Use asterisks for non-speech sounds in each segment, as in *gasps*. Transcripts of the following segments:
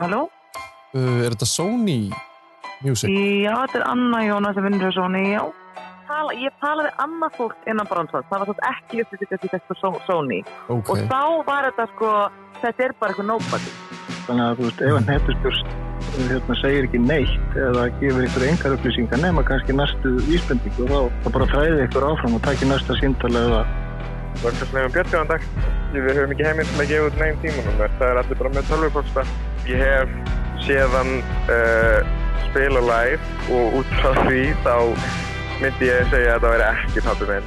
Halló? Uh, er þetta Sony Music? Já, þetta er Anna Jóna sem vinnur hjá Sony, já. Tala, ég talaði annað fólk innan Bronsons, það var svo ekki upplýsingast í þetta Só- Sony. Ok. Og þá var þetta sko, þetta er bara eitthvað nobody. Þannig að þú veist, ef að netustjórst hérna, segir ekki neitt eða gefur ykkur engar upplýsingar nema kannski næstu vísbendingu þá, þá bara fræði ykkur áfram og takki næsta síndala eða Vörgarslegum Björnjóðandag. Við höfum ekki heimild til að gefa út neginn tímanúmer. Það er allir bara með tölvupósta. Ég hef séðan uh, spila live og út frá því þá myndi ég segja að það væri ekki pappi minn.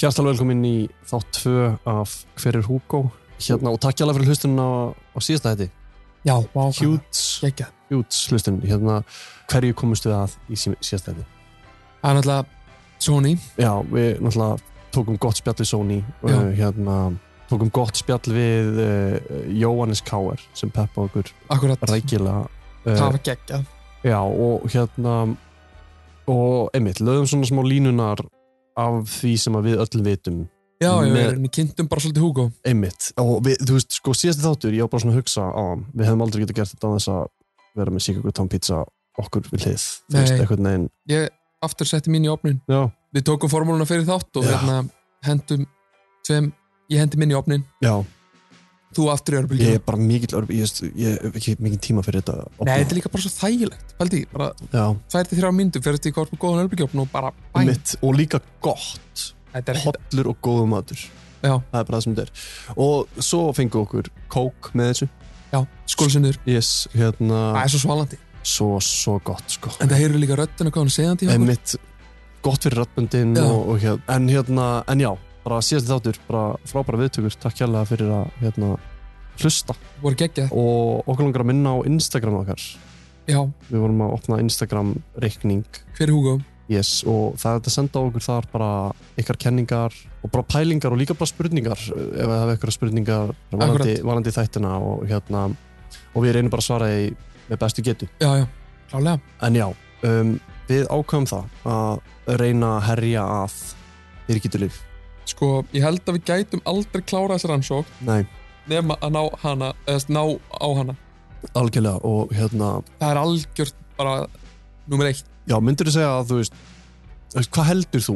Hjartalega velkomin í þátt 2 af Hver er Hugo? Hérna og takk alveg fyrir hlustunum á, á síðasta hætti. Já, vá, hvað Hjúts, geggjað. hjúts hlustun. Hérna hverju komumst við að í sí- síðasta hætti? Það er náttúrulega Sony Já, við náttúrulega tókum gott spjall við Sony. Já. Uh, hérna tókum gott spjall við uh, Jóhannes Káer sem peppa okkur akkurat, rækilega. Eh, það var geggjað Já, og hérna og einmitt, lögum svona smá línunar af því sem að við öllum vitum Já, já, Með- við erum kynntum bara svolítið Hugo einmitt, og við, þú veist, sko síðast þáttur ég var bara svona að hugsa á hann, við hefðum aldrei getað gert þetta án þess að vera með Sigurgur Tom Pizza okkur við hlið, þú veist, Nei. eitthvað neginn Ég aftur setti mín í opnin Já, Við tókum formúluna fyrir þátt Já. og hérna hendum tveim, ég hendi minn í opnin já, þú aftur í ég örbylgjum er bara mikill örb, ég, veist, ég hef ekki mikið tíma fyrir þetta opna. Nei, þetta er líka bara svo þægilegt Paldi, bara Já, tvær til þrjá myndu fyrir þetta í hvort og góðan örbylgjófn og bara bæn einmitt, og líka gott Þetta er ekkert, hollur og góðum matur, já, það er bara það sem þetta er og svo fengu okkur kók með þessu, já, skólsinnur yes, hérna Það er svo svalandi svo, svo gott sko En það heyrðu líka röddina hvað hún er segandi í okkur einmitt gott fyrir rattböndin Já. og, og hér, en hérna, en já bara síðast þáttur, bara frábæra viðtökur takk hérlega fyrir að hérna, hlusta voru geggjað, og okkur langar að minna á Instagram okkar já, við vorum að opna Instagram reikning hver er Hugo? yes, og það er þetta að senda á okkur þar bara ykkar kenningar og bara pælingar og líka bara spurningar ef það er eitthvað spurningar varandi, varandi þættina og hérna og við reynum bara að svara því með bestu getu Já, já, klálega En já, um, við ákvæmum það að reyna að herja að yrkitulif. Sko, ég held að við gætum aldrei klára þessar rannsók Nei, nema að ná hana, eða ná á hana algjörlega og hérna, það er algjört bara nummer eitt, já, myndur þú segja að þú veist, þú veist, hvað heldur þú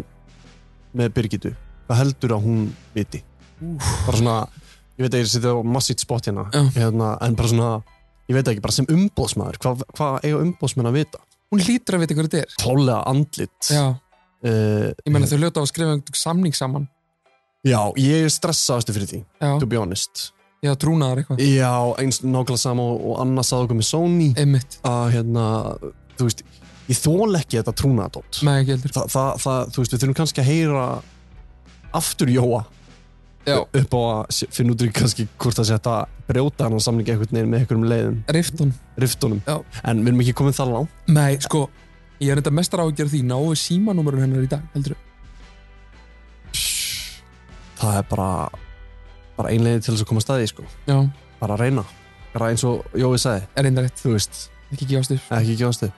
með Birgitu? Hvað heldur að hún viti? Úf. Bara svona, ég veit að ég seti á massið spot hérna, Já. hérna, en bara svona, ég veit ekki, bara sem umbóðsmaður, hvað hva eiga umbóðsmenn að vita? hún hlýtur að vita hvað þetta er Klálega andlit. já, Uh, ég meina þau hljóta á að skrifa einhvern samning saman, já, ég er stressaðastu fyrir því, já, to be honest. já, trúnaðar eitthvað Já, eins nákvæmlega sama og, og Anna saði okkur með Sony einmitt, að hérna, þú veist, ég þól ekki þetta trúnaðadótt. með ekki heldur Þa, það, það, þú veist, við þurfum kannski að heyra aftur Jóa já, upp á að s- finna út í kannski hvort að setja brjóta hann á samlingi einhvern veginn með einhverjum leiðum, rift hún riftunum. Já. En við erum ekki komin þar langt. nei, sko, ég er þetta mestar á að gera því náu símanúmerun hennar í dag, heldur Það er bara, bara ein leiði til þess að koma að staði, sko. já, Bara að reyna. Bara eins og Jói sagði, er einnig rétt, þú veist, ekki gefast upp ekki gefast þig.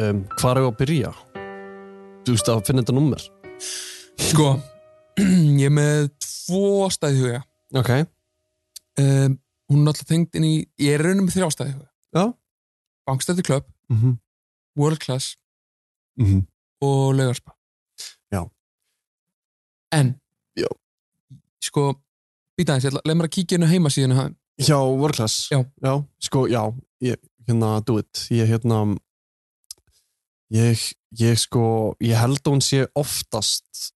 Um, hvar er við að byrja? Þú veist að finna þetta nummer. sko, *clears throat* ég er með tvo stæði huga Ok. um, hún er náttúrulega tengd inn í ég er raunum með þrjá stæði huga Já. Bankstæði Club, Mm -hmm. World Class mhm. og laugarspa Já. en Já. sko, býta aðeins, ég ætla, leið mér að kíkja inn á heimasíðinu hann, Hjá World Class? Já. sko, já, ég, hérna, do it. Ég, hérna, ég, ég, sko, ég held að hún sé oftast,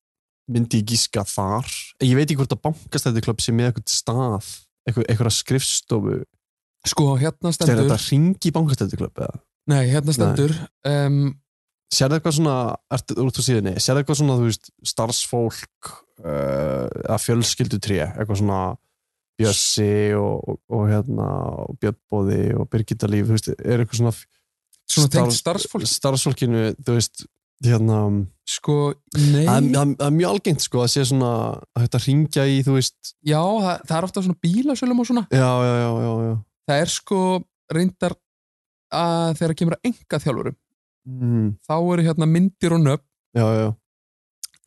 myndi ég gíska þar. Ég veit ekki hvort að bankastæði klubb sé með eitthvað stað, eitthvað, eitthvað skrifstofu. sko, Þegar hérna stendur þetta ringi í bankastæði klubb, eða? nei, hérna stendur um, Sérðu eitthvað svona, ertu út á síðinni, sérðu eitthvað svona, þú veist, starfsfólk, uh, að fjölskyldutré, eitthvað svona Bjössi og, og, og hérna, og Bjöbbóði og Birgitta Líf, þú veist, er eitthvað svona svona tengt Starf- starfsfólk starfsfólkinu, þú veist hérna, Sko, það er- nei, það er- það er mjög algengt sko að sé svona að þetta ringja í, þú veist, já, það, það er ofta svona bílasölum og svona. já, já, já, já, já. Það er sko reyndar að þegar kemur að enga þjálfurum, Mm, þá eru hérna myndir og nöfn já, já,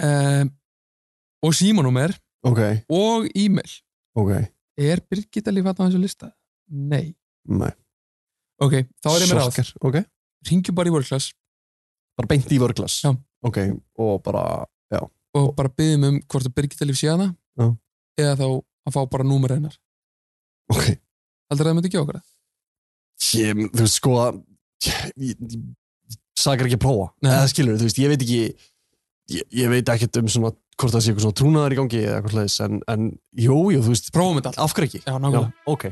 um, og símanúmer ok, og e-mail. ok, Er Birgitta líf að þessu lista? Nei. nei. Ok, þá er ég með ráð. Sorkar, Ok, Ringju bara í World Class bara beint í vörglas. Já. Ok, og bara, já, og bara byggjum um hvort að Birgitta líf sé hana Já. eða þá að fá bara númer hennar. ok. Heldur það að myndi ekki okkur það? Ég, þú veist, sko að- ég, ég, ég sakar ekki að prófa Nei. eða skilur, þú veist, ég veit ekki ég, ég veit ekkert um svona hvort það sé eitthvað svona trúnaðar í gangi eða eitthvað slags en, en jú, jú, þú veist, Prófum þetta allt. af hverju ekki? Já, nákvæmlega. ok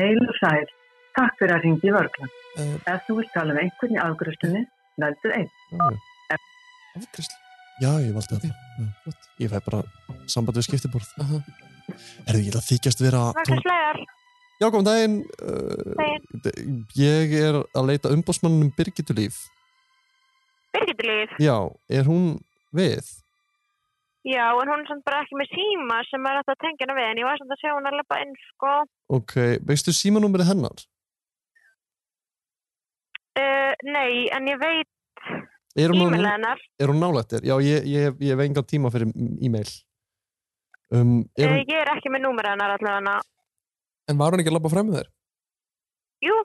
Heil og sæl. Takk fyrir að ringi vörgla. Eh. Ef þú vilt tala um einhvern í afgröstunni, veldu einn. já, Afgreiðslu. já, ég valdi þetta Já, flott. ég fæ bara samband við skiptiborð Aha. Herðu, ég ætla að þykjast vera tón... Vakarslegar, Já, góðan daginn uh, Daginn. d- Ég er að leita umbósmannum Birgitulíf Birgitlíf, Já, er hún við? já, en hún er samt bara ekki með síma sem er hægt að tengja hana við, en ég var samt að sjá hún að lepa inn, sko. Ok, veistu símanúmerið hennar? Uh, nei, en ég veit Er hún orðin- e-mail hennar. er hún nálægt þér? Já, ég, ég, hef- ég hef engan tíma fyrir m- e-mail. Um, er Uh, hún, ég er ekki með númer hennar allavega. En var hún ekki að labba fram með þér? Jú,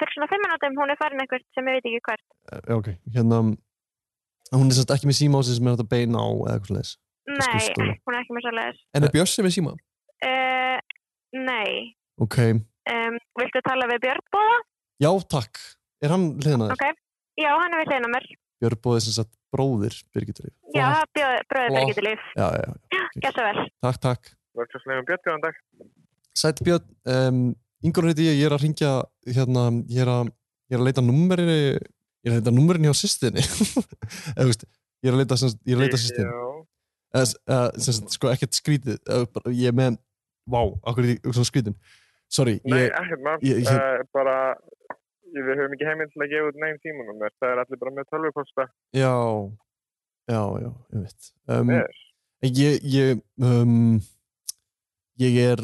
fyrir svona fimm minútum hún er farin eitthvað sem ég veit ekki hvert. já, ok, hérna, hún er sérst ekki með síma á sig sem er hægt að beina á eða eitthvað slags. Nei, skrifstofu. hún er ekki með svoleiðis. En er Bjössi með síma? Uh, nei, Ok, um, viltu tala við Björn Bóða? já, takk. Er hann hliðnaður? Ok. Já, hann er við hliðin á mér. Björn Bóði sem sagt bróðir Birgitur Líf. Já, Flott. bjóð- bróðir Flott. Birgitlíf. Já, já, já, Gæsa vel. takk, takk. Vörkastlegum Björn, góðan dag. Sætt Björn, um, yngur heiti ég, ég er að ringja, hérna, ég er að, ég er að leita númerinu, ég er að leita númerinu hjá sýstinni. *laughs* Eða, þú veist, ég er að leita, sem sagt- ég er að leita sýstinni. Já. eða s- eða, sem sagt, sko ekkert skrítið eða bara- ég er með vá, okkur er ég svona skrítin sorry, Nei, ég, ekkert maður. ég- ég- Uh, bara, ég- við höfum ekki heimild til að gefa út neinn tímanum þér. Það er allir bara með tölvuposta. já já, já, ég veit um, Yes. ég ég, um, ég er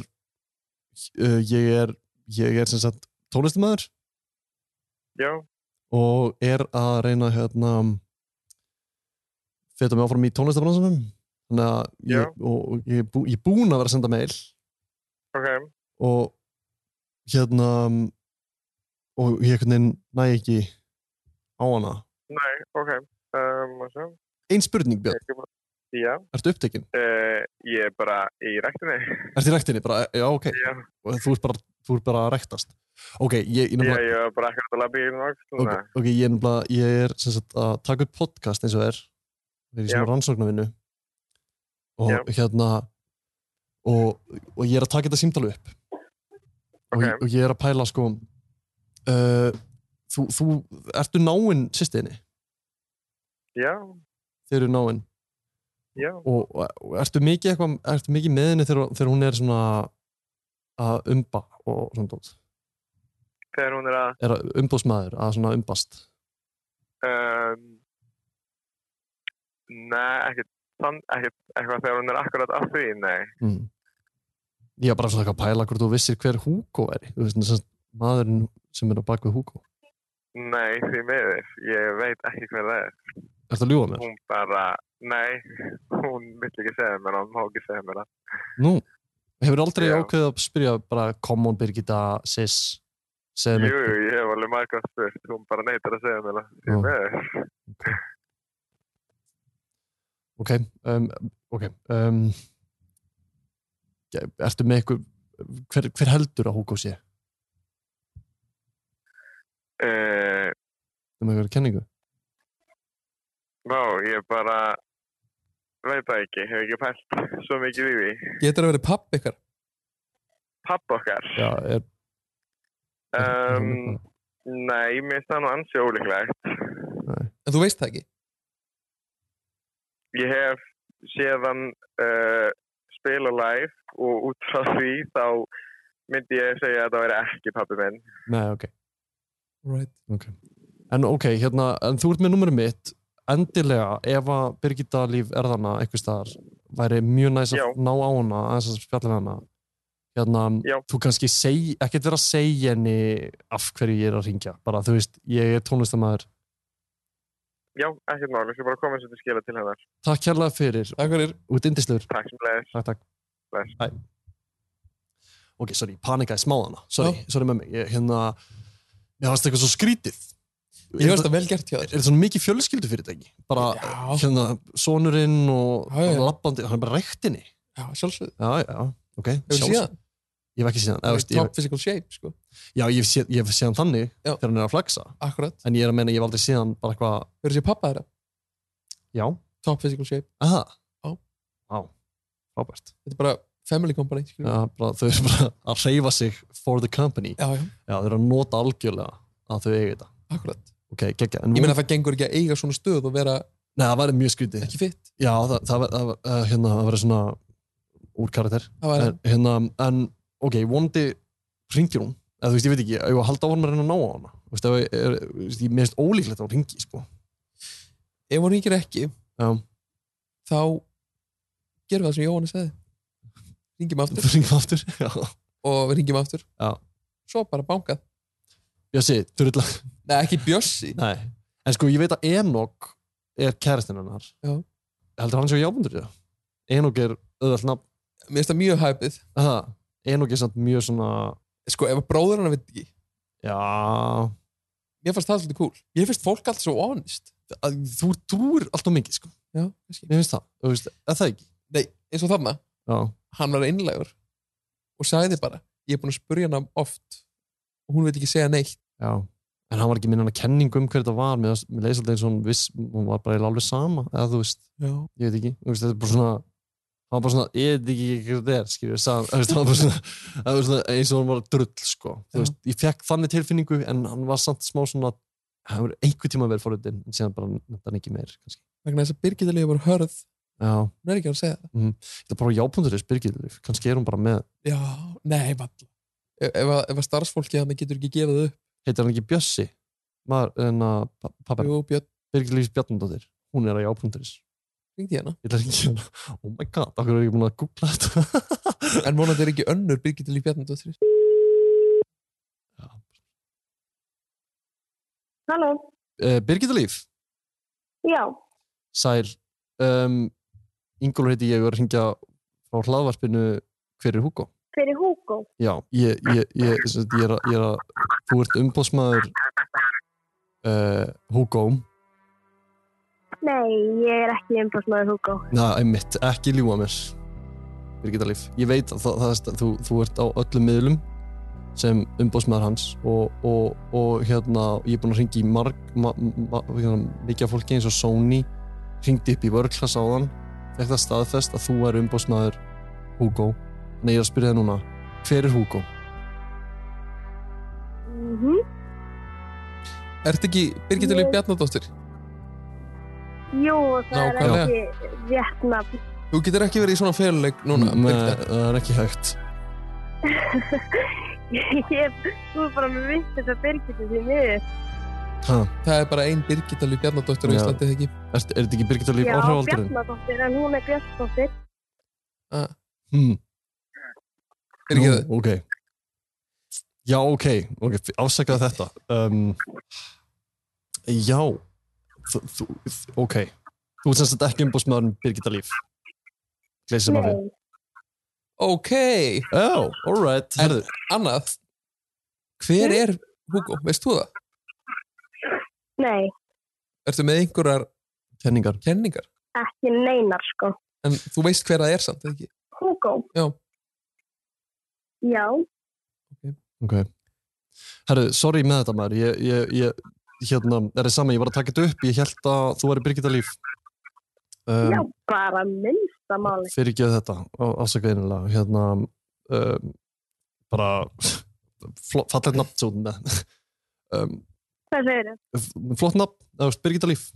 uh, ég er ég er sem sagt tónlistamæður Já, og er að reyna hérna feta mig áfram í tónlistabransanum þannig að Já. ég, og, og ég, er bú, ég er búinn að vera að senda mail ok. og hérna og ég einhvern veginn næ ekki á hana Nei, ok. Um, og svo, ein spurning Björn, ekki bara. Já, ertu upptekinn? uh, ég er bara í ræktinni. *laughs* Ertu í rektinni? Bara, já, ok, Já, og þú ert bara, þú ert bara að rektast ok, ég, ég, já, nefnilega, ég er bara ekkert að labba í einu ok, ákstuna. ok, ég, er nefnilega, ég er sem sagt að taka upp podcast eins og er við erum í Já. svona rannsóknarvinnu og Já. hérna og, og ég er að taka þetta símtal upp og, Ok. ég- og ég er að pæla sko uh, þú, þú, ertu náinn sýstiðinni? Já, Þeir eru náinn já. og, og, og ertu mikið eitthvað, ertu mikið með henni þegar, þegar hún er svona að umba og svona dót Þegar hún er að, er að umbóðsmaður, að svona umbast um, nei, ekkert, þann, ekkert, eitthvað þegar hún er akkurat að því, nei. mm. ég var bara svona eitthvað að pæla hvort þú vissir hver Hugo er þú veist, þess að maðurinn sem er á bak við Hugo Nei, því miður. Ég veit ekki hver það er. ertu að ljúga mér? Hún bara, nei, hún vill ekki segja mér, það, hún má ekki segja mér það. Nú, hefur aldrei Já. ákveðið að spyrja bara come on Birgitta, sis segðu Jú, mér jú, ég hef alveg margast spurt, hún bara neytar að segja mér það. Já. Því miður. ok, um, ok um, ja, ertu með eitthvað hver, hver heldur að Hugo sé? Eh, um eitthvað kenningu? Vá, ég bara veit það ekki, hef ekki pælt svo mikið í því. Getur að vera papp ykkar? Papp okkar. Já, er Um, nei, mér finnst það nú ansi ólíklegt. En þú veist það ekki? Ég hef eh, séð hann uh, spila live og út frá því þá myndi ég segja að það væri ekki pappi minn. Nei, ok. Right. En ok, hérna, en þú ert með númurum mitt endilega ef að Birgitta líf erðana einhvers staðar væri mjög næs Já. að ná á hana aðeins að spjalla við hana hérna, Já. þú kannski seg, ekkert vera að segja henni af hverju ég er að ringja bara þú veist, ég er tónlistamæður Já, ekkert máli, ég skal bara koma þessu til skila til hennar. takk kærlega fyrir, Takk fyrir. út indislegur Takk sem leiðis. takk, takk Bless. Hæ. ok, sorry, ég panikaði smáðana sorry, sorry með mig, ég, hérna ég varst eitthvað svo skrítið Ég veist það vel gert hjá er þér. þetta svona mikið fjölskyldu fyrirtæki bara Já. hérna sonurinn og Já, já. hann labbandi, hann er bara rektinni Já, sjálfsögðu. já, já, ok Hefur þú Sjálfs- síðan? ég hef ekki síðan, eða, veist, Top ég, physical shape, sko. já, ég hef, sé, ég hef síðan þannig Já. þegar hann er að flexa, Akkurat. en ég er að meina ég hef aldrei síðan bara eitthvað, Hefur þú séð pappa þeirra? já, Top physical shape. aha Já. já, frábært Þetta er bara family company, skilur. já, bara, þau eru bara að reyfa sig for the company, Já, já, já, þau eru að nota algjörlega að þau eigi þetta, akkurat. ok, geggja en Ég nú- meina það gengur ekki að eiga svona stöð og vera nei, það væri mjög skrítið ekki fitt. já, það, það, það, það, hérna, það væri svona úrkarakter Það var en, hérna, en ok, vonandi ringir hún, eða þú veist, ég veit ekki ef að halda á hann að reyna að ná á hana þú veist, ef ég er, þú veist, ég meðist ólíklegt að hún ringi sko. ef hún ringir ekki Já. þá gerum við það sem Jóhann sagði ringjum aftur þú ringir aftur *laughs* já. og við ringjum aftur Já. svo bara bankað, Bjössi, þurrilla nei ekki Bjössi Nei. en sko, ég veit að Enok er kæristinn hennar Já. heldur hann séu jábundur í það Enok er öðvöld nafn mér finnst það mjög hæpið, Aha, Enok er samt mjög svona sko ef að bróður hann veit ekki, já, mér fannst það svolítið cool mér finnst fólk alltaf svo honest að, þú trúir allt og mikið sko. já, kannski. ég finnst það, þú veist, er það ekki nei, eins og þarna, já, hann var einlegur og sagði bara, ég er búin að spurja hann oft og hún veit ekki segja neitt já en hann var ekki minn hann að kenningu um hver þetta var mér, mér leys alltaf eins og hún viss hún var bara eiginlega alveg sama, eða þú veist já, ég veit ekki, þú veist, þetta er bara svona hann var bara svona, ég veit ekki hvað þetta er skilur, sag, veist, hann var bara svona, það var svona eins og hann var drull, sko Já. þú veist, ég fekk þannig tilfinningu, en hann var samt smá svona, hann var einhver tíma verið fórhundin, en síðan bara nefndan ekki meir kannski. vegna þess að Birgitta Líf var hörð já, hún er ekki að segja það þetta er bara jápundur þess byrgið, kannski er hún bara með já, nei, valla ef, ef, að- ef að starfsfólki hann getur ekki gefið upp heitir hann ekki Bjössi maður, en að pappa, Jú, Björn byrgið lífs Bjarnandóttir hún er að jápundur þess ringdi hérna. ég ætla ekki að, oh my god, okkur er ekki búin að googla þetta *laughs* En vonandi er ekki önnur Birgitta Líf Bjarnadóttir. Halló? uh, Birgitta Líf, Já. sæl um, Ingólfur heiti ég og er að hringja frá hlaðvarpinu hver er Hugo? Fyrir Hugo? Já, ég, ég, ég, sem sagt, ég, er, að- ég er að þú ert umbóðsmaður uh, Hugo Nei, ég er ekki umbásmaður Hugo. Na, einmitt, ekki ljúa mér Birgitta Líf, ég veit að það, það, það, þú, þú ert á öllum miðlum sem umbóðsmaður hans og, og, og hérna, ég er búin að hringi í marg, ma, ma, hérna, mikið af fólki eins og Sony hringdi upp í vörklass áðan fekk það staðfest að þú er umbóðsmaður Hugo Nei, ég er að spyrja það núna, hver er Hugo? Mm -hmm. Ertu ekki Birgitta Líf Ég- Bjarnadóttir? Jú, það Nákvæmlega. er ekki rétt nafn. *laughs* Þú getur ekki verið í svona feluleik núna. Mm, Nei, Mm, Birgitta. það er ekki hægt ég þú er bara með vitt þess að Birgitta því miður. ha, Það er bara ein Birgitta Líf Bjarnadóttir á Já. Íslandi, eða ekki? Er, er þetta ekki Birgitta Líf Já, áhrifaldurinn? Bjarnadóttir, en hún er Bjarnadóttir. Hmm. Er ekki Nú, það? ok já ok, ok, afsakaði þetta um, já þú, þú, ok þú ert semst ekki umbúsmaðurinn Birgitta Líf gleysið maður Nei, Ok, oh, alright, En- herðu annað. Hver er Hugo? Veist þú það? nei, Ertu með einhverjar kenningar, kenningar? ekki neinar sko. En þú veist hver það er samt, eða ekki? Hugo? Já. Já, ok herðu, sorry með þetta maður ég, ég, ég hérna, er það sama, ég var að taka þetta upp ég held að þú væri Birgitta Líf Um, já, bara minnsta máli. fyrir ekki þetta á- afsaka einilega hérna um, bara fallet nafn svo með um, Hvað segir þau? f- flott nafn, það var Birgitta Líf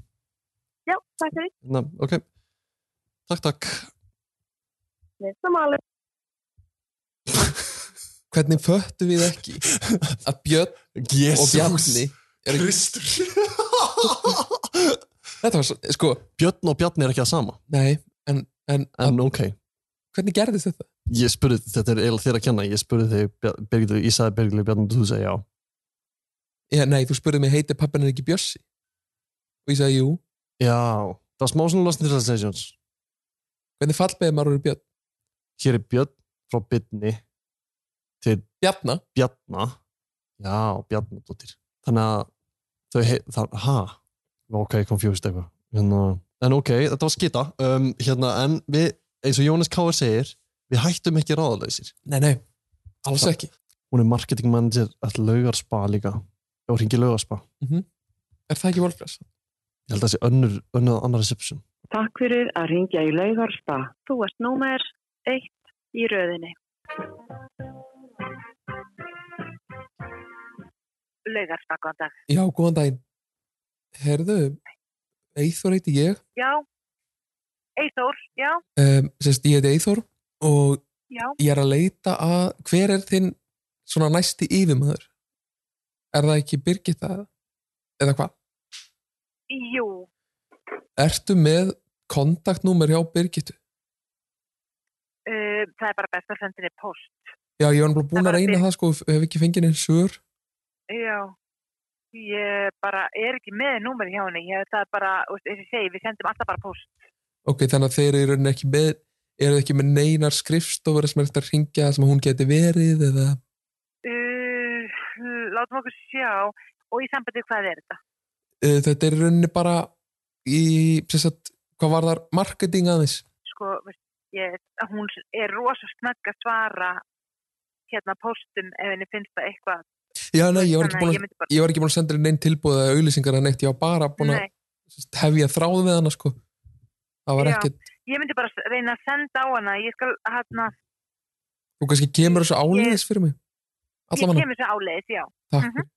Já, takk fyrir, Na, ok, takk takk minnsta máli. hvernig föttum við ekki að Björn og Bjarni eru ekki, Kristur *laughs* þetta var svo, sko, Björn og Bjarni er ekki það sama nei en, en, en ok, hvernig gerðist þetta? ég spurði þetta er eiginlega þér að kenna ég spurði þig, Bjar- Birgir, ég sagði Birgir Bjarni og þú segi já Já, nei, þú spurði mig, heitir pappin er ekki Bjössi? og ég sagði, jú, já, það var smá svona lost in translations hvernig fallbeði maður eru Björn? hér er Björn frá Byrni til Bjarna, Bjarna já, Bjarnadóttir þannig að þau hei, það, ha, ok, confused eitthvað hérna, en ok, þetta var skita um, hérna, en við, eins og Jónas Káir segir við hættum ekki ráðalausir nei, nei, alls ekki hún er marketing manager að laugarspa líka og hringi laugarspa, er það ekki Wolfgræs? ég held að það sé önnur, önnur annar reception, Takk fyrir að ringja í laugarspa. Þú ert númer eitt í röðinni. Laugarsta, góðan dag. Já, góðan daginn. Herðu, Eithor heiti ég. Já. Eithór, já, Um, sérst, ég heiti Eithor og já. ég er að leita að hver er þinn svona næsti yfirmaður? Er það ekki Birgitta eða- eða hvað? Jú, Ertu með kontaktnúmer hjá Birgittu? uh, það er bara best að senda henni post. Já, ég var náttúrulega Það búin að var reyna Birg- það sko, hef ekki fengið neins svör. Já. Ég bara er ekki með númer hjá henni. Ég, það er bara, þú veist, eins og ég segi, við sendum alltaf bara post. Ok, þannig að þeir eru í rauninni ekki með, eru ekki með neinar skrifstofur sem er eftir að ringja sem hún geti verið eða... Uh, látum okkur sjá. Og í sambandi við hvað er þetta? Uh, þetta er í rauninni bara í, sérst að, hvað var þar marketing aðeins? sko, veist, ég, hún er rosa snögg að svara hérna póstum ef henni finnst það eitthvað. Já, nei, ég var ekki Þannig búin að ég myndi bara, ég var ekki búin að senda henni neinn tilbúið eða auðlýsingar eða neitt, ég var bara búin að nei, sérst, hefja þráð við hana sko það Já. var ekkert, ég myndi bara s- reyna að senda á hana, ég skal hérna, þú kannski kemur þessu áleiðis fyrir mig, ég allavega kemur svo áleiðis, já. takk Mhm. fyrir,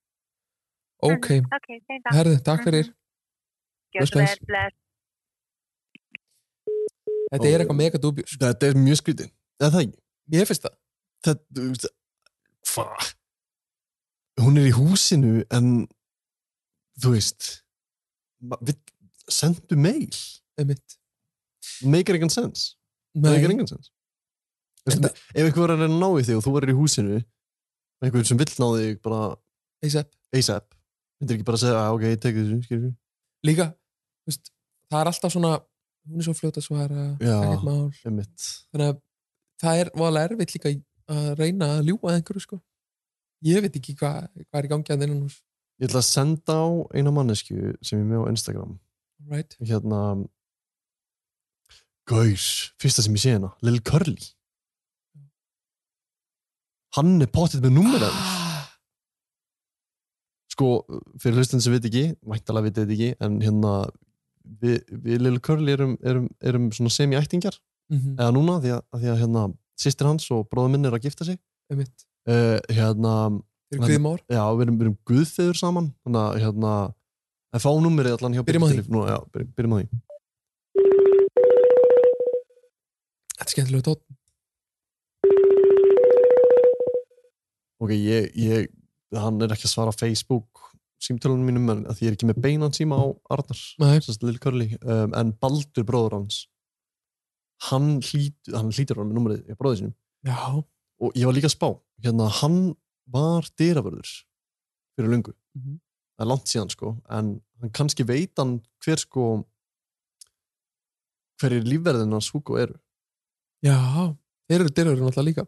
ok, Ok, Mhm. þeim það. herði, takk fyrir bless, Gjörðu bless. vel, bless. þetta er eitthvað mega dubjus, þetta er mjög skrítið eða það ekki, ég finnst það þetta, þú veist, hva hún er í húsinu en þú veist ma- við sendu mail einmitt. make engan sense það Nei, er engan sens Veistu, ef einhver er að reyna að ná í þig og þú verður í húsinu einhver sem vill ná þig bara ASAP. ASAP myndir ekki bara að segja, "Ah, ok, ég tekið þessu skilur. líka, þú veist, það er alltaf svona hún er svo fljóta svara Já. ekkert mál, Einmitt. þannig að það er voðalega erfitt líka að reyna að ljúga að einhverju sko ég veit ekki hvað hva er í gangi að þennan hús ég ætla að senda á eina mannesku sem ég er með á Instagram right. hérna Gaur, fyrsta sem ég sé hérna Lil Curly hann er pottið með númerið hans. *gasps* sko, fyrir hlustin sem veit ekki mæntalega veit þetta ekki, en hérna við, við Lil Curly erum, erum, erum svona semi-ættingjar Mhm, eða núna, því að, að því að hérna sýstir hans og bróður minn er að gifta sig einmitt uh, hérna, Fyrir Guðmór? já, við erum, við erum guðfeður saman þannig að hérna en fá númerið allan hjá Byrjum á Birgittu Líf. Nú, já, byr- byrjum á því Þetta er skemmtilega tótt. ok, ég, ég, hann er ekki að svara á Facebook símtölunum mínum en að því ég er ekki með beinan síma á Arnar Nei. sérst Lil Curly, um, en Baldur bróður hans hann, hlít, hann hlýtur hann með númerið í bróður sinum Já. og ég var líka að spá hérna, hann var dyravörður fyrir lungu Mhm. það er langt síðan sko en hann kannski veit hann hver sko hverjir lífverðin hans Hugo eru Já. Þeir eru dyrurinn alltaf líka.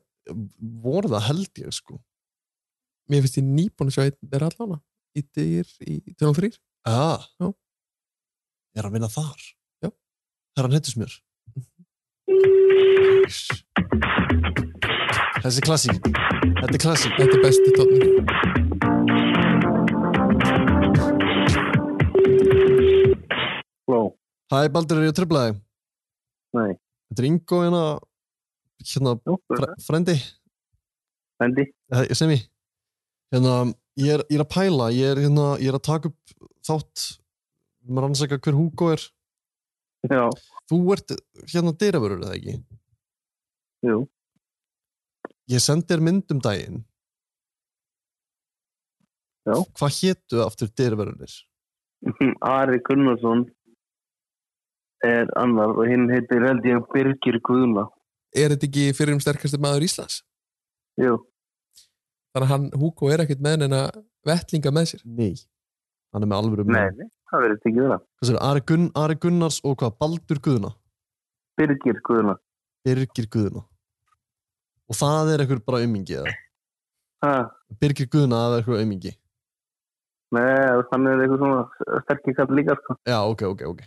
voru það held ég sko Mér finnst ég nýbúin að sjá einn þeirra allána. Í dyr í 2003. ah. Já. er hann að vinna þar Já. það er hann hittus mér þessi er klassík þetta er klassík Þetta er besti tótt. Ló, Hæ Baldur, er ég að tröfla þig? Nei. Þetta er Ingo hérna, hérna jú, fre, frendi, Fendi. eh, sem ég hérna, ég er, ég er að pæla ég er, hérna, ég er að taka upp þátt maður rannsaka hver Hugo er Já, þú ert hérna dyravörur eða ekki? jú. ég sendi þér mynd um daginn Já. hvað hétu aftur dyrverunir Ari Gunnarsson er annar og hinn heitir held ég Birgir Guðna er þetta ekki fyrir um sterkasti maður Íslands Jú, þannig að hann, Hugo er ekkert með en að vettlinga með sér nei, hann er með alvöru nei, mynd. nei, það verður ekki vera Hvað segirðu, Ari, Gunn, Ari Gunnars og hvað Baldur Guðna Birgir Guðna Birgir Guðna og það er eitthvað bara aumingi eða? ha, Birgir Guðna það er eitthvað aumingi Nei, hann er eitthvað svona sterkir kall líka sko. já, ok, ok, ok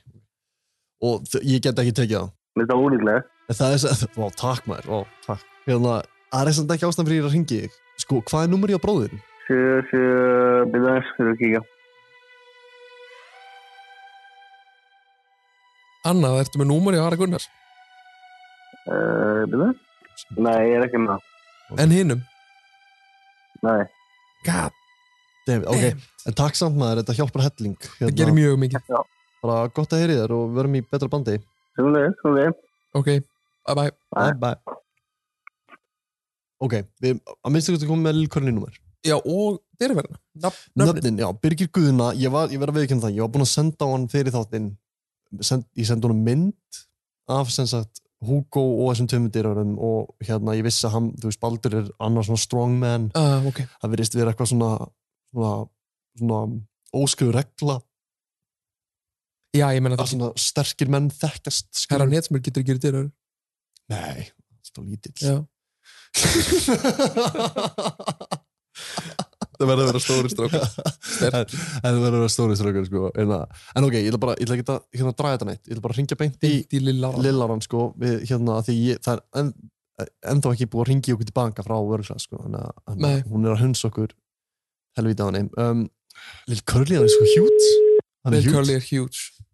og þ- ég get ekki tekið það Mér þetta ólíklega En það er svo, *laughs* vá, takk maður, vá, takk. Hérna, það er samt ekki ástæðan fyrir ég er að ringi þig. Sko, hvað er númur ég á bróðin? Sjö, sjö, byrða þess, þurfum að kíkja annað ertu með númur í Ara Gunnars uh, Byrða? Nei, ég er ekki með það en hinnum, Nei, god David, ok, hérna. damn, en takk samt maður, þetta hjálpar helling. það gerir mjög mikið Bara gott að heyri þér og við verum í betra bandi. svona leið, svona leið ok, bye bye, Bye. Bye, bye. Ok, við, að minnstu hvað þú komið með lillkörni númer. já og dyrverna nafn, nafn, Nöfnin, já, Birgir Guðuna, ég, var, ég verð að viðkynna það, ég var búinn að senda á hann fyrir þáttinn, send, ég sendi honum mynd af sem sagt Hugo og þessum tömundýrarum og hérna ég vissi að hann, þú veist, Baldur er annars svona strongman ah, ok það verðist vera eitthvað svona svona, svona óskuðu regla já, ég menna að það, svona sterkir menn þekkjast skilur. herra Netsmur getur ekki verið dyrverð nei, alltaf *laughs* lítill já, það verður að vera stóri strákar. en það verður að vera stóri strákar sko. en, að- en ok, ég ætla bara, ég ætla ekki að hérna, draga þetta neitt, ég ætla bara að ringja beint í í lilla Ara. lillarann sko, við, hérna, af því ég, það er en, ennþá ekki búið að ringi okkur tilbaka frá vörgla, sko, þannig að- þannig Nei. að hún er að hunsa okkur helvítið á henni um, Lill Curly, hann er svo hjút hann Bill er Curly hjút er huge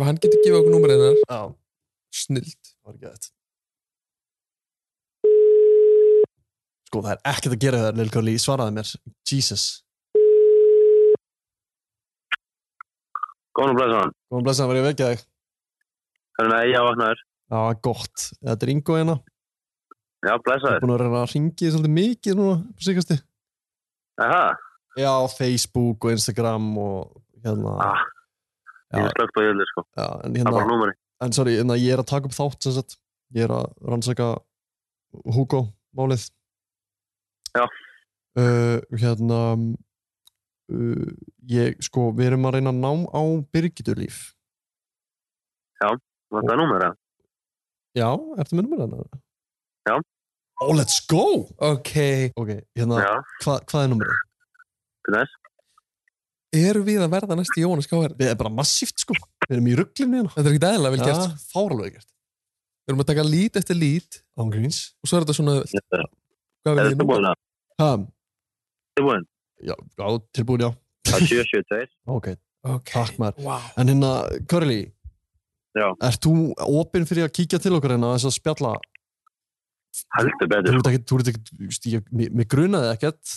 ef hann getur gefið okkur númur hennar Já, það snild var ekki þetta Sko, það er ekkert að gera það, Lill Curly, svaraði mér Jesus, Góðan og blæsaðan góðan blessaðan var ég að vekja þig Þannig að ég vaknaður Já, gott, þetta er Ingo hérna Já, Ég er blæsaður búin að reyna að ringi þig svolítið mikið núna, på síkasti Aha, Já, Facebook og Instagram og hérna, ah, Já. ég er slögt á jölu sko já, en Það er hérna bara númeri en sorry, en að ég er að taka upp þátt sem sagt, ég er að rannsaka Hugo málið Já. uh, hérna uh, ég, sko, við erum að reyna að ná á Birgitulíf Vantar númeri eða? já, ertu með numur hennar? Já. oh, let's go ok, ok, hérna, Já, hva, hvað er numurið? byrða þess erum við að verða næst í Jónas K.R. við erum bara massíft, sko, við erum í rugglinni hérna þetta er ekki dæðilega vel gert Já, fáralveg gert við erum að taka lít eftir lít ángríns og svo er þetta svona auðvelt. Er hvað við þetta erum búin að? ha, Tilbúin? já, já, tilbúin, já Það er 772 ok, ok, takk maður wow. En hérna, Curly Já. Ert þú opinn fyrir að kíkja til okkar hérna að þess að spjalla? Heldur Þú betur ert ekki, þú ert ekki, þú veist, ég, mér- mér grunaði ekkert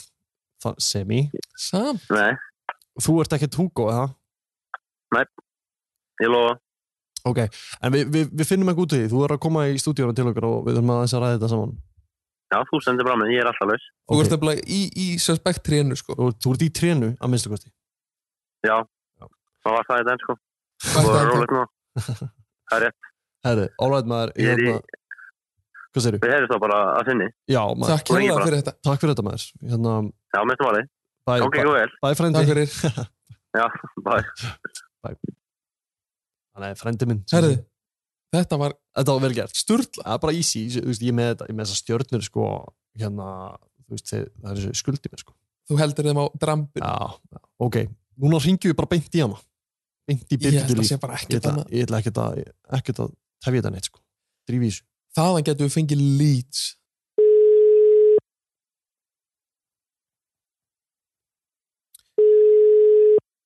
það, semi, samt, Nei, þú ert ekkert Hugo, eða? ég lofa Ok, en við, við, við finnum ekki út í því, þú er að koma í stúdíóna til okkar og við þurfum að þess að ræða þetta saman Já, þú sendir fram en ég er alltaf laus þú Ok. ert nefnilega í, í suspect trénu sko Þú, þú ert í trénu, að minnstu kosti Það var það í dag sko Hvað Það er var það? rólegt nú Herri, alright maður, Ég er í- hérna Hvað segirðu? Við heyrðum þá bara að finni Já, maður, takk hérna fyrir þetta, takk fyrir þetta maður Hérna, Já, mestum valið bæ, Gangi bæ, ykkur vel bæ takk frendi fyrir Já, bæ Nei, frendi minn herðu, þetta var þetta var vel gert, sturla, það er bara easy þú veist, ég er með þetta, ég er með þessar stjörnur sko, hérna, þú veist, þeir, það er þessu skuldi mér sko, þú heldur þeim á drambin já, já, ok núna ringjum við bara beint í hana beint í ég held byrgjur að líf sé bara ég ekkert ætla annað ég ætla ekkert að, ekkert að tefja þetta neitt sko, drífi í þessu þaðan getum við fengið leads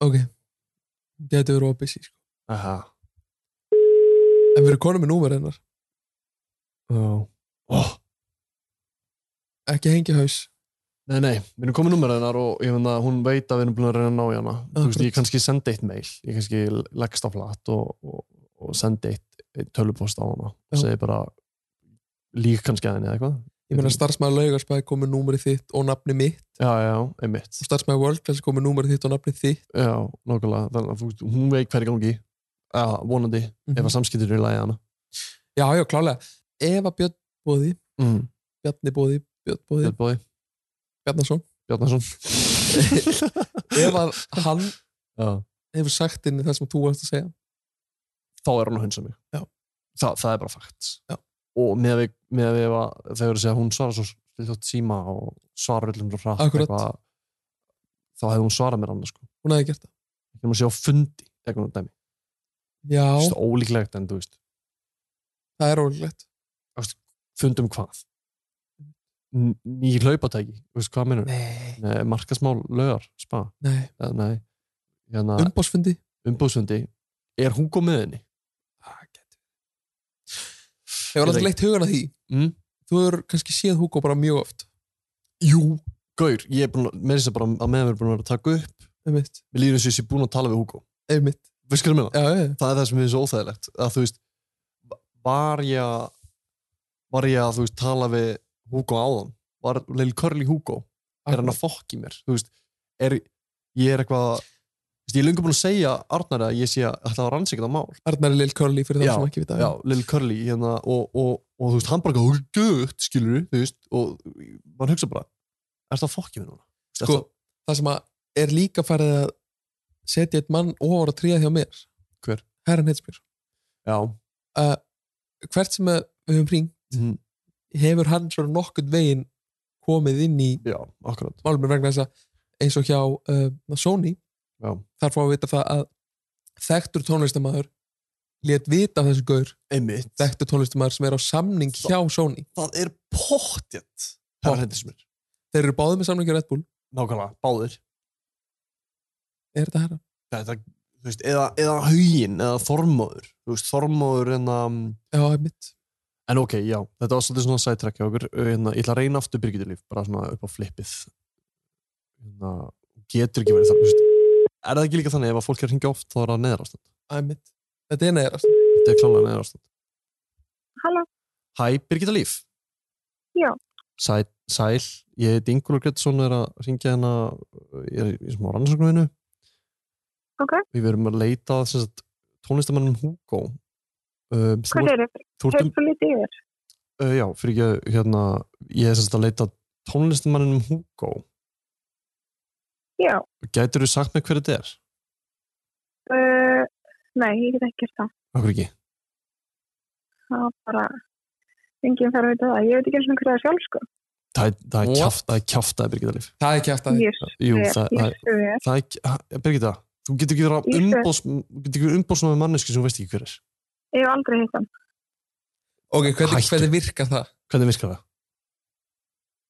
ok getum við verið opið sko. aha, en við erum konum með númer hennar já oh, ekki hengja haus nei, nei, við erum komið nummer hennar og ég finna að hún veit að við erum búin að reyna að ná í hana þú veist, Akkurat. ég kannski sendi eitt mail ég kannski leggst á flat og, og, og sendi eitt, eitt tölupost á hana og Já. segi bara lík kannski að henni eða eitthvað Ég meina starfsmæður laugarsbæði komið númerið þitt og nafni mitt já, já, einmitt og starfsmæður worldclass komið númerið þitt og nafni þitt já, nákvæmlega, þannig að þú- hún veit hverju gangi já, vonandi, ef Mm. að samskiptir eru í lagi hana Já, já, klálega. Eva Björn Bóði, mm. Bjarni Bóði, Björn Bóði, Björn Bóði, Bjarnason. *laughs* Bjarnason Ef að hann já, hefur sagt inn í það sem þú varst að segja. þá er hún að hunsa mig Já. Þa, það er bara fakt Já. og með við, með við að þegar að segja að hún svarar svo stilþjótt síma og svarar öllum svo hratt Akkurat. eitthvað, þá hefði hún svarað mér annars sko. Hún hefði gert það. þegar maður sé á fundi eitthvað dæmi, Já, Þú veist, ólíklegt en þú veist, það er ólíklegt. fundum um hvað N ný hlaupatæki, þú veist hvað minnur Nei, markasmál lögar, spa nei. eða nei, hérna, um. Umbásfundi? umbúðsundi er hún góð með henni? Hefur alltaf Ég veit leitt hugan að því. Mm? Þú hefur kannski séð Hugo bara mjög oft. Jú, gaur, ég er búin að, með þess að bara að meðan við erum búin að vera að taka upp Einmitt. við líður eins og ég sé búin að tala við Hugo Einmitt. Veist hvað ég meina? Já, já, já. það er það sem er svo óþægilegt að þú veist var ég að var ég að þú veist tala við Hugo áðan var Lil Curly Hugo er hann að fokki mér þú veist er ég er eitthvað þú veist ég er lengur búin að segja Arnar að ég sé að þetta var rannsækjað á mál Arnar Lil Curly fyrir það Já, sem ekki vita. já, Lil Curly hérna og, og, og, þú veist hann bara gæði gött skilur þú veist og mann hugsa bara er það fokki mér núna Þú veist, Sko, er það, það sem að er líka farið að setja eitt mann ofar að tríða hjá mér. Hver? Herran Hetsmjör. já Uh, hvert sem að við höfum hring Mhm. hefur hann svona nokkurn veginn komið inn í já akkurat málumir vegna þess að eins og hjá uh, Sony Já. þar fá að vita það að þekktur tónlistamæður lét vita af þessu gaur einmitt þekktur tónlistamæður sem er á samning hjá Sony það er pottjett það er hendur sem er þeir eru báðið með samningi á Red Bull nákvæmlega báðir er þetta herra? þetta, þú veist, eða, eða hugin eða þormóður, þú veist, þormóður en, um, Já, einmitt en ok, já, þetta var svolítið svona sættrekki okkur, en, ég ætla að reyna aftur Birgitulíf, bara svona upp á flippið en, getur ekki verið það, þú veist er það ekki líka þannig ef að fólk er að hringja oft þá er það neðrastand, Æmitt. Þetta er neðrast þetta er klálega neðrastand Halló. Hæ, Birgitulíf Já. Sæl, sæl, ég heiti Ingúlur Grettsson er að hringja hérna ég er í smá rannsóknarvinu Ok. Við erum að leita að, sem sagt, tónlistamannum Hugo um, þú, Hvað ert- er þetta? þú ert um, Hversu lítið yfir? uh, já, fyrir ekki að, hérna ég er sem sagt að leita að tónlistamannum Hugo Já. Gætur þú sagt mér hver þetta er? Uh, nei, ég get ekki gert það. Akkur ekki? Það var bara, enginn þarf að vita það. Ég veit ekki eins og hverja það er sjálf, sko. Það, er- það What? er kjaft, það er kjaft að Birgitta Líf Það er ekki eftir Ég sé, Jú, ég það, það, sé. það er, ha, Birgitta, þú getur ekki verið Ég sé. umbóðs, þú getur ekki verið umbóðsmaður með manneski sem þú veist ekki hver er Ég hef aldrei hitt hann. Ok, hvernig, Hættu. hvernig virkar það? Hvernig virkar það?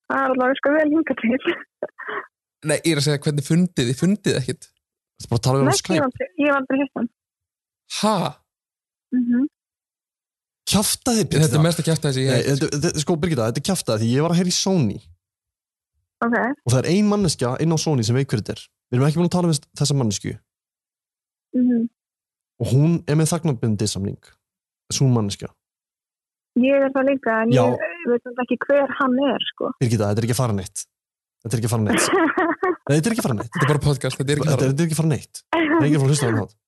Það er allavega sko vel hingað til. Nei, ég er að segja hvernig fundið þið, fundið þið ekkit Það er bara að tala við hann á Nei, ég hef Skype aldrei- ég hef aldrei hitt hann. Ha? Mhm. Kjaftaði Birgitta Þetta er mest að kjæfta þessi Nei, ég þetta, þetta, sko Birgitta, þetta er kjaftaði því ég var að heyra í Sony Ok, og það er ein manneskja inn á Sony sem veit hver þetta er við erum ekki búin að tala um þess- þessa mannesku mhm. og hún er með þagnarbindi samning svo manneskja, Ég er það líka, en Já. ég veit samt ekki hver hann er, sko. Birgitta, þetta er ekki að fara neitt þetta er ekki að fara neitt Nei, þetta er ekki að fara neitt Þetta er bara podcast, þetta er ekki þetta er þar þetta er ekki að fara neitt það er ekki að fara að hlusta á hann hát *laughs*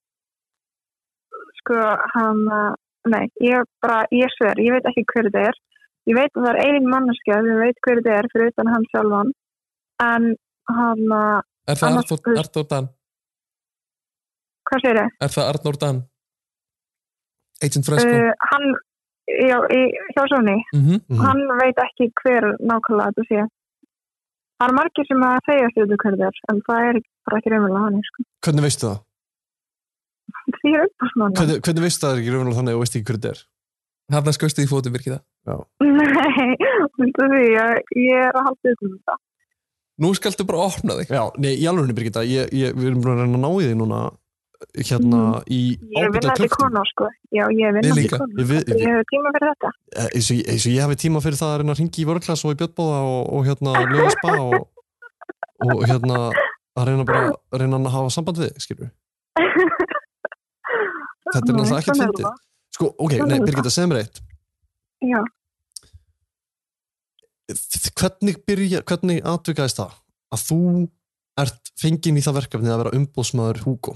sko, hann, uh, nei, ég bara, ég sver, ég veit ekki hver þetta er. Ég veit að það er einin manneskja sem veit hver þetta er fyrir utan hann sjálfan. En hann, uh, Er það Annars- Arnór- Arnór Dan? hvað segir ég? Er það Arnór Dan? Agent Fresco? Uh, hann, já, í, hjá Sóni, Mhm. Mm. hann veit ekki hver nákvæmlega þetta sé. Það er margir sem að segja þetta hver þetta er, en það er bara ekki raunverulega hann, sko. hvernig veistu það? Því er uppásmána. Hvernig, hvernig veistu það er ekki raunverulega þannig og veist ekki hver þetta er? Þarna skaustu því fótum virkið það. Nei, út af því, ég, ég er að halda upp um þetta. Nú skaltu bara opna þig. Já, nei, í alveg henni Birgitta ég, ég, við erum búin að reyna að ná í því núna hérna í Mm. Ég er ábyrgðarklöktum. vinnandi kona, sko. Já, ég er Við vinnandi líka. kona. Ég við- sko, Ég ég- hefur tíma fyrir þetta. *laughs* eh, eins og ég- eins og ég hafi tíma fyrir það að reyna að ringi í vörklass og í bjöttbóða og, og hérna lögaspa og, og hérna að reyna bara að reyna að hafa samband við þig, skilur þetta er Nei, náttúrulega ekkert svona fyndið það. sko, ok, Svona nei, er það. Birgitta, segð mér eitt Já, hvernig byrja, hvernig atvikaðist það að þú ert fengin í það verkefni að vera umbóðsmaður Hugo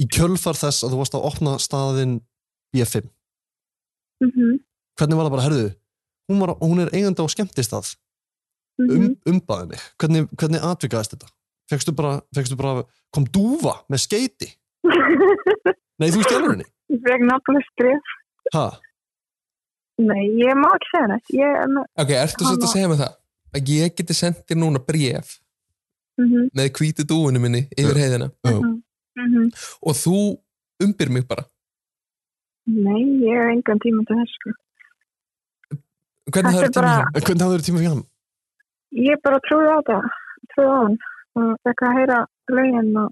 í kjölfar þess að þú varst að opna staðin BF5 Mm -hmm. hvernig var það bara, herðu, hún, var, hún er eigandi á skemmtistað, mhm. um, Mhm. umbaði mig hvernig, hvernig atvikaðist þetta fegstu bara, fegstu bara, kom dúfa með skeiti, nei þú stelur henni, *laughs* Ég fekk náttúrulega skrif. ha Nei, ég má ekki segja neitt. Ég, mm Ok, ertu svolítið að segja mig það? Að ég geti sendið þér núna bréf -hmm, með hvítu dúinu minni Eh. yfir heiðina mm -hmm. og þú umbir mig bara. Nei, ég hef engan tíma til þess. sko. Þetta Hvernig það er er tíma bara- hjá? en hvernig hafðu þér tíma fyrir hann Ég bara trúði á það, trúði á hann og fekk að heyra lögin og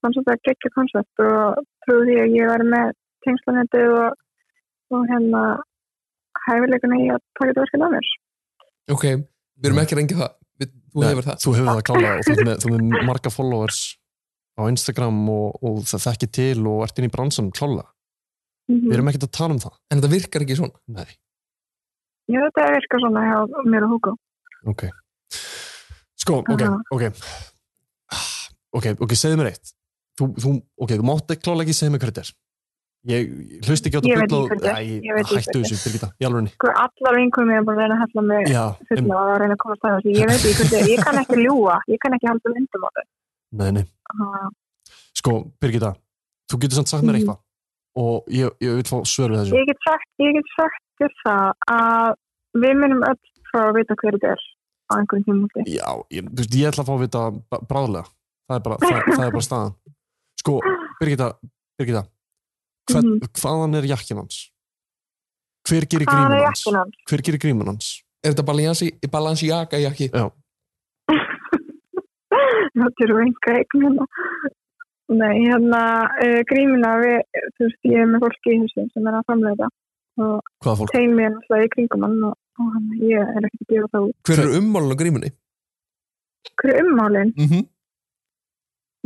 fannst þetta að gegja koncept og trúði því að ég var með tengslanettið og, og hérna hæfileikuna í að taka þetta verkefni á mér. Ok, við erum ekki að rengja það. Við, þú Nei, hefur það. þú hefur það klála og þú ert með, þú ert með marga followers á Instagram og, og það þekki til og ert inn í bransanum klála Mm við erum ekkert að tala um það En þetta virkar ekki svona. Nei. Ég þetta virka svona hjá mér og Hugo. ok sko, ok, Aha. ok ok, ok, segðu mér eitt þú, þú, ok, þú mátt ekki klála ekki segja mér hvað þetta er ég ég hlusta ekki á Ég veit þetta ekki hvað þetta er. Ég veit bull og ekki hættu hvað þetta þessu, Birgitta, í alveg Sko allar vinkum ég er bara að reyna að hella mig já, em, fulla og að reyna að komast að þessu. Ég veit ekki hvernig, ég kann ekki ljúa, ég kann ekki halda myndum á þau. nei, nei Ah, sko, Birgitta, þú getur samt sagt mér Mhm. eitthvað og ég, ég vil fá svör við þessu Ég get sagt, ég get sagt þér það að við munum öll frá að vita hver þetta er á einhverjum tímúti. Já, ég, þú veist, ég ætla að fá að vita bra- bráðlega. Það er bara, það, það er bara staðan. Sko, Birgitta, Birgitta hva, Mhm. hvaðan er jakkin hans? Hver gerir Hvaðan grímun er hans? jakkin hans? Hver gerir grímun hans? Er þetta balansi, balansi jaka jakki? *laughs* Þetta eru enga eignina. Nei, hérna, uh, grímuna við, þú veist, ég er með fólki í húsum sem er að framlega og Hvaða fólk? teimi er náttúrulega í kringum hann og, og hann, ég er ekki að gefa það út. Hver eru ummálun á grímunni? Hver er ummálinn? Mm Mhm. -hmm.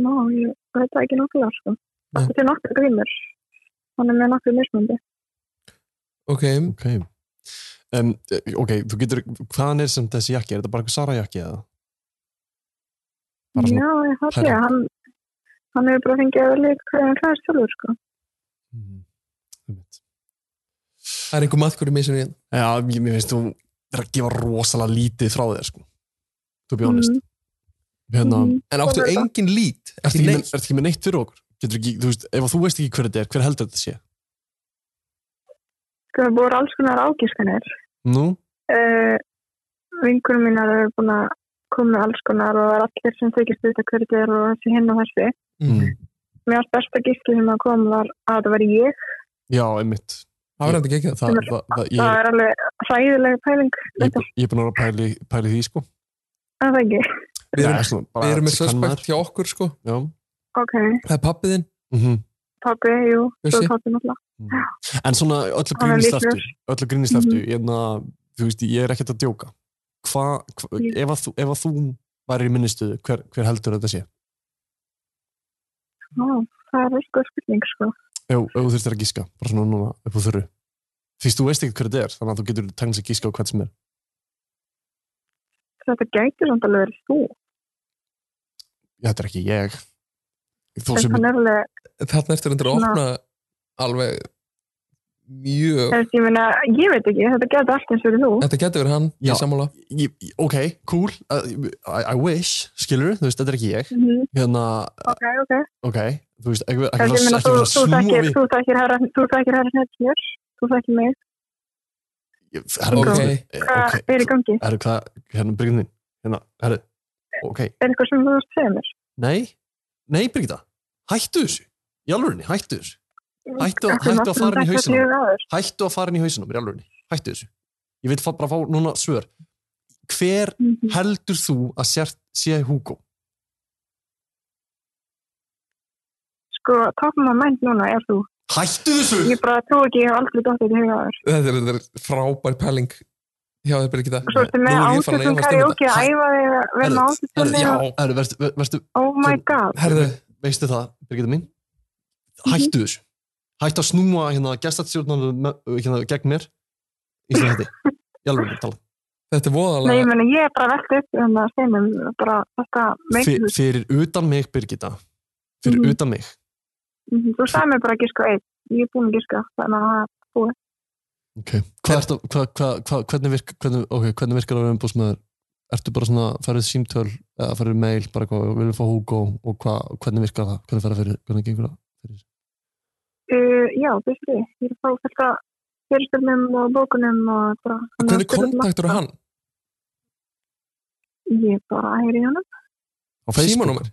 Ná, ég veit það ekki náttúrulega, sko. Nei. Þetta er nokkuð grímur. Hann er með nokkuð mismundi. Ok, Ok. Um, ok, þú getur, hvaðan er sem þessi jakki? Er þetta bara einhver Sara jakki eða? Bara svona- Já, ég hætti Herra. að hann, hann hefur bara fengið að velja hvað hann hlæðist sjálfur, sko. Mhm. Einmitt. það er einhver maðkur í mig sem ég Já, ég, mér finnst þú er að gefa rosalega lítið frá þér, sko. Þú bjóðan list. Mhm. Hérna, Mhm. En áttu Hvað er það? engin lít? Ertu Ekki ekki, neitt? með, ert ekki með neitt fyrir okkur? Getur ekki, þú veist, ef þú veist ekki hver þetta er, hver heldur þetta sé? Sko, það voru alls konar ágískanir. Nú? uh, vinkunum mínar eru búin að koma með alls konar og það er allir sem þykist þetta hverju þetta er og þessi hinn og þessi. Mm. Mér varst besta gísli sem að kom var að það var ég. Já, einmitt. Það var þetta ekki ekki það. Það, það, það, ég, Það er, er alveg hræðilega pæling. ég, Þetta er- ég er búin að vera að pæli, pæli því, sko. er það ekki. Við erum, Já, svona, bara við erum með sem kann suspekt hjá okkur sko. maður. Já. Ok, Það er pappiðinn. Mm pappi, jú, svo Bjössi. pappi náttúrulega. En svona öllu Hann er grínisleftu, vitlaus. öllu grínisleftu, Mhm. mm þú veist, ég er ekkert að djóka. Hva, hva, Ég- ef, að þú, ef að þú væri í minnistuðu, hver, hver heldur þetta sé? Ó, það er eitthvað spurning, sko. Ef, ef þú þurftir að gíska, bara svona núna upp á þurru. Fyrst þú veist ekki hver þetta er, þannig að þú getur tegns að gíska á hvað sem er. Þetta gæti samt alveg verið þú. Þetta er ekki ég. Þó Þess sem hann er alveg, Þarna eftir endur að Ná. opna alveg mjög... þess ég meina, ég veit ekki, þetta gæti allt eins verið þú. Þetta getur verið hann Já. í sammála. ég, ég- ok, cool uh, I, I wish, skilur, þú veist, þetta er ekki ég Mm hérna, Ok, ok. ok þú veist, ekki, ekki, Þess ég ekki, meina, ekki vera þú, að þú snúa þekkir, við þú þekkir herra, þú þekkir herra hnettingur, þú þekkir mig. Ég- herra, Ok. eh, Hvað ok, er í gangi? herra, hvað, hérna, Birgit þín hérna, herra, ok, Er eitthvað sem þú veist segja mér? nei nei, Birgitta, hættu þessu í alvörinni, hættu þessu Hættu að- hættu Hversu að margt fara inn í sem hausinn á þetta hefur á þér? hættu að fara inn í hausinu, mér í alvörinni, hættu þessu ég vil fá- bara fá núna svör hver Mhm. heldur þú að sér, sé Hugo? Sko, toppum að mænt núna er þú. Hættu þessu! Ég bara trú ekki, ég hef aldrei dótt þetta huga á þér. Þetta er, þetta er frábær pæling hjá þér Birgitta. Svo ertu með Nú er ég farin að átökum efast um karaoke þetta. að æfa þig að vera með átökum. herra, og- já, herra, vertu, vertu, Oh my Þú- god. Herðu, veistu það, Birgitta mín hættu þessu hættu að snúa hérna gestastjórnarnu hérna, gegn mér í þessu hætti Ég alveg tala. Þetta er Nei, voðalega ég meina, ég er bara velt upp um það steinum, bara þetta Fyr, meikir, fyrir utan mig, Birgitta. Fyrir Mhm. utan mig. Mhm, þú sagði mér bara að giska eitt, ég er búin að giska, þannig að Okay. Hvað ertu, hva, hva, hva, hvernig, virk, hvernig, okay, hvernig virkar það umbúsmaður? Ertu bara svona, færið símtöl eða færið mail, bara hvað, við viljum fá Hugo og hva, hvernig virkar það? Hvernig fer það fyrir, hvernig gengur það? uh, já, þú veist því, ég er að fá þetta fyrirspilnum og bókunum og bara... Hvernig kontaktur er hann? Ég bara heyri í honum, Á Símanúmer?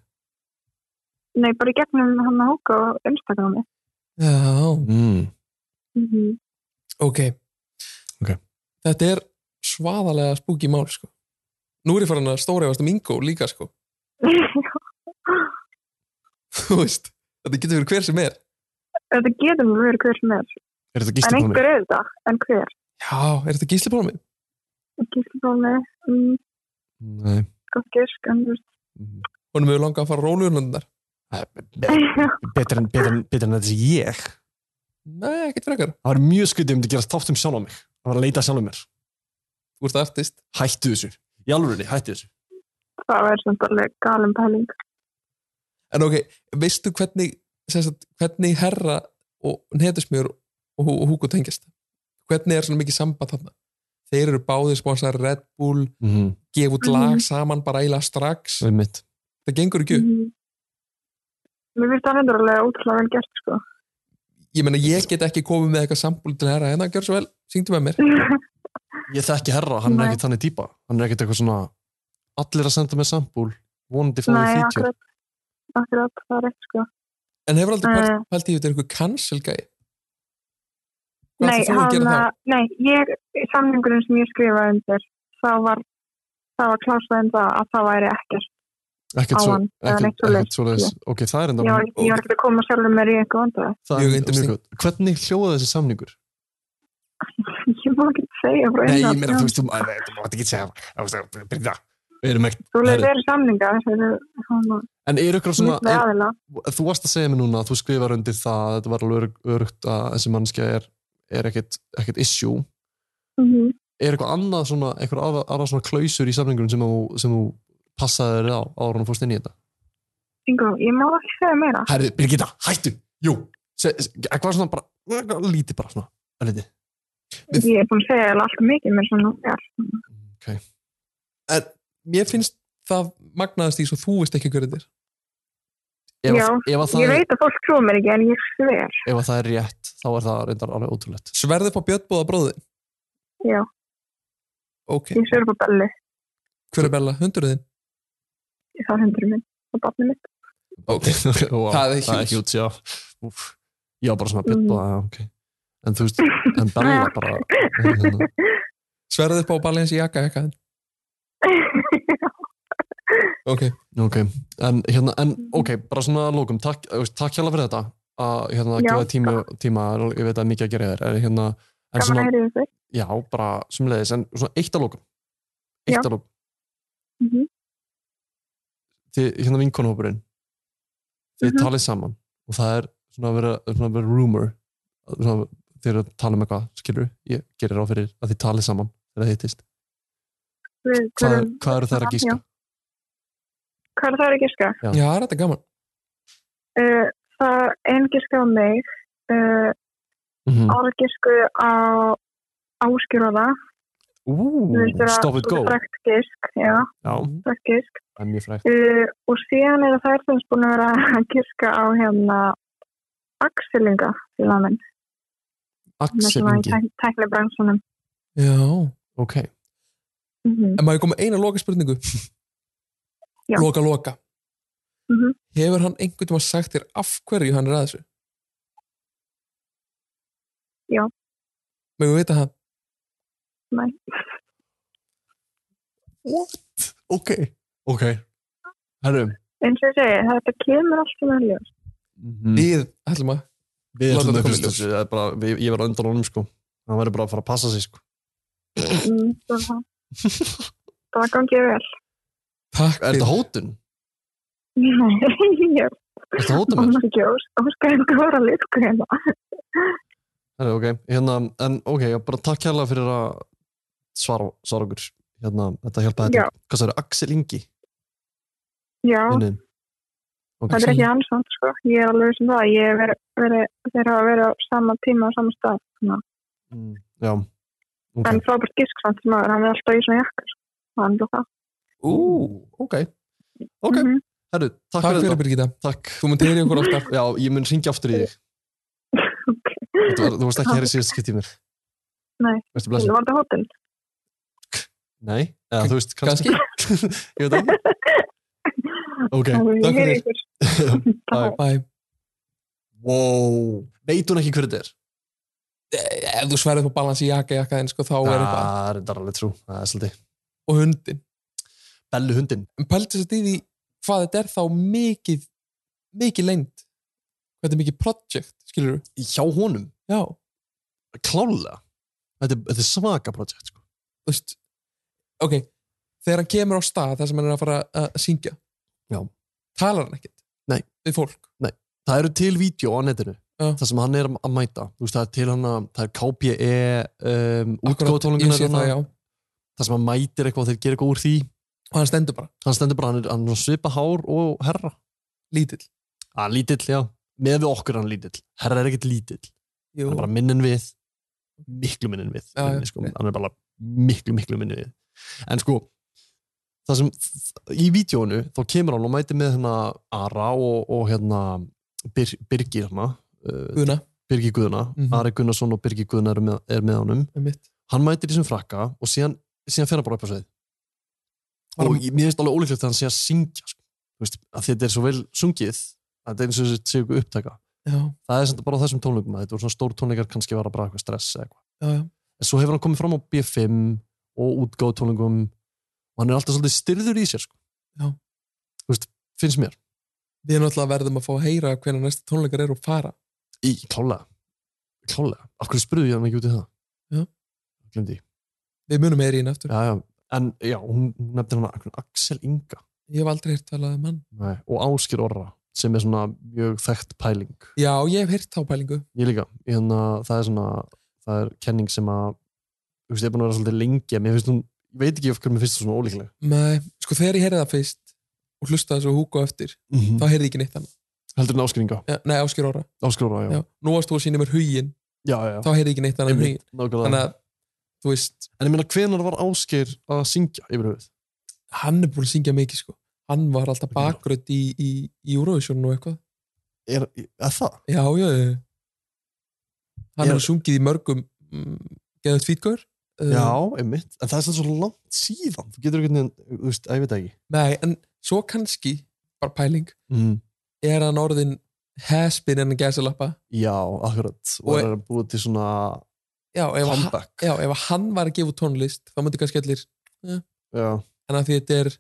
nei, bara í gegnum hann að hóka og Instagrami. Já, Mm. Mm -hmm. ok Ok. Þetta er svaðalega spúki mál sko. Nú er ég farin að stóra efast um Ingo líka sko. *laughs* Mhm. Þú veist, þetta getur verið hver sem er þetta getur mér verið hver sem er, Er þetta en gísla einhver er þetta, en hver? Já, er þetta gíslipólmi? Gíslipómi, mm, Nei. gott gisk, en þú veist, *laughs* Mhm. Honum hefur langað að fara róluðunundar Það er be- Betur en, betur en, betur en þetta sé ég. Nei, ekkert frekar, Það var mjög skrítið um þetta að gera þátt um sjálf á mig. Það var að leita sjálf um mér. þú ert artist Hættu þessu. Í alveg, hættu þessu. það væri samt alveg galum pæling. En ok, veistu hvernig sem sagt, hvernig herra og netusmjör og, Hú- og Hugo tengjast hvernig er svona mikið samband þarna þeir eru báðir sponsar Red Bull Mm. gefa út Mhm. lag saman bara eiginlega strax Það er mitt. það gengur ekki upp, Mhm. Mér finnst það hendur alveg ótrúlega vel gert sko. ég meina ég get ekki komið með eitthvað sambúl til herra hérna, gjör svo vel, syngdu með mér *laughs* Ég þekki herra, hann er Nei. ekkert þannig típa. Hann er ekkert eitthvað svona, allir að senda með sambúl, vonandi fáið Nei, feature. akkurat, akkurat, það er rétt sko. en hefur aldrei Nei. pælt, pælt í þetta er eitthvað cancel gæi hvað Nei, ætlar þú að gera að- þá? nei, ég, samningurinn sem ég skrifaði undir, þá var, það var klásað um það að það væri ekkert á Ekkert svo, hann. eða ekkert, neitt svoleiðis. ekkert svoleiðis. Ok, það er enda Ég var, ég var ekki að koma sjálfur mér í eitthvað vandaði. það Mjög er mjög interesting. gott. Hvernig hljóða þessi samningur? *laughs* Ég má ekki segja frá Nei, einu ég að- meina, þú veist, þú maður, þú mátt ekki segja það. Byrja, við erum ekkert. Þú leið Herri. verið samninga, þessu, hann var En er ykkur svona, miklu er, aðila. þú varst að segja mér núna að þú skrifar undir það að þetta var alveg örugg- öruggt að þessi mannskja er, er ekkert, ekkert issue. Mm Er eitthvað annað svona, eitthvað aðra, aðra svona klausur í samningunum sem þú, sem þú passaði þér á ára hún fórst inn í þetta? Ingo, ég má ekki segja meira. Herri, Birgitta, hættu, jú, se, se, eitthvað svona bara, eitthvað lítið bara svona, örlítið. Ég er búin að segja alveg allt of mikið mér svona. Já, mér finnst það magnaðast í svo þú veist ekki hverju þetta er Ef, Já, að- ef, að það ég er, veit að fólk trúa mér ekki, en ég sver. ef að það er rétt, þá er það reyndar alveg ótrúlegt. sverðið på bjöttbóða bróðin Já. ok, Ég sver bara belli. hver er Bella, hundurðin? það hendur minn og barnið mitt. *laughs* *laughs* Ok. wow, Það er Það er huge. hjúts, já. Úf, já, bara svona bytta, mm. ok. En þú veist, en Bella bara, *laughs* hérna, Sverðið upp á balins í jakka jakkaðin Ok, ok. En hérna, en Mm. ok, bara svona að lókum, takk, þú veist, takk hérna fyrir þetta, að hérna, Já, gefa þér tíma, tíma, ég veit að það er mikið að gera þér, en hérna, en Gaman að svona, heyra þessu. já, bara sumleðis, en svona eitt að lókum, eitt Já. að lókum. Mhm. þið, hérna vinkonhópurinn þið Mhm. talið saman og það er svona að vera, svona að vera rumor svona, þið eru að tala um eitthvað skilur, ég gerir á fyrir að þið talið saman þegar þið hittist, Við hvað, er, tölum- hvað eru þær að gíska? Já. Hvað er það að gíska? Já. já, þetta er gaman Uh, það er ein gíska á mig, uh, Mhm. aðra gísku á áskjúraða. Ú, Mm. stop it go Frækt gísk, já, já, frækt gísk. það er mjög frækt Uh, og síðan er það þess búin að vera að gíska á hérna Axelinga félagaminn. Axelingi, Tækli bransunum. Já, ok Mm en maður komið eina loka spurningu Já. Loka, loka Mhm. Hefur hann einhvern veginn sagt þér af hverju hann er að þessu? Já. Megum við vita það? Nei. What? Ok, ok Mm. Herrum Eins og ég segi, þetta kemur alltaf með ljós. *laughs* Við ætlum að Mhm. Við ætlum Látum þetta að koma í hlusta ljós. þessu, það er bara- við- ég var undan honum sko hann verður bara að fara að passa sig sko Mm, það var- það gangi vel. *laughs* Takk Er þetta hótun? Nei, ég Er þetta hótun mér? Hún er ekki ós- óskæðin góðra liðku hérna. Herra, ok, hérna, en ok, já, bara takk hérlega fyrir að svara, svara okkur hérna, þetta hjálpaði Já. þetta hvað sagði, Axel Ingi já, vinurinn? Ok. það er ekki hans vant sko. ég er alveg sem það, ég hef verið, verið þeir hafa verið á sama tíma á sama stað svona. Mm, já, ok en frábært gisk samt sem maður, hann er alltaf í svona jakka sko. hann er það Ú, ok, ok, Mhm. herru, takk, takk fyrir þetta Birgitta takk. Þú munt heyri okkur oftar já, ég mun ringja aftur í þig Ok. Þetta var, þú varst ekki hér í síðast skipt í mér Nei. Vertu Þú blessuð. var þetta hótel? Nei, eða þú veist, kannski, *laughs* Ég veit það ekki. Ok, Ég takk fyrir. heyri ykkur. Bye. Bye. *laughs* wow Veit hún ekki hverju þetta er? Ef þú sverðið på balans í jakka jakka en sko þá Ah. er eitthvað Það er þetta alveg trú, það er svolítið og hundin Bellu hundin, En pæltu þess að því hvað þetta er þá mikið mikið lengd Þetta er mikið project, skilur við hjá honum Já, Klálega Þetta er, þetta er svaka projekt sko. þú veist Ok, þegar hann kemur á stað þar sem hann er að fara að syngja Já. Talar hann ekkert Nei. Við fólk Það eru til vídeo á netinu Já. Það sem hann er að mæta Þú veist, Það er til hann að, það er KPE um, Akkúrat, ég sé það, útgóðtólungunar já. Það sem hann mætir eitthvað og þeir gera eitthvað úr því Og hann stendur bara, Hann stendur bara, hann er, hann er svipa hár og herra lítill Hann er lítill, já Með við okkur er hann lítill Herra er ekkert lítill Jú. hann er bara minnin við miklu minnin við Já, minni, já, sko. ok. hann er bara miklu miklu minnin við en sko það sem í vídjónu þá kemur hann og mætir með hérna Ara og, og hérna Bir, Birgir hérna uh, Guðna, Birgir Guðuna, Mhm. Ari Gunnarsson og Birgir Guðuna er með, er með honum er mitt hann mætir í þessum frakka og síðan, síðan fer hann bara upp á sveið Var og hann- ég, mér finnst alveg ólíklegt að hann sé að syngja sko. Þú veist, að þetta er svo vel sungið að þetta er eins og þessi séu ykkur upptaka Já, það er sem þetta bara á þessum tónleikum að þetta voru svona stór tónleikar kannski var það bara eitthvað stress eða eitthvað já, já en svo hefur hann komið fram á B5 og útgáð tónlingum og hann er alltaf svolítið styrður í sér sko. Já. Þú veist, finnst mér Við náttúrulega verðum að fá að heyra hvernig næsta tónleikar er og fara í klálega, klálega. af hverju spurði ég hann ekki út í það Já. glemdi ég Við munum heyri hinn aftur já, já. en já, hún hún nefnir hann Axel Inga Ég hef aldrei heyrt talað um hann Nei. og Áskir Orra sem er svona mjög þekkt pæling Já, ég hef heyrt þá pælingu ég líka, hérna, það er svona það er kenning sem að þú veist, ég er búin að vera svolítið lengi en mér finnst hún, ég veit ekki af hverju mér finnst það svona ólíkleg Nei, sko þegar ég heyrði það fyrst og hlustaði svo húka eftir mm þá heyrði ég ekki neitt annað. heldur en Áskir Inga, Ja, Nei, Áskir Óra Áskir Orra, já, Já. Nú varst þú að sína mér huginn já, já, já. þá heyrði ég ekki neitt annað en Einmitt, huginn nákvæmlega. Þannig að, þú veist, En ég meina, hvenar var Ásgeir að syngja yfir höfuð? hann er búin að syngja mikið sko Hann var alltaf bakgröð í, í, í Eurovision og eitthvað Er, er það? Já, já, já Hann Já. hefur sungið í mörgum mm, geðut fítgur Já, einmitt. En það er samt svo langt síðan. Þú getur einhvern veginn, þú veist, að ég veit það ekki. Nei, en svo kannski, bara pæling Mm. er hann orðin haspin en gæsalappa Já, akkurat. Og, Og- og er að búið til svona já, ef e- hann- comeback. já, ef hann var að gefa út tónlist þá myndi kannski allir Já. en að því þetta er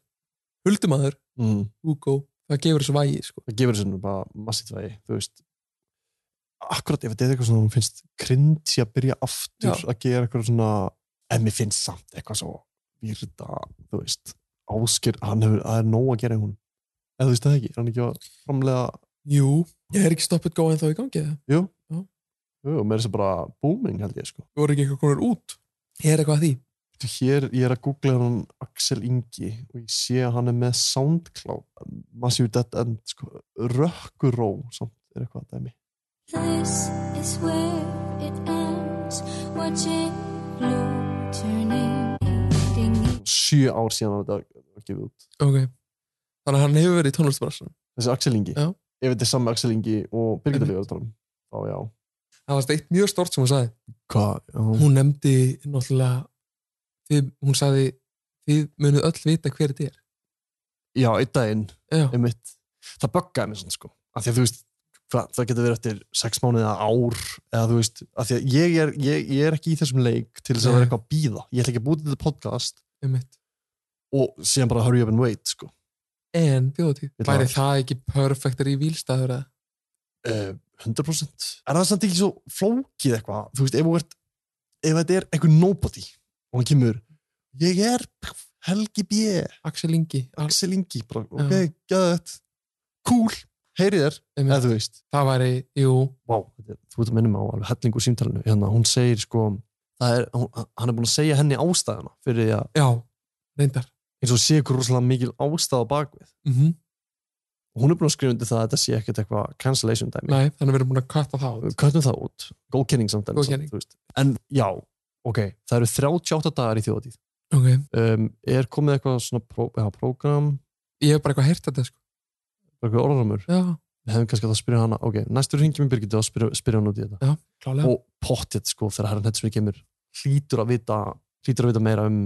huldumæður Mm. Hugo, það gefur þessu vægi sko. Það gefur þessu nú bara massið vægi, þú veist. Akkurat, ef þetta er eitthvað svona, hún finnst kryndi að byrja aftur Já. að gera eitthvað svona, en mér finnst samt eitthvað svo virða, þú veist, Ásgeir, hann hefur, það er nóg að gera í hún. Eða þú veist það ekki, er hann ekki að framlega Jú, ég er ekki stoppið góð en þá í gangi eða? Jú, Já. Jú með þess að bara booming held ég sko. Þú voru ekki eitthvað konar út Ég er eitthvað að því Þetta Hér, ég er að googla hann Axel Ingi og ég sé að hann er með SoundCloud, Massive Dead End, sko, Rökkuró, samt er eitthvað að dæmi. This is where it ends. Watching blue turning. Ding. Sjö ár síðan hann þetta var gefið út. okay. Þannig að hann hefur verið í tónlistbransan Þessi Axel Ingi, Já. ef þetta er saman Axel Ingi og Birgitta Mhm. Lífið að tala um, þá já. Það var eitt mjög stort sem hún sagði Hvað? Já. Hún nefndi náttúrulega þið, hún sagði þið munið öll vita hver þetta er já, einn daginn, Já, einmitt. Það böggaði mér svona sko, af því að þú veist, hvað, það getur verið eftir sex mánuði eða ár eða þú veist, af því að ég er, ég, ég er ekki í þessum leik til þess að Nei. vera eitthvað að býða ég ætla ekki að búti þetta podcast einmitt og síðan bara hurry up and wait sko. En þjóðatíð, Vill væri það. það ekki perfektar í vílstaður eða? uh, 100% er það samt ekki svo flókið eitthvað þú veist, ef, þú ert, ef þetta er einhver nobody og hann kemur ég er Helgi B Axel Ingi, Al- Axel Ingi, bara, ok, gæða þetta cool, heyri þér, eða einmitt, þú veist það væri, jú Vá, þetta er- þú ert að minna mig á alveg hellingu símtælinu hérna, hún segir sko það er, hún- hann er búin að segja henni ástæðana fyrir því að já, reyndar eins og sé ykkur rosalega mikil ástæð á bakvið mm og hún er búin að skrifa undir það að þetta sé ekkert eitthvað cancellation dæmi Nei, þannig að við erum búin að katta það út. köttum það út, góð kynning samt en Góð samt, kynning. þú veist. en já, ok það eru 38 dagar í þjóðatíð ok, um, er komið eitthvað svona pró, já, prógram, ég hef bara eitthvað heyrt þetta sko. eitthvað orðramur já, við hefum kannski að það spyrja hana, ok, næstur hringjum í Birgitta og spyrja, spyrja hann út í þetta já, klálega og pottið sko, þegar herran þetta sem kemur hlýtur að vita, hlýtur að vita meira um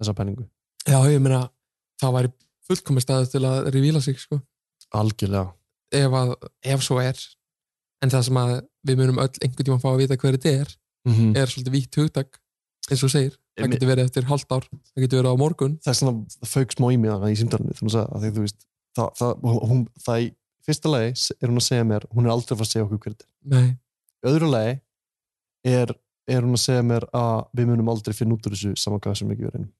þessa penningu, já, ég meina, það væri fullkomin staðu til að revíla sig sko. algjörlega ef, að, ef svo er en það sem að við munum öll einhvern tíma fá að vita hver þetta er, mm -hmm. er svolítið vítt hugtak eins og þú segir, það Einmitt. getur verið eftir hálft ár, það getur verið á morgun það er svona fauk smá í mig þarna í símdalinu þannig að því, þú veist það, það, hún, það í fyrsta lagi er hún að segja mér hún er aldrei að fara að segja okkur hver þetta nei, er. í öðru lagi er, er hún að segja mér að við munum aldrei finna út úr þessu saman hvað sem ekki verið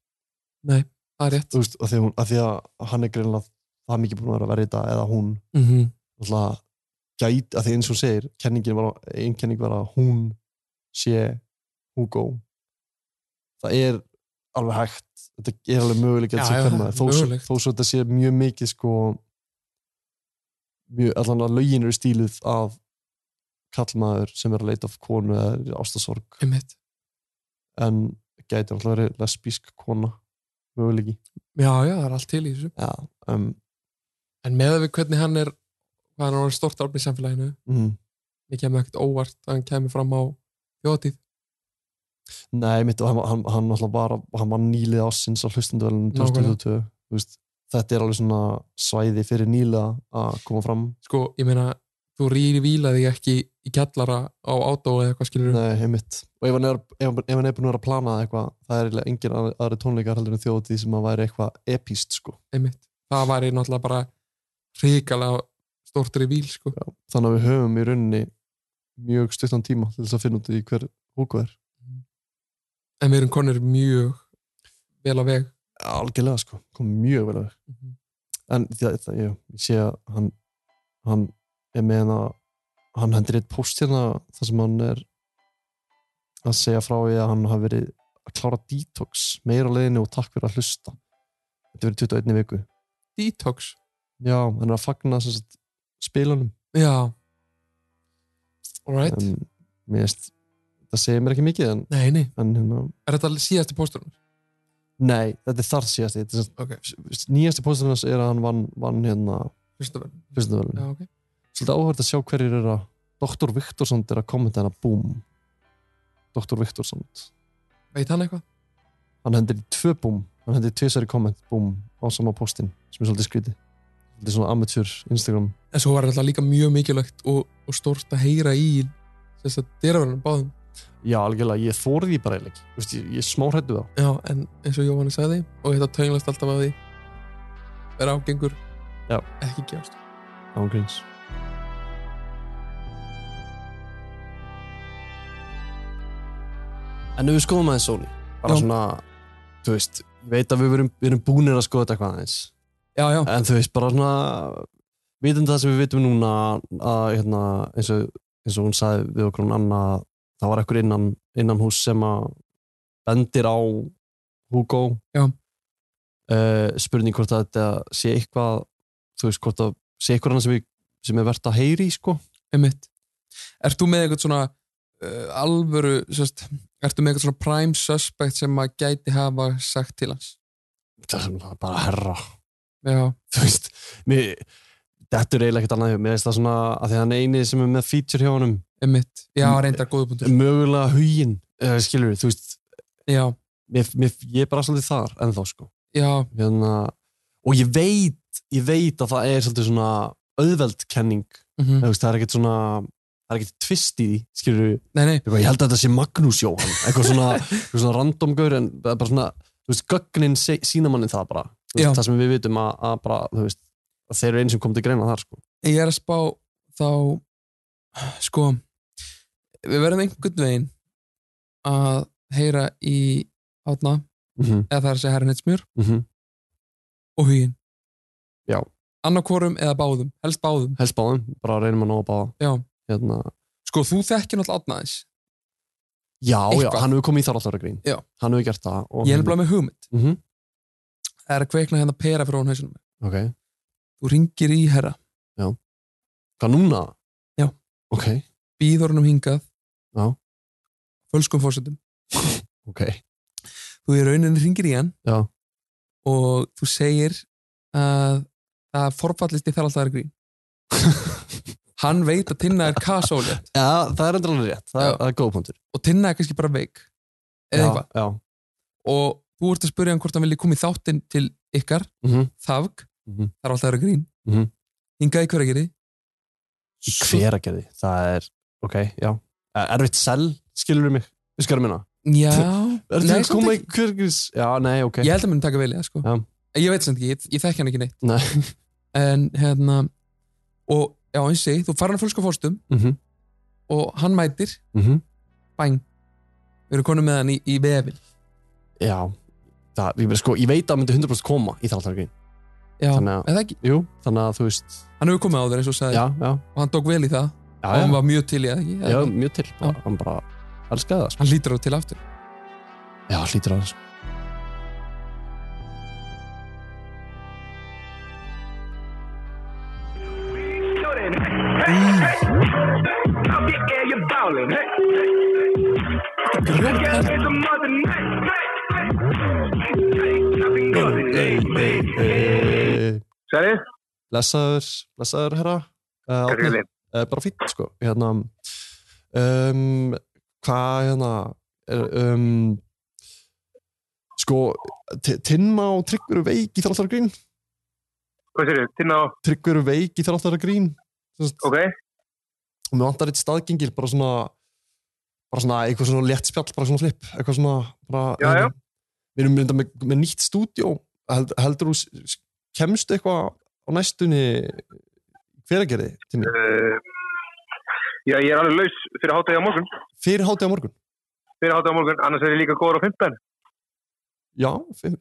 það er rétt þú veist, að því, að hún, að því að hann er greinlega það mikið búin að vera að verja þetta eða hún mm alltaf gæti, að því eins og hún segir kenningin var, ein kenning var að hún sé Hugo það er alveg hægt þetta er alveg möguleik Já, að sé já, hvernig þó, svo- mögulegt. þó svo þetta sé mjög mikið sko mjög, allan að lögin eru stíluð af kallmaður sem er að leita af konu eða er í ástasorg einmitt, en gæti alltaf verið lesbísk kona möguleiki já, já, það er allt til í þessu ja, um, en með að við hvernig hann er hvað hann er orðinn stórt árn í samfélaginu mm. mér kemur ekkert óvart að hann kemur fram á þjóðatíð Nei, mitt, og hann, hann, hann, náttúrulega var, hann var nýlið ásins á hlustendurvelinu Nákvæmlega. 2022 Þú veist, þetta er alveg svona svæði fyrir nýla að koma fram sko, ég meina, þú rýri þig ekki í kjallara á átó eða eitthvað skilur Nei, heimitt og ef hann er, ef, hann- ef hann er búin að vera að plana eitthvað það er eiginlega engin aðri- aðri tónleikar heldur en þjóti sem að væri eitthvað epíst sko. einmitt, það væri náttúrulega bara hrikalega stórt revíl sko. þannig að við höfum í rauninni mjög stuttan tíma til þess að finna út í hver húku er en við erum konir mjög vel á veg algjörlega sko, kom mjög vel að en það, það, ég, ég sé að hann, hann er með hana hann hendur eitt post hérna þar sem hann er að segja frá því að hann hafi verið að klára detox meira á leiðinu og takk fyrir að hlusta þetta verið 21 viku detox, já, hann er að fagna sem sagt, spilunum já alright en mér veist það segir mér ekki mikið en, nei, nei, en hérna, er þetta síðasti pósturinn? nei, þetta er þar síðast þetta er sem ok, sagt- nýjasti posturinn hans er að hann vann, vann hérna fyrstu vel hlustanverðin já, ok, svolítið áhverð að sjá hverjir eru að Dr. Viktorsson er að kommenta hérna búm Dr. Viktorsson veit hann eitthvað? hann hendir í tvö búm hann hendir í tvisari komment búm á sama postin sem er svolítið skrítið svolítið svona amatjör Instagram en svo var þetta líka mjög mikilvægt og, og stórt að heyra í þess að dyraverðan báðum já algjörlega ég þórið því bara eiginlega ekki. Þú veist, ég, ég smá hrættu það já, en eins og Jóhannes sagði og þetta tönglast alltaf að því vera ágengur Já. ekki gefast án gríns en ef við skoðum aðeins Sóli bara Já. svona þú veist ég veit að við erum, við erum búinir að skoða þetta eitthvað aðeins já, já, en þú veist bara svona vitum það sem við vitum núna að hérna, eins, og, eins og hún sagði við okkur hún Anna að það var ekkur innan, innan hús sem að bendir á Hugo Já. Eh, spurning hvort að þetta sé eitthvað þú veist hvort að sé eitthvað annað sem, við, sem er verðt að heyri sko einmitt Ert þú með eitthvað svona uh, alvöru, sérst, ertu með eitthvað svona prime suspect sem maður gæti hafa sagt til hans? það er náttúrulega bara herra Já, þú veist mér, þetta er eiginlega ekkert annað hjá mér. mér veist það svona að því að hann er eini sem er með feature hjá honum einmitt. Já, reyndar góða punktur. mögulega hugin uh, skilur þú veist Já, mér, mér, ég er bara svolítið þar ennþá sko já, hérna, og ég veit ég veit að það er svolítið svona auðveld kenning mm mm. veist, það er ekkert svona það er ekkert tvist í því, skilur við nei, nei, ég held að þetta sé Magnús Jóhann eitthvað *laughs* svona, eitthvað svona randomgaur en það er bara svona, þú veist, gögnin se- sína manni það bara, Þú Já. veist, það sem við vitum að, að bara, þú veist, að þeir eru einn sem kom til greina þar, sko, ég er að spá þá, sko, við verðum einhvern veginn að heyra í átna, mm -hmm. eða það er að segja herrin eitt smjör Mm og hugin. Já. Annarkorum eða báðum, helst báðum. helst báðum, bara reynum að ná að báða Já. hérna, Sko, þú þekkir náttúrulega átnaðis. já, já, Eitthvað. hann hefur komið í þarallaragrín Já. hann hefur gert það og Ég hann- hef bara með hugmynd Mhm, Það er að kveikna hérna pera fyrir hún hausunum ok, Þú ringir í herra, hvað núna? Já. ok, býður honum hingað Já. Fölskum fórsetum ok, Þú í rauninni ringir í hann Já. Og þú segir að það forfallist í þar *laughs* alltaf er grín Hann veit að tinna er kasólið já, það er endur alveg rétt það, Já. það er góð punktur og tinna er kannski bara veik eða já, eitthvað já, og þú ert að spyrja hann hvort hann vilji koma í þáttinn til ykkar, mhm, þavg Mhm. þar er alltaf að grín Mhm. hingað í hverjargeri í hveragerði það er, ok, já Eh, erfitt sel, skilur mig, við skarum minna já, er nei, það samt koma í ekki. hvergis já, nei, ok, ég held að mér taka vel í það sko Já. ég veit sem ekki, ég, ég þekki hann ekki neitt nei en hérna og já, eins og ég, þú fara hann fölska fórstum mhm, og hann mætir, mhm bæn við erum konum með hann í, í vefin Já, það, ég, meina, sko, ég veit að hann myndi 100% koma í þáttargrín já, Þannig að- eða ekki, Jú, þannig að þú veist hann hefur komið á þeir eins og sagði Já, já, og hann tók vel í það já, og já, hann var mjög til í það ekki, já Eða- mjög til bara, Hann bara elskaði það sko. hann lítur á til aftur Já, hlýtur að það sko. Eh, Særi? Blessaður, blessaður herra uh, Hverju Árni, leið? uh, Bara fínt sko hérna, um, Hvað hérna er, um, Sko Ti- Tinna og Tryggvi eru veik í þráttaragrín Hvað sér þið? Tinna og... Tryggvi eru veik í þráttaragrín Ok. og mér vantar eitt staðgengil bara svona bara svona eitthvað svona létt spjall bara svona flip eitthvað svona bara, um, Já, já. við erum mynda með, með nýtt stúdjó Held, heldur þú s- s- kemstu eitthvað á næstunni hveragerði til mig Uh, já, ég er alveg laus fyrir hátæði á morgun. fyrir hátíð á morgun Fyrir hátæði á morgun, annars er ég líka góður á 15. já,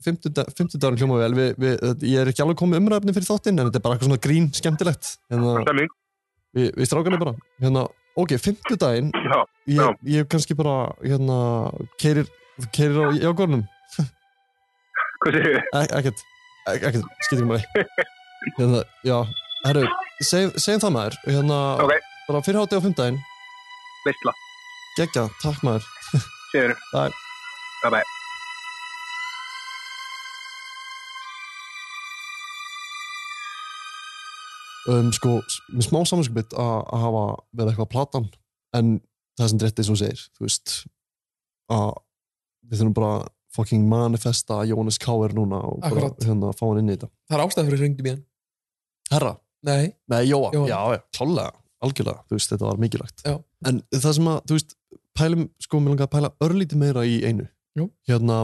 fimmtudagarn hljóma vel vi, vi, ég er ekki alveg komið umræfni fyrir þáttinn en þetta er bara eitthvað svona grín skemmtilegt hérna, Stemming. við, við strákanum bara hérna, ok, fimmtudaginn Já. ég, Já. ég kannski bara hérna, keirir, keirir á jágornum Hvað sér þið? Ek- ekkert, ek- ekkert, skýtir mér *laughs* hérna, já, herru segjum segjum það maður, hérna Ok. bara fyrir hátíð á fimmdægin, Veistla. geggja, takk maður Sér þið. Bye. Bye bye. um, sko, s- með smá samanskipið að að hafa verið eitthvað platan en það sem dréttið svo segir þú veist að við þurfum bara að fucking manifesta að Jónas K. er núna og bara Akkurat. hérna, fá hann inn í þetta það er ástæð fyrir að hringdu mér hann Herra, nei, Nei, Jóa, Jóa. já, já, klálega, algjörlega, þú veist, þetta var mikilvægt. Já. En það sem að, þú veist, pælum, sko, mér langar að pæla örlítið meira í einu. Jú. Hérna,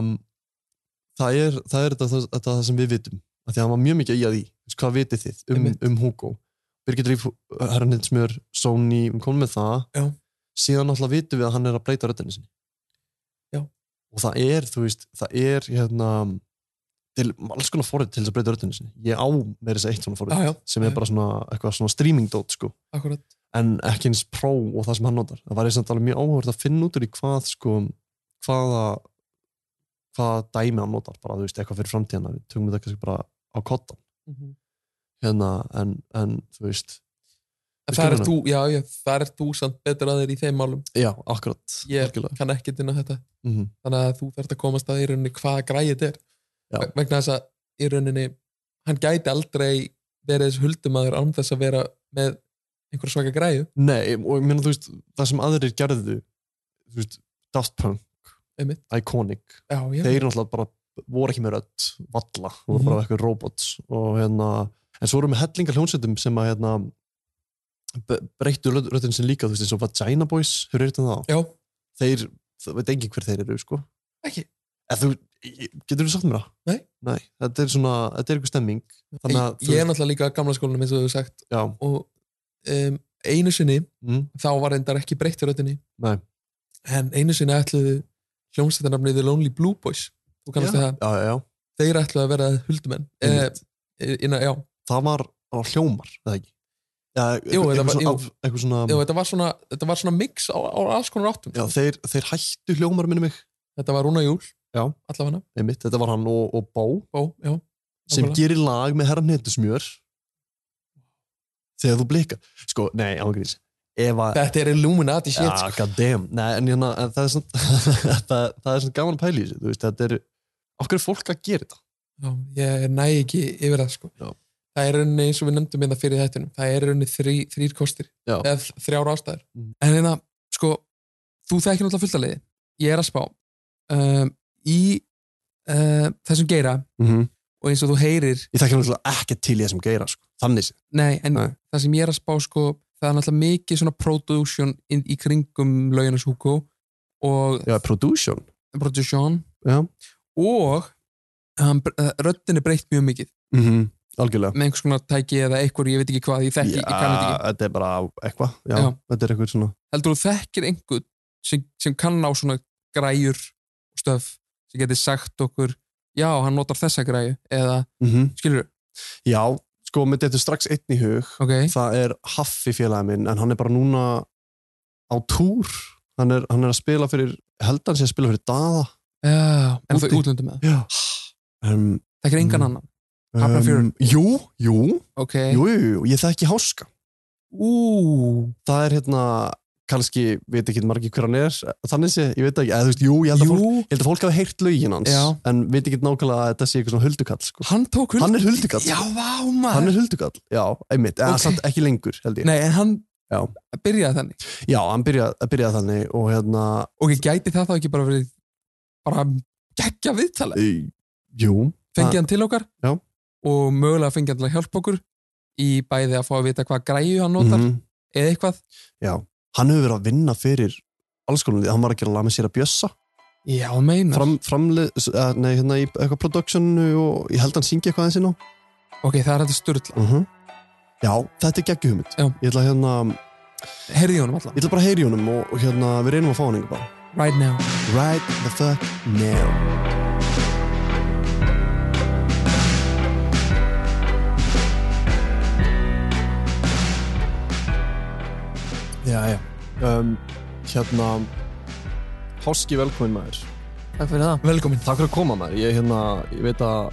það er, það er þetta, það, þetta það sem við vitum, af því að hann var mjög mikið í að því, þú veist, hvað vitið þið um, Einmitt. um Hugo? Birgit Ríf, Herraninsmjör, Sony, við komum með það. Já. Síðan alltaf vitum við að hann er að breyta röddinni sinni. Já. Og það er, þú veist, það er, hérna, til alls konar forrið til þess að breyta röddinni sinni. Ég á meira þess að eitt svona forrið Já, já. sem er Já. bara svona, eitthvað svona streaming dot sko, akkurat en ekki eins pro og það sem hann notar. Það var eins og alveg mjög áhverð að finna út úr í hvað sko, hvaða hvaða dæmi hann notar, bara þú veist, eitthvað fyrir framtíðan við tökum þetta kannski bara á kottan Mhm. hérna, en, en þú veist, En Við það er skilum þú, já, já, það er þú samt betur að þér í þeim málum. já, akkurat Ég algjörlega. kann ekki dynna þetta. Mm -hmm. Þannig að þú þarft að komast að í rauninni hvaða græði þetta er. Já. Ve- Vegna þess að í rauninni, hann gæti aldrei verið þessu huldumæður án þess að vera með einhverja svaka græðu. Nei, og ég meina þú veist, það sem aðrir gerðu þú veist, Daft Punk Einmitt. Iconic Já, já. Mhm. þeir náttúrulega bara voru ekki með rödd valla, voru bara eitthvað robots og hérna, en svo voru með hellingar hljónsettum sem að hérna be- breyttu rödd- röddin sem líka, þú veist, eins og Vagina Boys, hefur reyndið það? Já, Þeir, það veit engin hver þeir eru, sko. ekki. En þú, ég- getur þú sagt mér það? Nei. Nei, þetta er svona, þetta er eitthvað stemming. Þannig að, ég er náttúrulega líka að gamla skólanum eins og þú hefur sagt. já, Og um, einu sinni, mm, þá var reyndar ekki breytt í rauninni. Nei. En einu sinni ætluðu hljómsættanafnið The Lonely Blue Boys. Þú kannast Já. við það. já, já, já. þeir ætlaði að vera huldumenn eh, Einmitt. innan, já, Það var á hljómar, eða ekki? Já, Jú, þetta eitthvað var- svona, jú. af- eitthvað svona Já, þetta, var svona, þetta var svona mix á, á alls konar áttum já, þeir, þeir hættu hljómar minni mig Þetta var Rúna Júl, Já. allafana einmitt, þetta var hann og, og Bó Bó, já, sem nákvæmlega. gerir lag með herran hendusmjör þegar þú blikar sko, nei, ángríns ef að Þetta er Illuminati shit Já, sko. god damn, nei, en hérna en það er svona, *laughs* það, það er svona gaman að pæla í þessu, þú veist, þetta er okkur er fólk að gera þetta Já, Ég næ ekki yfir það sko. Já. Það er rauninni eins og við nefndum hérna fyrir þættunum Það er rauninni þrí, þrýr kostir Já. eða þ- þrjár ástæður Mm. En hérna, sko, þú þekkir náttúrulega fullt að liði Ég er að spá um, Í uh, þessum geira mm -hmm. og eins og þú heyrir ég þekki náttúrulega ekki til í þessum geira sko. þannig séð. Nei, en Nei. það sem ég er að spá sko, það er náttúrulega mikið svona production in, í kringum löginars Hugo og já, production, production Já. og um, röddin er breytt mjög mikið mm algjörlega með einhvers konar tæki eða eitthvað, ég veit ekki hvað ég þekki, ég kann þetta ekki. þetta er bara eitthvað, já, Já. þetta er eitthvað svona Heldur þú þekkir einhvern sem, sem kann á svona græjur og stöf sem geti sagt okkur já, hann notar þessa græju eða, mm skilur þú, já, sko, með þetta strax einn í hug ok það er Haffi félagi minn en hann er bara núna á túr hann er, hann er að spila fyrir held hann sé að spila fyrir Dada Já, en þú Úti. útlöndum með það, já um, þekkir engan Mm. annan Hafnarfjörður. jú, jú, ok, jú, jú, jú, ég þekki háska ú það er hérna, kannski veit ekki margir hver hann er, þannig sé, ég veit ekki eða, þú veist, jú, ég held að fólk, jú, ég held að fólk hafi heyrt lögin hans, Já. en veit ekki nákvæmlega að þetta sé eitthvað svona huldukall, sko. hann tók huld hann er huldukall, já, vá hann maður er huldukall já, einmitt, eða Ok. samt ekki lengur held ég, nei, en hann Já. byrjaði þannig já, hann byrjaði byrja þannig og hérna, ok, gæti það þá ekki bara verið bara geggja viðtala e, jú fengið hann til okkar Já. og mögulega fengið hann til að hjálpa okkur í bæði að fá að vita hvað græju hann notar Mhm. eða eitthvað já, hann hefur verið að vinna fyrir alls konar, lið. hann var að gera lag með sér að bjössa já, meina fram, framlið, s- eh, nei, hérna í eitthvað productionu og ég held hann syngi eitthvað eins og ná ok, það er þetta sturla -huh. Já, þetta er geggjumhund Mhm. Já. Ég ætla hérna, heyrði ég honum ég allan ætla bara að heyri honum og, og hérna, við reynum að fá hann einhver bara right now Right the fuck now Já, já um, Hérna Háski velkomin maður takk fyrir það velkomin Takk fyrir að koma maður Ég, hérna, ég veit að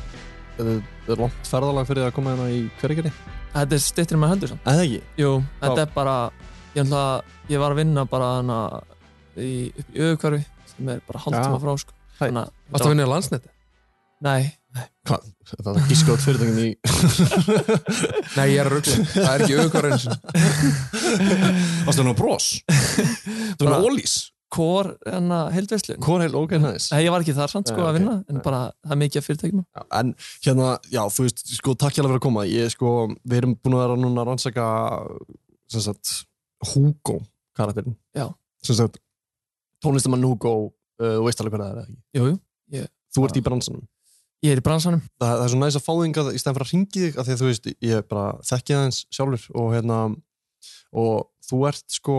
þetta er langt ferðalag fyrir þig að koma hérna í hverjargerði Þetta er stittir með hendur samt. Eða ekki? Jú, þetta Já. er bara, ég, ætla, að- ég var að vinna bara hana í, upp í auðvukvarfi sem er bara Já. hálftíma frá sko. Hæ. Þannig að- varst að vinna í landsneti Nei, Hvað? Það er ekki skjótt fyrir þeginn í nei, ég er að ruggla það er ekki auðvitað eins og Varstu hérna hann á brós? *laughs* Þú Bara- ólís? hvor hana heldveislun Hvor heil, ok, næs Nei, ég var ekki þar samt sko Nei, að ok. vinna en Nei. bara það er mikið að fyrirtækjum Já, En hérna, já, þú veist, sko, takk hjá fyrir að koma Ég, sko, við erum búin að vera núna að rannsaka sem sagt, Hugo karakterinn Já. Sem sagt, tónlistamann Hugo uh, og veist alveg hvað það er eða ekki? Jú, jú, Þú ert í bransanum ég er í bransanum það, það er svo næs að fá þingað í stæðan fyrir að ringi þig af því að þú veist, ég bara þekki það eins sjálfur og hérna og þú ert sko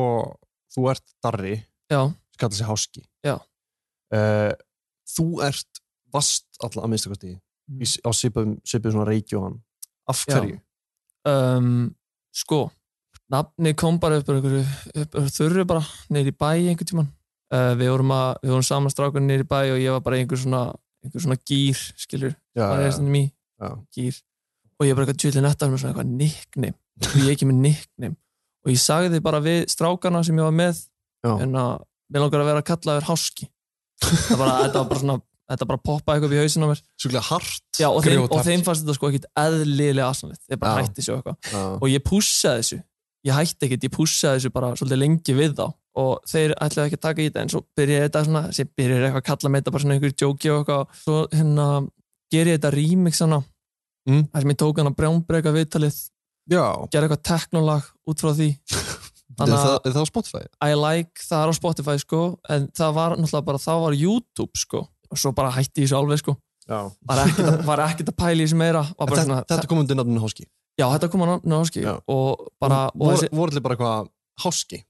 þú ert darri, Já, skallar sig háski Já. Eh, þú ert vast alltaf að minnsta kosti í, á svipum, svipum svona reiki og hann af Mm. Já. hverju? um, sko nafni kom bara upp úr einhverju upp úr þurru bara, neyri í bæ einhvern tíman uh, við vorum að, við vorum saman strákur neyri í bæ og ég var bara í einhver svona einhver svona gýr, skilur, Já, það er stundum í já. gýr, og ég bara eitthvað tjöldin eftir með svona eitthvað nickname, og ég er ekki með nickname og ég sagði bara við strákana sem ég var með, Já. en að mér langar að vera kallaður háski það bara, þetta var bara svona, þetta bara poppaði eitthvað upp í hausinn á mér, Sjúklega hart já, og, þeim, Grjóthart. og þeim fannst þetta sko ekkit eðlilega aðsanleitt, þeir bara Já. hætti svo eitthvað Já. og ég pússaði þessu ég hætti ekkert, ég pússaði þessu bara svolítið lengi við þá og þeir ætlaði ekki að taka í þetta en svo byrjaði þetta svona, sem byrjaði eitthvað að kalla með þetta bara svona einhverjum djóki og eitthvað svo hérna ger ég þetta remix hana Mm. þar sem ég tók hana brjánbreyka viðtalið já. gerði eitthvað teknolag út frá því Er, Þannig það, að- er það á Spotify? I like, það er á Spotify sko en það var náttúrulega bara, það var YouTube sko og svo bara hætti ég þessu alveg sko Já. var ekkert að- var ekkert að pæla í þessu meira var bara Þetta, svona, þetta kom undir nafninu háski já þetta kom á náski Já. og bara, og Vor- þessi, voru allir bara eitthvað háski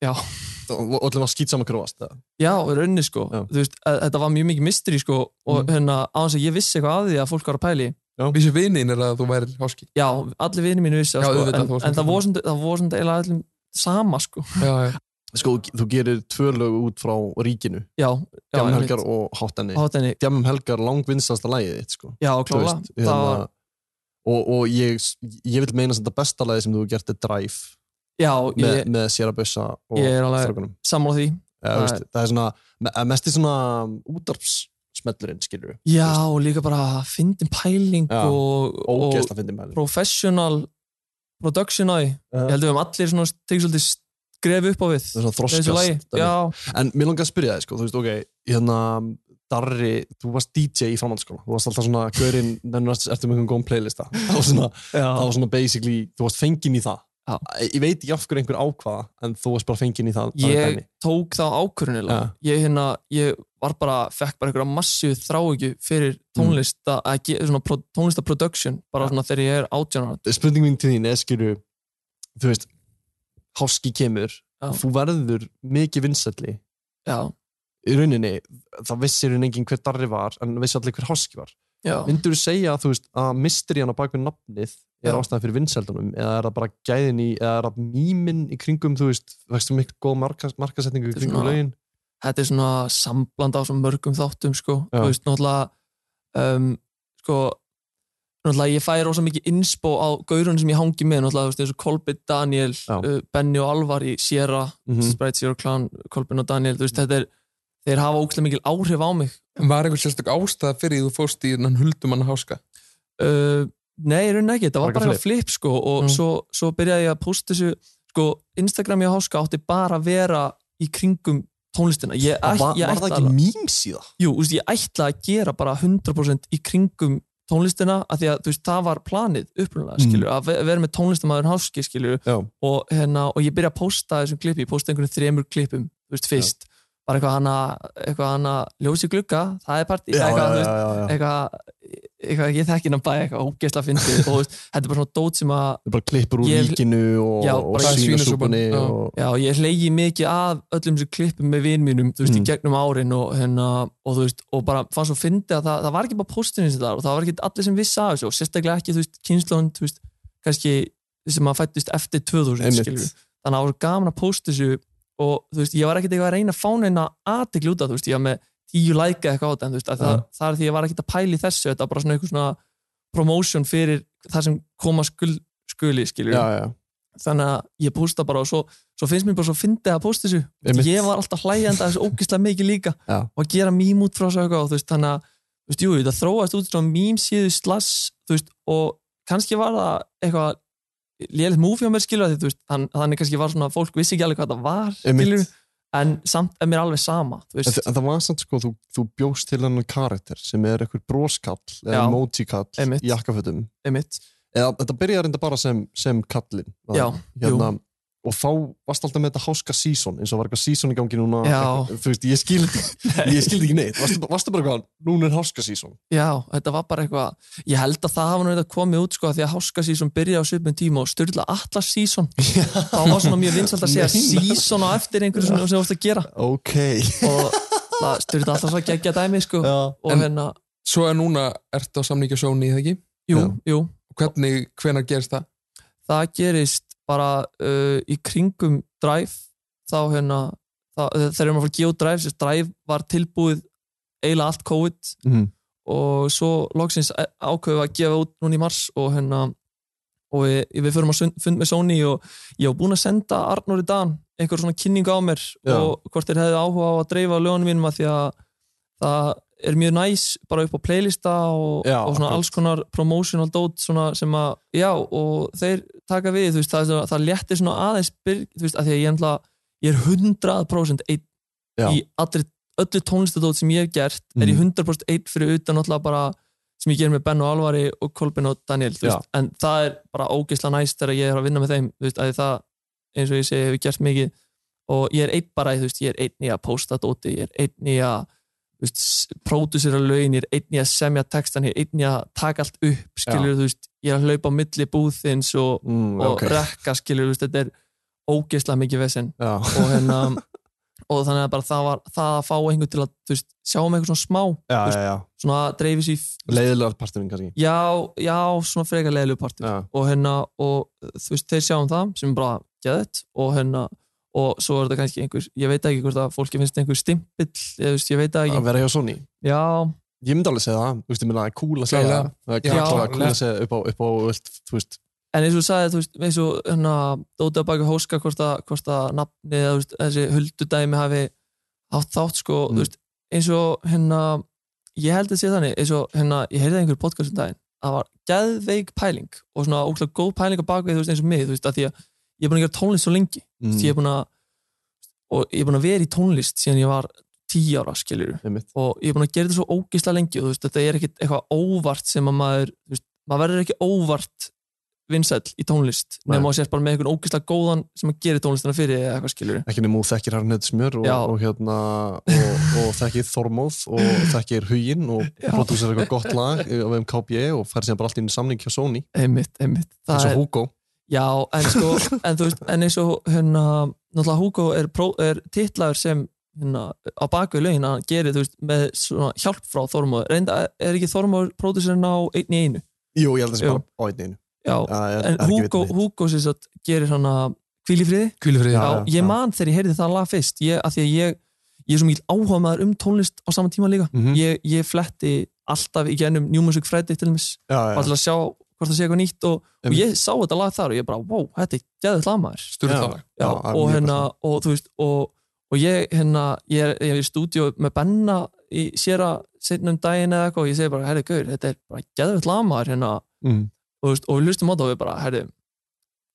Já. og og allir var skýt saman króast Já, í rauninni sko, Já. þú veist, að- þetta var mjög mikið mystery sko og Mhm. hérna á þess að ég vissi eitthvað að því að fólk var að pæli Já. Vissi vinnin er að þú væri háski Já, allir vinir mínu vissi það, Já, sko, auðvitað, en, þú varst en náttúrulega- það voru samt- það voru svona eiginlega allir sama sko. já, já. Sko, þú gerir tvö lög út frá ríkinu Já, já, Djamum einmitt. helgar og hátenni Hátenni. Djamum helgar langvinnstasta lagið þitt sko. Já, Þú klálega. veist, Það hérna, var- og, og ég, ég vil meina sem þetta besta lagið sem þú hefur gert er Drive Já, með, ég- með Sierra Bussa og Ég er alveg strákunum. sammála því. Já, Það veist, er- það er svona, me- mest í svona útarpssmellurinn, skilur við Já, og líka bara fyndin pæling Já, og, og ógeðslega fyndin pæling. professional production á því. Já. Ég held að við höfum allir svona tekið svolítið skref upp á það við. er svona Þessu lagi, þroskast dæmi. já. en mér langar að spyrja þig sko, þú veist, ok hérna, Darri, þú varst DJ í framhaldsskóla þú varst alltaf svona, gaurinn, nennur að ertu með einhvern góðum playlista, það var svona það var svona basically, þú varst fenginn í það já. ég veit ekki af hverju einhver ákvaða en þú varst bara fenginn í það það er Ég dæmi. tók þá ákvörðunilega. Ég, hérna, ég var bara, fekk bara einhverja massíu þráhyggju fyrir tónlista, mm. að, ge- svona, pro, tónlista production, bara svona þegar ég er átjánar. spurning mín til þín er skilju þú veist, háski kemur þú verður mikið vinsælli Já. í rauninni, það vissi í rauninni enginn hver Darri var en vissi allir hver háski var Já. myndur þú segja þú veist, að mysterían á bakvið nafnið er Já. ástæðan fyrir vinsældunum eða er það bara gæðin í, eða er það mýmin í kringum, þú veist, vextu miklu góð markas, markasetningu í Þetta er kringum svona- lögin þetta er svona sambland á svona mörgum þáttum sko, Já. þú veist, náttúrulega um, sko náttúrulega ég fæ rosa mikið inspo á gaurunum sem ég hangi með, náttúrulega, þú veist, eins og Kolbin Daniel, uh, Benny og Alvar í Sierra Mhm. Sprite Zero Clan, Kolbin og Daniel þú veist, þetta er, þeir hafa ógæslega mikil áhrif á mig Var einhver sérstök ástæða fyrir því þú fórst í hennan huldumann háska? uh, Nei, í rauninni ekki, þetta var Bara bara eitthvað eitthvað flip sko, og Mm. svo, svo byrjaði ég að posta þessu sko, Instagram ég háska átti bara að vera í kringum tónlistina ég, Það var- ég var það ætlaði ekki alveg- memes í það? Jú, úst, ég ætla að gera bara 100% í kringum tónlistina af því að þú veist, það var planið upprunalega Mm. skilur, að ve- vera með tónlistamæður háski skilur, og, hérna, og ég byrja að posta þessum klippi, ég posta einhvern þremur klippum þú veist, fyrst, bara eitthvað hana eitthvað hana, ljós í glugga, það er partí Já, eitthvað, já, já, já, já. þú veist, eitthvað, eitthvað ég þekki hennan bæ, eitthvað ógeðsla fyndið og þú veist, þetta er bara svona dót sem að bara klippur úr ríkinu og- og bara- svínasúpunni já. og- já, ég hleygi mikið að öllum þessu klippum með vin mínum, þú veist, í gegnum árin og, hérna, og þú veist, og bara fannst svo fyndi að það, það var ekki bara pósturinn sem það og það var ekki allir sem vissi af þessu og sérstaklega ekki, þú veist, kynslón, þú veist, kannski þeir sem að fættist eftir 2000, Einmitt. skilur við. þannig að það var gaman að pósta þessu og þú veist, ég var ekkert eitthvað að reyna að fá neina aðtekli út af, þú veist, ég var með tíu læka eitthvað á þetta, en þú veist, að það, það er því ég var ekkert að pæli þessu, þetta var bara svona eitthvað svona promotion fyrir það sem koma skul, skuli, skilur Já, já. þannig að ég posta bara og svo, svo finnst mér bara svo fyndið að posta þessu Einmitt. ég var alltaf hlægjandi að þessu ógislega mikið líka Já. og að gera mím út frá þessu og eitthvað og þú veist, þannig að þú veist, jú, það þróast út frá mím síðu slass þú veist, og kannski var það eitthvað lélitt múfi á mér skilur því, þú veist, þann, þannig kannski var svona fólk vissi ekki alveg hvað það var Einmitt. skilur, en samt er mér alveg sama En, þú veist, þa- en það var samt sko, þú, þú bjóst til hennan karakter sem er eitthvað broskall eða Já. emoji-kall í jakkafötum Einmitt. eða þetta byrjaði reynda bara sem, sem kallin var Já, það? hérna, og þá varst alltaf með þetta háska season eins og var eitthvað season í gangi núna Já. Eitthvað- þú veist, ég skildi, ég skildi ekki neitt varstu, varstu bara eitthvað, núna er háska season Já, þetta var bara eitthvað ég held að það hafa nú eitthvað komið út sko af því að háska sísón byrja á svipum tíma og styrla allar sísón þá var svona mjög vinsalt að segja Nei, nei. sísón á eftir einhverju svona sem þú vorst að gera ok og það styrla allar svo geggja dæmi sko og En hérna Svo er núna, ertu á samningi og sjóni, eða ekki? Jú, jú. Hvernig, hvenar gerist það? það gerist bara uh, í kringum Drive þá hérna þá, þegar við erum að fara að gefa út Drive þess að Drive var tilbúið eiginlega allt COVID Mhm. og svo loksins eh, ákveðum við að gefa út núna í mars og hérna og við, við förum að sund, fund með Sony og ég var búinn að senda Arnóri Dan einhver svona kynning á mér Já. og hvort þeir hefði áhuga á að dreifa lögunum mínum að því að það er mjög næs bara upp á playlista og, Já, og svona akkurat. alls konar promotional dót svona sem að, já, og þeir taka við, þú veist, það, er svona- það léttir svona aðeins byrg, þú veist, að því að ég, er náttúrulega- ég er 100% einn Já. Mm. í allri, öllu tónlistadót sem ég hef gert er ég 100% einn fyrir utan náttúrulega bara sem ég ger með Ben og Alvari og Kolbin og Daniel þú Já. veist, en það er bara ógeðslega næst þegar ég er að vinna með þeim þú veist, að það, eins og ég segi, hefur gert mikið og ég er einn bara, í, þú veist, ég er einn í að posta dóti, ég er einn í að þú veist, pródusera lögin, ég er einn í að semja textan, ég er einn í að taka allt upp skilur, Já. þú veist, ég er að hlaupa á milli búðins og, Mm, og ok. rekka skilur, þú veist, þetta er ógeðslega mikið vesinn Já. og hérna og þannig að bara það var það að fá einhvern til að þú veist, sjá um eitthvað svona smá já, þú veist, já, já. svona dreifis í leiðilega parturinn kannski já, já, svona frekar leiðilegu partur og hérna, og þú veist, þeir sjáum það sem er bara geðið og hérna og svo er þetta kannski einhver, ég veit ekki hvort að fólki finnst einhver stimpill, ég, veist, ég veit það ekki að vera hjá Sony já, ég myndi alveg segja það, þú veist, ég myndi að kúla segja Klálega. það Það er Já, klálega kúla klálega. segja upp á, upp á allt, þú veist, en eins og þú sagði, þú veist, eins og hérna, Dóta baki hóska hvort að, hvort að nafnið, eða, þú veist, þessi huldudæmi hafi átt þátt, sko, þú veist, eins og hérna, ég held að sé þannig, eins og hérna, ég heyrði einhver podcast um daginn, það var geðveik pæling og svona ógslag góð pæling á bakvið, þú veist, eins og mig, þú veist, að því að ég er búin að gera tónlist svo lengi, mm, þú veist, ég er búin að og ég er búin að vera í tónlist síðan ég var 10 ára skilur og ég er búin að gera þetta svo ógisla lengi og þú veist, þetta er ekkit eitthvað óvart sem að maður, þú veist, maður verður ekki óvart vinsæll í tónlist Nei. nema að sést bara með einhvern ógisla góðan sem að gera tónlistina fyrir þig eða eitthvað skilur ekki nema þú þekkir hann neitt smjör og, Já. og, hérna, og, og þekkir Þormóð *laughs* og þekkir Huginn og prodúsir eitthvað gott lag af um KBE og fær síðan bara allt inn í samning hjá Sony einmitt, einmitt Það eins er- og Hugo Já, en sko, *laughs* en þú veist, en eins og hérna, náttúrulega Hugo er, pró, er titlaður sem hérna, á bakvið lögin að hann gerir, þú veist, með svona hjálp frá Þormóður, reynda, er ekki Þormóður pródúsirinn á einn í einu? Jú, ég held að það sé Jú. bara á einni einu Já, Já, ég- en það er ekki Hugo, vitað neitt. Hugo sem sagt gerir hann að kvílifriði Hvílifriði, já, já, já, ég man þegar ég heyrði það lag fyrst ég, að því að ég, ég er svo mikil áhuga maður um tónlist á saman tíma líka Mhm. ég, ég fletti alltaf í genum New Music Friday til þess já. bara til að sjá hvort það sé eitthvað nýtt og, og ég sá þetta lag þar og ég bara, wow, þetta er geðið lag maður Sturlað Já. lag. Já, Já, það er og mjög hérna, og þú veist og, og ég, hérna, ég er, ég er í stúdíu með Benna í séra setnum daginn eða eitthvað og ég segi bara, herri, gaur, þetta er bara geðið lag maður hérna, Mm. og, þú veist, og við hlustum á það og við bara, herri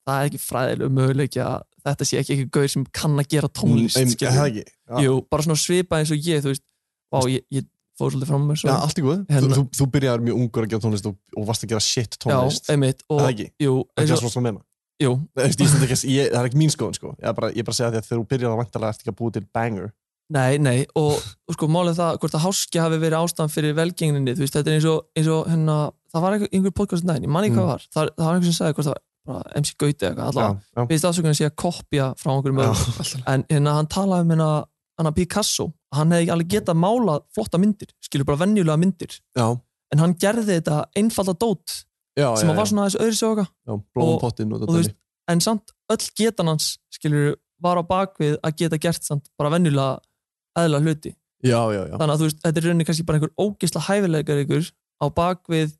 það er ekki fræðilega möguleik að þetta sé ekki ekki gaur sem kann að gera tónlist Ein- skilurðu. það ekki, já. Jú, bara svona svipa eins og ég þú veist, á, ég, ég fór svolítið fram með Já, allt í góð, Hérna- þú, þú byrjaði mjög ungur að gera tónlist og, og varst að gera shit tónlist Já, einmitt, og- Það ekki, jú, ekki eins það og- svona svona meina Jú. Nei, veist, ég, stend ekki, að- ég, það er ekki mín skoðun sko. ég er bara, ég er bara að segja því að þegar þú byrjar að vantarlega eftir ekki að búa til banger Nei, nei, *laughs* og, og sko málið það hvort að háski hafi verið ástæðan fyrir velgengninni þú veist, þetta er eins og, eins og hérna, það var einhver, einhver podcast um daginn, ég man ekki hvað Mm. var það, það var einhver sem sagði hvort það var bara MC Gauti eða Já, eitthvað, já. allavega, við aðsökunum sé að kopja frá einhverjum öðrum, en hérna hann talaði um hérna, hann að Picasso hann hefði alveg getað málað flotta myndir skilur bara venjulega myndir Já. en hann gerði þetta einfalda dót Já, sem já, að já. var svona aðeins öðru sjóka Já, blóm pottinn og þetta veist, en samt öll getan hans skilur var á bakvið að geta gert samt bara venjulega eðla hluti Já, já, já þannig að þú veist, þetta er í rauninni kannski bara einhver ógisla hæfileikar ykkur á bakvið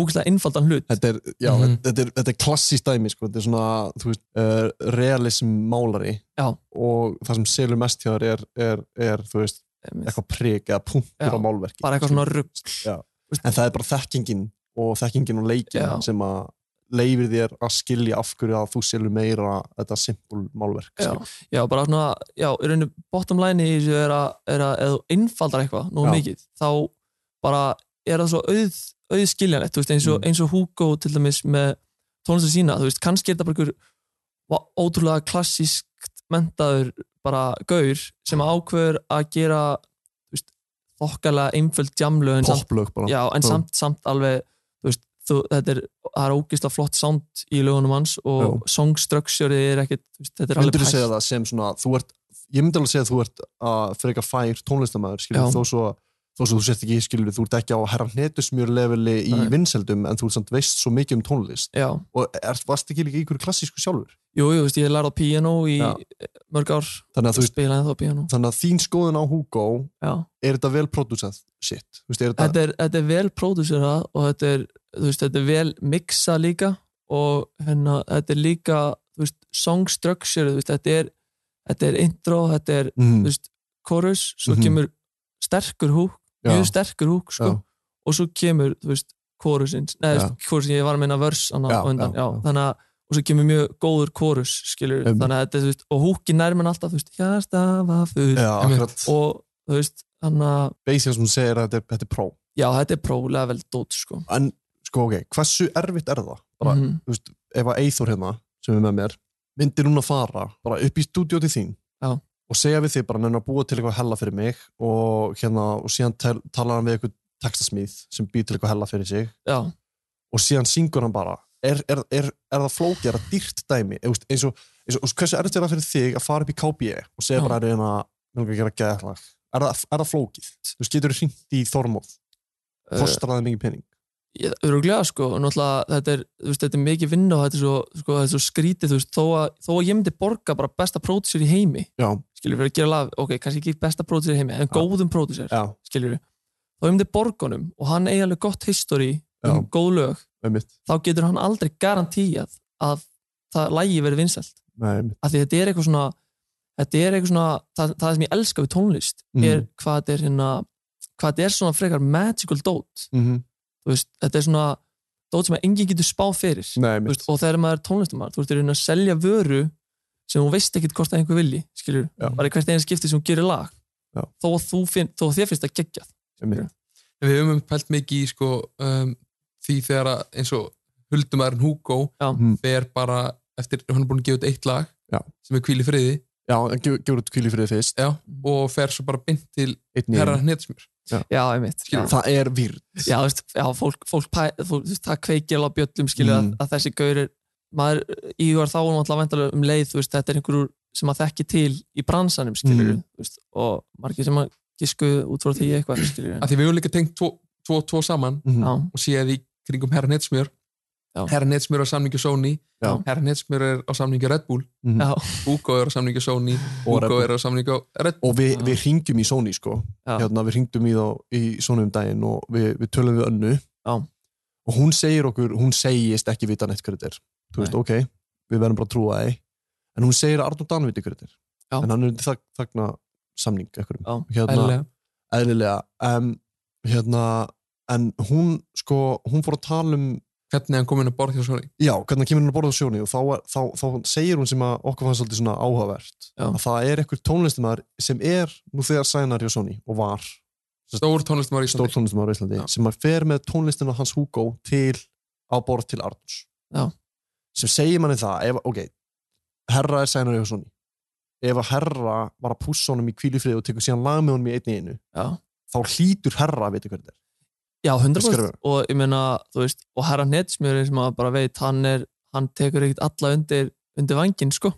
ógisla einfaldan hlut þetta er, já, Mhm. þetta er, þetta er klassíst dæmi sko. þetta er svona, þú veist, uh, realism málari já. og það sem selur mest hjá þér er, er, er þú veist, eitthvað prik eða punktur á Já, málverki bara eitthvað svona já. en það er bara þekkingin og þekkingin og leikin Já. sem að leifir þér að skilja af hverju að þú selur meira þetta simpul málverk já, skilur. já, bara svona, já, í rauninni bottom line í þessu er að, er að eða þú einfaldar eitthvað nú Já. mikið, þá bara er það svo auð, auðskiljanlegt þú veist, eins, Mm. og, eins og Hugo til dæmis með tónlistar sína, þú veist, kannski er þetta bara einhver va- ótrúlega klassískt mentaður bara gaur sem ákveður að gera þú veist, þokkalega einföld jamlu Popplög bara. já, en Já. samt, samt alveg þú veist, þú, þetta er, það er ógislega flott sound í lögunum hans og song structure er ekkit, þú veist, þetta er alveg myndir þú pælt. segja það sem svona þú ert, ég myndi alveg segja að þú ert að frekar fær tónlistamæður skilur, Já. þó svo þó svo þú sért ekki, skilur, þú ert ekki á herra hnetusmjör leveli í Nei. vinseldum en þú samt veist svo mikið um tónlist Já. og er, varst ekki líka í ykkur klassísku sjálfur Jú, jú, þú veist, ég lærði á piano í Já. mörg ár þannig að, þú veist, spilaði þá piano þannig að þín skoðun á Hugo Já. er þetta vel prodúsað shit Þú veist, er þetta, þetta er, þetta er vel pródúsera og þetta er, þú veist, þetta er vel mixa líka og hérna, þetta er líka þú veist, song structure þú veist, þetta, er, þetta er intro þetta er Mhm. þú veist, chorus svo Mhm. kemur sterkur húk Já. mjög sterkur húk sko, Já. og svo kemur þú veist, chorusins Já. neða, chorusin, ég var að meina vers annað, Já, á undan, já, já, þannig að og svo kemur mjög góður chorus skilur, Einmitt. þannig að þetta, er, þú veist, og húki nærmenn alltaf, þú veist, hjarta var full Já, akkurat. og þú veist, þannig að basically sem þú segir að þetta er, þetta er pró Já, þetta er prólega vel dót sko. en sko ok, hversu erfitt er það bara, Mhm. þú veist, ef að Eithor hérna sem er með mér, myndir hún að fara bara upp í stúdíó til þín Já. og segja við þig bara nefnir að búa til eitthvað hella fyrir mig og hérna, og síðan tel, talar hann við eitthvað textasmíð sem býr til eitthvað hella fyrir sig Já. og síðan syngur hann bara er, er, er, er það flókið, er það dýrt dæmi Eða, þú veist, eins E og, eins og, eins og hversu erfitt er það fyrir þig að fara upp í KBE og segja Já. bara hérna Mér langar að gera geðlag. Er, það- er það flókið? Þú veist, getur þú hringt í Þormóð? Eh, Kostraði mikið pening? öruglega sko, og náttúrulega þetta er, þú veist, þetta er mikið vinna og þetta er svo, sko, þetta er svo skrítið þú veist, þó að, þó að ég myndi borga bara besta pródusir í heimi, Já. skilur við að gera lag ok, kannski ekki besta pródusir í heimi, en góðum pródusir Já. skilur við, þá ég myndi borga honum og hann eigi alveg gott history um góð lög, Einmitt. þá getur hann aldrei garantíjað að það lægi verið vinsælt, Nei, einmitt. af því þetta er eitthvað svona þetta er eitthvað svona, það, það sem ég elska við tónlist, Mhm. er hvað þetta er hérna, hvað þetta er svona frekar magical dót Mhm. þú veist, þetta er svona dót sem að enginn getur spá fyrir Nei, Þú veist, og þegar maður er tónlistamæður, þú veist, er að selja vöru sem hún veist ekkit hvort að einhver vilji skilur, Já. bara í hvert einn skipti sem hún gerir lag Já. þó að þú finn, þó að þér finnst það geggjað Einmitt. En Við höfum einmitt pælt mikið í sko, um, því þegar að eins og huldumæðurinn Hugo Já. fer bara eftir, hann er búin að gefa út eitt lag Mhm. Já. sem er Kvíli friði Já, hann gefur gef út Kvíli friði fyrst Já, og fer svo bara beint til Einnig. herra hnetsmjör já, einmitt já. Það er výrd já, þú veist, já, fólk, fólk, pæ, fólk þú veist, það kveikir alveg á bjöllum skilur Mhm. að, að þessi gaurir maður íhugar þá um alltaf vendarlega um leið þú veist, þetta er einhverjur sem að þekki til í bransanum skilur Mhm. veist, og margir sem að gisku út frá því eitthvað skilur að því við höfum líka tengt tvo, tvo, tvo saman Mhm. Já. og séð í kringum herra hnetsmjör herra hnetsmjör á samningu Sony Já. herra hnetsmjör er á samningu Red Bull Mhm. Já. Hugo er á samningu Sony Og Red Hugo Bull. er á samningu Red og við, við hringjum í Sony sko Já. hérna, við hringjum í þá í Sony um daginn og við, við tölum við önnu Já. og hún segir okkur, hún segist ekki vita neitt hverju þetta er, þú veist, ok við verðum bara að trúa það en hún segir að Arnur Dan viti hverju þetta er Já. en hann er undir þag, þagna samning Já, einhverjum hérna, eðlilega. eðlilega um, hérna, en hún sko, hún fór að tala um hvernig hann kom inn að borða hjá Sony Já, hvernig hann kemur hann að borða á sjóni og þá, þá, þá segir hún sem að okkur fannst svolítið svona áhugavert Já. að það er einhver tónlistamæður sem er nú þegar sænar hjá Sony og var stór tónlistamæður í Íslandi, tónlistamæður í Íslandi sem að fer með tónlistina hans Hugo til á borð til Arnús Já. sem segir manni það ef, ok, herra er sænar hjá Sony ef að herra var að pússa honum í kvílufrið og tekur síðan lag með honum í einni einu Já. þá hlýtur herra að vita hvernig þetta er Já, 100% Skrefur. og ég meina, þú veist, og herra hnetsmjörin sem að bara veit, hann er, hann tekur ekkert alla undir, undir vangin, sko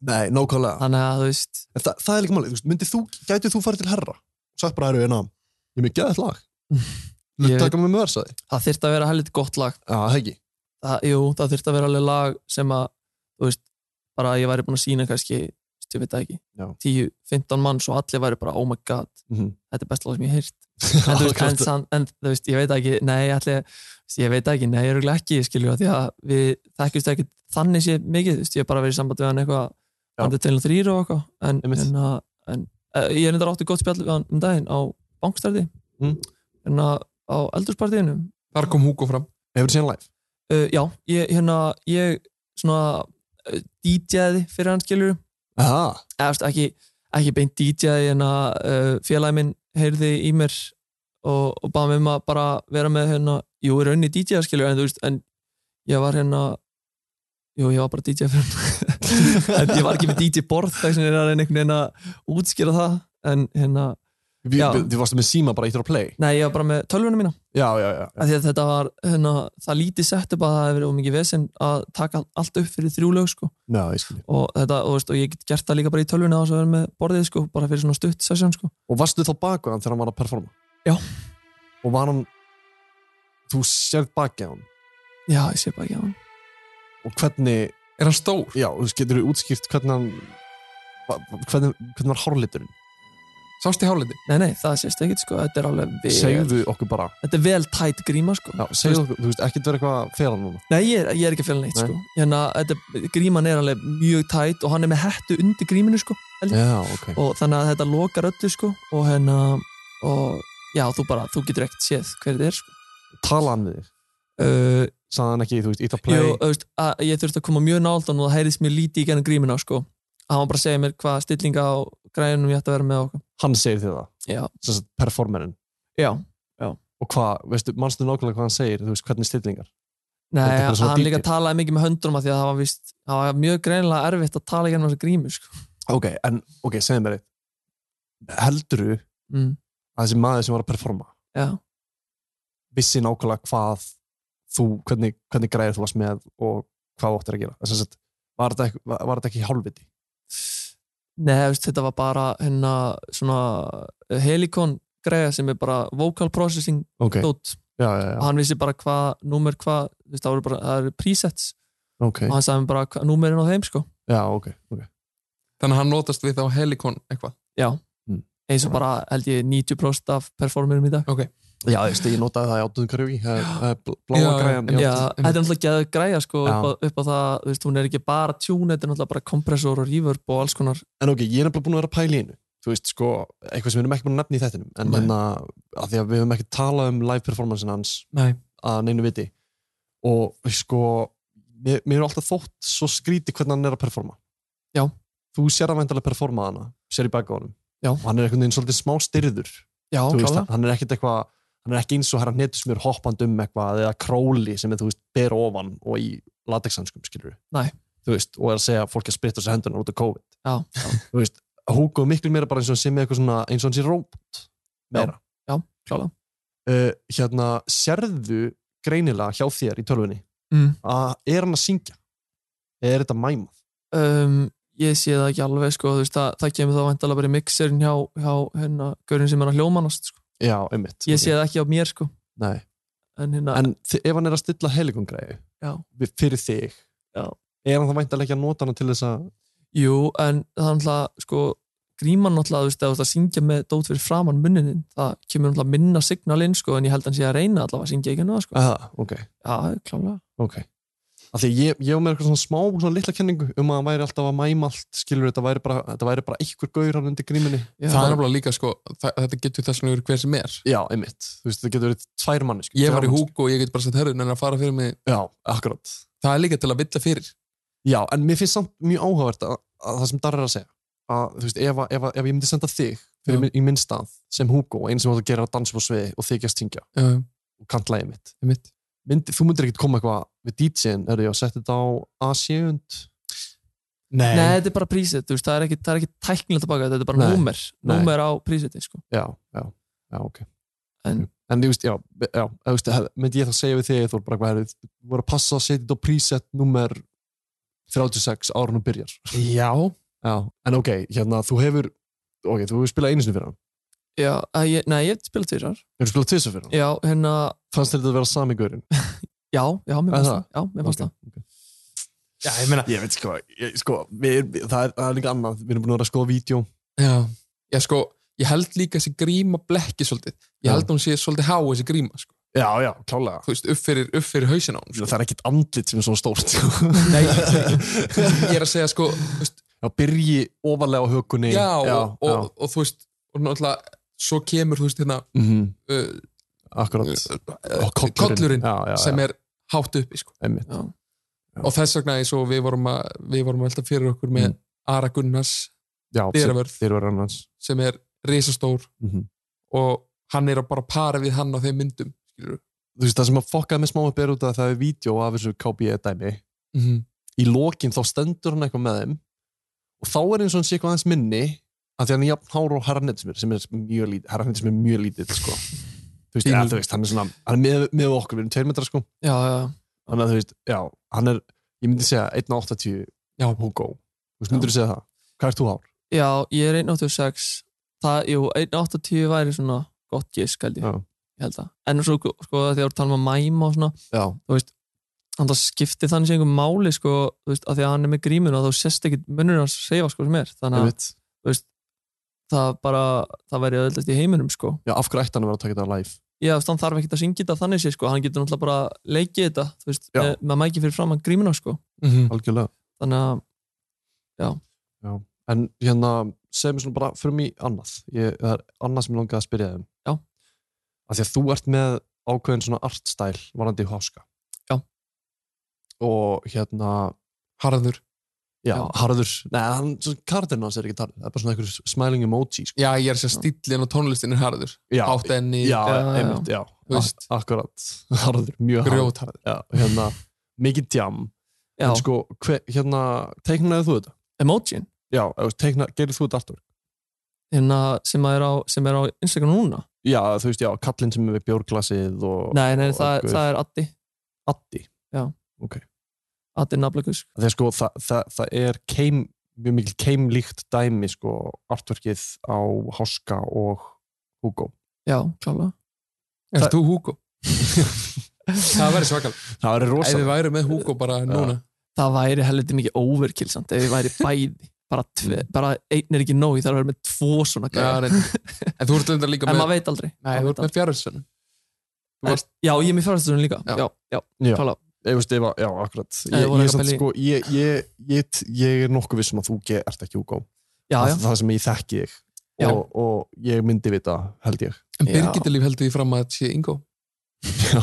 Nei, nákvæmlega Þannig að, þú veist, En það, það er líka málið, þú veist, myndir þú, gætið þú farið til herra og sagt bara, eru, en að, ég er með geðið lag Ég Lutt veit- taka mig með versaði það þyrfti að vera helviti gott lag *laughs* Já, það ekki það, Jú, það þyrfti að vera alveg lag sem að, þú veist, bara að ég væri búin að sína kannski, þú veist, ég veit það ekki Já. 10, 15 manns og allir væri bara oh my god, Mhm. þetta er best lag sem ég hef heyrt en, þú veist, en, Akkurat. san, en þú veist, ég veit það ekki nei, allir, ég veit það ekki, nei, ég er ekki skilju, því að við þekkjumst ekki þannig sé mikið, þú veist, ég hef bara verið í samband við hann eitthvað, hann er til þrýr og eitthvað en, en, að- en eh, ég er nefndar átti gott spjall við hann um daginn á bankstæði Mm. en að á eldurspartíðinu þar kom Hugo fram Hefur séð hann live? uh, já, ég, hérna, ég svona uh, DJ-ði fyrir hann skilur Aha. *laughs* eða þú veist, ekki, ekki beint DJ-ði en að uh, félagi minn heyrði í mér og, og baða mig um að bara vera með hérna, jú, í rauninni DJ-ði skilur en þú veist, en ég var hérna jú, ég var bara DJ fyrir hann *laughs* en ég var ekki með DJ-borð þess vegna er að reyna einhvern veginn að útskýra það en hérna Við, Já. við, við varstu með síma bara eittur á play Nei, ég var bara með tölvuna mína Já, já, já, af því að þetta var hérna, það lítið sett upp að það hefur verið ómikið vesinn að taka allt upp fyrir þrjú lög sko. já, ég skilji og, þetta, og, veist, og ég get gert það líka bara í tölvuna og svo verið með borðið sko, bara fyrir svona stutt session sko. Og varstu þá baku hann þegar hann var að performa? Já. Og var hann, þú sérð bakið á hann Já, ég sé bara ekki á hann og hvernig Er hann stór? Já, þú veist, getur þú útskýrt hvernig hann va- va- hvernig, hvernig var hárliturinn? Sást í háliti? Nei, nei, það sést ekkert sko, þetta er alveg vel Segðu okkur bara Þetta er vel tætt gríma sko Já, segðu okkur, þú veist, ekkert verið eitthvað að fela núna Nei, ég er, ég er ekki að fjöla neitt Nei. sko hérna, þetta, Gríman er alveg mjög tætt og hann er með hettu undir gríminu sko held ég. Já, ok. og þannig að þetta lokar öllu sko og hérna og já, þú bara, þú getur ekkert séð hver þetta er sko Tala hann við þig? Uh, Sagði hann ekki, þú veist, ít að play Jú, þú veist, að ég þurfti að koma mjög nált og það heyrðist mjög lítið í gennum grímina sko. hann var bara að segja mér hvað stillinga á grænum ég ætti að vera með okkur Hann segir þér það? Já. Sess að performerinn? Já, já. Og hvað, veistu, manstu nákvæmlega hvað hann segir, þú veist, hvernig stillingar? Nei, Þetta er bara svona hann líka detail. talaði mikið með höndunum af því að það var, víst, það var mjög greinilega erfitt að tala í gennum þessu grímu sko. Ok, en, ok, segðu mér eitt. Heldurðu mm, að þessi maður sem var að performa Já, vissi nákvæmlega hvað þú, hvernig, hvernig græðir þú varst með og hvað þú áttir að gera? Sess að, var þetta ekki, var, var þetta ekki hálfviti? Nei, þú veist, þetta var bara hérna svona helikon greiða sem er bara vocal processing Ok. dót Já, já, já. og hann vissi bara hvað númer hvað, þú veist, það eru bara það eru presets Ok. og hann sagði mér bara hvað númerin á þeim sko Já, ok, ok. Þannig að hann notast við þá helikon eitthvað Já, eins og bara held ég 90% af performerum í dag okay. Já, þú veist, ég notaði það í átunum karjóki, bláa græjan. Já, þetta er náttúrulega geðug græja sko Já. upp á, upp á það, þú veist, hún er ekki bara tune, þetta er náttúrulega bara kompressor og reverb og alls konar En ok, ég er nefnilega búin að vera að pæla í einu. Þú veist, sko, eitthvað sem við erum ekki búin að nefna í þettinum, en Nei. hérna, að því að við höfum ekki talað um live performance hans Nei. að neinu viti. Og sko, mér, mér er alltaf þótt svo skríti hvernig hann er að performa. Já. Þú sér að væntalega performa hana, sér í baka honum. Já. Og hann er einhvern veginn svolítið smá styrður. Já, þú veist, klálega. hann- hann er ekkert eitthvað, hann er ekki eins og herra hnetusmjör hoppand um eitthvað eða króli sem er, þú veist, ber ofan og í latexhanskum, skilur Nei. Þú veist, og er að segja að fólk er að spritta sér hendunar út af COVID Já, já, þú veist, Hugo er miklu meira bara eins og hann sé með eitthvað svona, eins og hann sé róbot meira. já, klálega Uh, hérna, sérðu greinilega hjá þér í tölvunni Mm. að er hann að syngja? Eða er þetta mæmað? um, ég sé það ekki alveg sko, þú veist, það, það kemur þá vandalega bara í mixerin hjá, hjá hérna, gaurin sem er að hljómanast sko. Já, einmitt. ég sé það ekki á mér sko. Nei. en hérna, En þi- ef hann er að stilla helikongræði já, fyrir þig, Já. er hann það væntalega ekki að nota hana til þess að jú, en það er náttúrulega sko, gríman náttúrulega, þú veist, að, að syngja með dót fyrir framann munninin, það kemur náttúrulega minna signal inn, sko, en ég held að hann sé að reyna allavega að syngja ekki nú, sko, Aha, ok, já, klálega ok. Af því að ég, ég var með eitthvað svona smá, svona litla kenningu um að hann væri alltaf að mæma allt, skilur þetta væri bara, þetta væri bara einhver gaur hann undir gríminni. Já. Það er alveg líka sko, það, þetta getur þess að vera hver sem er Já, einmitt. Þú veist, þetta getur verið tvær manni. Ég var í húk og ég get bara sett herrun en að fara fyrir mig Já, akkurat. Það er líka til að villa fyrir Já, en mér finnst samt mjög áhugavert að, að það sem Darri er að segja að þú veist, ef, að- ef, að- ef ég myndi senda þig fyrir Já. minn, í minn stað sem Hugo eins sem þú átt að gera að dansa upp á sviði og þykjast hingja Já, og kantlægi mitt einmitt. myndi, þú myndir ekkert koma eitthvað við DJ-in er ég að setja þetta á A7 Nei, þetta er bara prísið, þú veist, það er ekki, það er ekki tæknilega tilbaka, þetta er bara Nei. númer, Nei. númer á prísitin, sko. já, já, já, ok En- en þú veist, já, já þú veist, hef- myndi ég þá segja við þig þú bara hvað er þú voru að passa að setja þetta á preset nummer 36 árunum byrjar Já já, en ok, hérna, þú hefur ok, þú hefur spilað einu sinni fyrir hann Já, að ég, nei, ég spila tvísar. hefur spilað tvisar fyrir hann Já, hérna, fannst þér þetta að vera sami gaurinn já, já, Er mér fannst það? það, já, mér fannst það. Já, ég meina ég veit sko, ég, sko við, við, það, er, það er líka annað, við erum búin að vera að skoða vídeo Já, já sko, ég held líka þessi gríma blekki svolítið Ég Já. held að hún sé svolítið há þessi gríma sko. já, já, klálega Þú veist, upp fyrir, upp fyrir hausin á hún sko. það er ekkit andlit sem er svona stórt sko. Nei, ég er að segja sko þú veist, *laughs* já, byrji ofalega á hökunni Já, já, og, og, og, þú veist og náttúrulega, svo kemur þú veist hérna Mhm, uh, akkurat uh, Og kollurinn. kollurinn Já, já, sem já. er hátt uppi sko. einmitt Já. og þess vegna eins og við vorum að við vorum að velta fyrir okkur með Mm. Ara Gunnars já, dyravörð dyravörð annars sem er risastór Mhm. og hann er að bara para við hann á þeim myndum skilurðu. þú veist, það sem að fokkaði með smá upp er út af að það er vídeo af þessu KBE dæmi í lokin þá stendur hann eitthvað með þeim og þá er eins og hann sé eitthvað aðeins minni að því hann er jafn hár og herranetsmir sem er mjög lítið, herranetsmir er mjög lítið sko. þú veist, Pínu. ja, þú veist, hann er svona hann er með, með okkur, við erum tveir metra sko Já, já, þannig að þú veist, já, hann er ég myndi segja 1.80 já, Hugo, þú veist, myndir þú segja það hvað ert þú hár? Já, ég er 1.86 Það, jú, 1.80 væri svona gott gisk, held ég, Já. ég held að. En svo, sko, þegar við talum um að mæma og svona, já, þannig að skipti þannig sem einhver máli, sko, þú veist, að því að hann er með gríminu og þá sérst ekki munnur hans reyfa, sko, sem er. Þannig að einmitt það bara, það væri öðvöldast í heiminum, sko. já, af hverju ætti hann að vera að taka þetta live? Já, þú veist, hann þarf ekki að syngja þetta þannig sé, sko, hann getur náttúrulega bara leikið þetta, þú veist, Já. með, með mæki fyrir fram hann gríminu, sko. Mhm. algjörlega, Þannig að, en hérna segjum svona bara, förum í annað ég, það er annað sem ég langaði að spyrja þeim Já. af því að þú ert með ákveðin svona artstæl varandi háska Já. og hérna Harður já, Já. harður, neða, hann, kardin hans er ekki harður, það er bara svona einhver smiling emoji sko. Já, ég er að segja stíllinn og tónlistin er harður já, hátt enni, já, Já, já. einmitt, já, Þú veist. Ak- akkurat, *laughs* harður, mjög harður grjótharður já, hérna, mikið djam já, en sko, hver, hérna, teiknaði þú þetta? emojin, já, eða þú veist, teikna, gerir þú þetta artwork? hérna, sem að er á, sem er á Instagram núna. já, þú veist, já, kallinn sem er við bjórglasið og, Nei, nei, og það, gaur. það er Addi, Addi Addi Nablakus. Þegar sko, það, það, það er keim mjög mikil keimlíkt dæmi sko artverkið á Háska og Hugo Já, klálega Erst þú Hugo? það væri svakal Það væri rosa Ef við væri með Hugo bara núna það væri heldur mikið overkill samt ef ég væri bæði bara, tve, bara einn er ekki nóg, ég þarf að vera með tvo svona Já, gæja. reyndar. *laughs* En þú ert lindar líka en með maður veit aldrei Nei, Maður veit þú ert með fjárhundsson aldrei. varst- já, ég er með fjárhastunum líka já, já, já, Já. klálega. Ég veist, ef að, já, akkurat Ef Ég, þú voru ég, eitthvað samt, pæli- sko, ég, ég, ég, t- ég er nokkuð vissum að þú ge- ert ekki Hugo Já, Það- já. Það sem ég þekki þig Já. og, og ég myndi vita, held ég En Birgitilíf heldur því fram að sé Ingo *laughs* Já.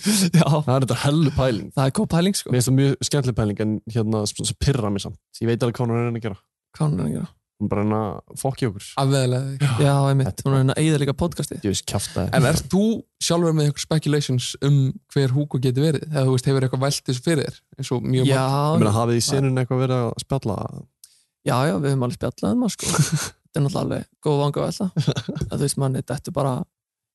Það er þetta hellu pæling Það er góð pæling sko Mér finnst það mjög skemmtileg pæling en hérna svo svo pirrar mig samt Ég veit alveg hvað hún er að reyna að gera Hvað hún er að gera? Hún er bara að reyna að fokki okkur Afveðlega já, einmitt, hún er hérna eigða líka podcasti Ég veist kjafta En ert þú sjálfur með eitthvað speculations um hver Hugo getur verið? Eða þú veist, hefur eitthvað vælt þessu fyrir þér? eins og mjög já, Ég meina, já, hafið í senun eitthvað verið að spjalla já, við höfum alveg spjallað um það *laughs* sko þetta er náttúrulega alveg góð vanga að það þú veist manni, þetta er bara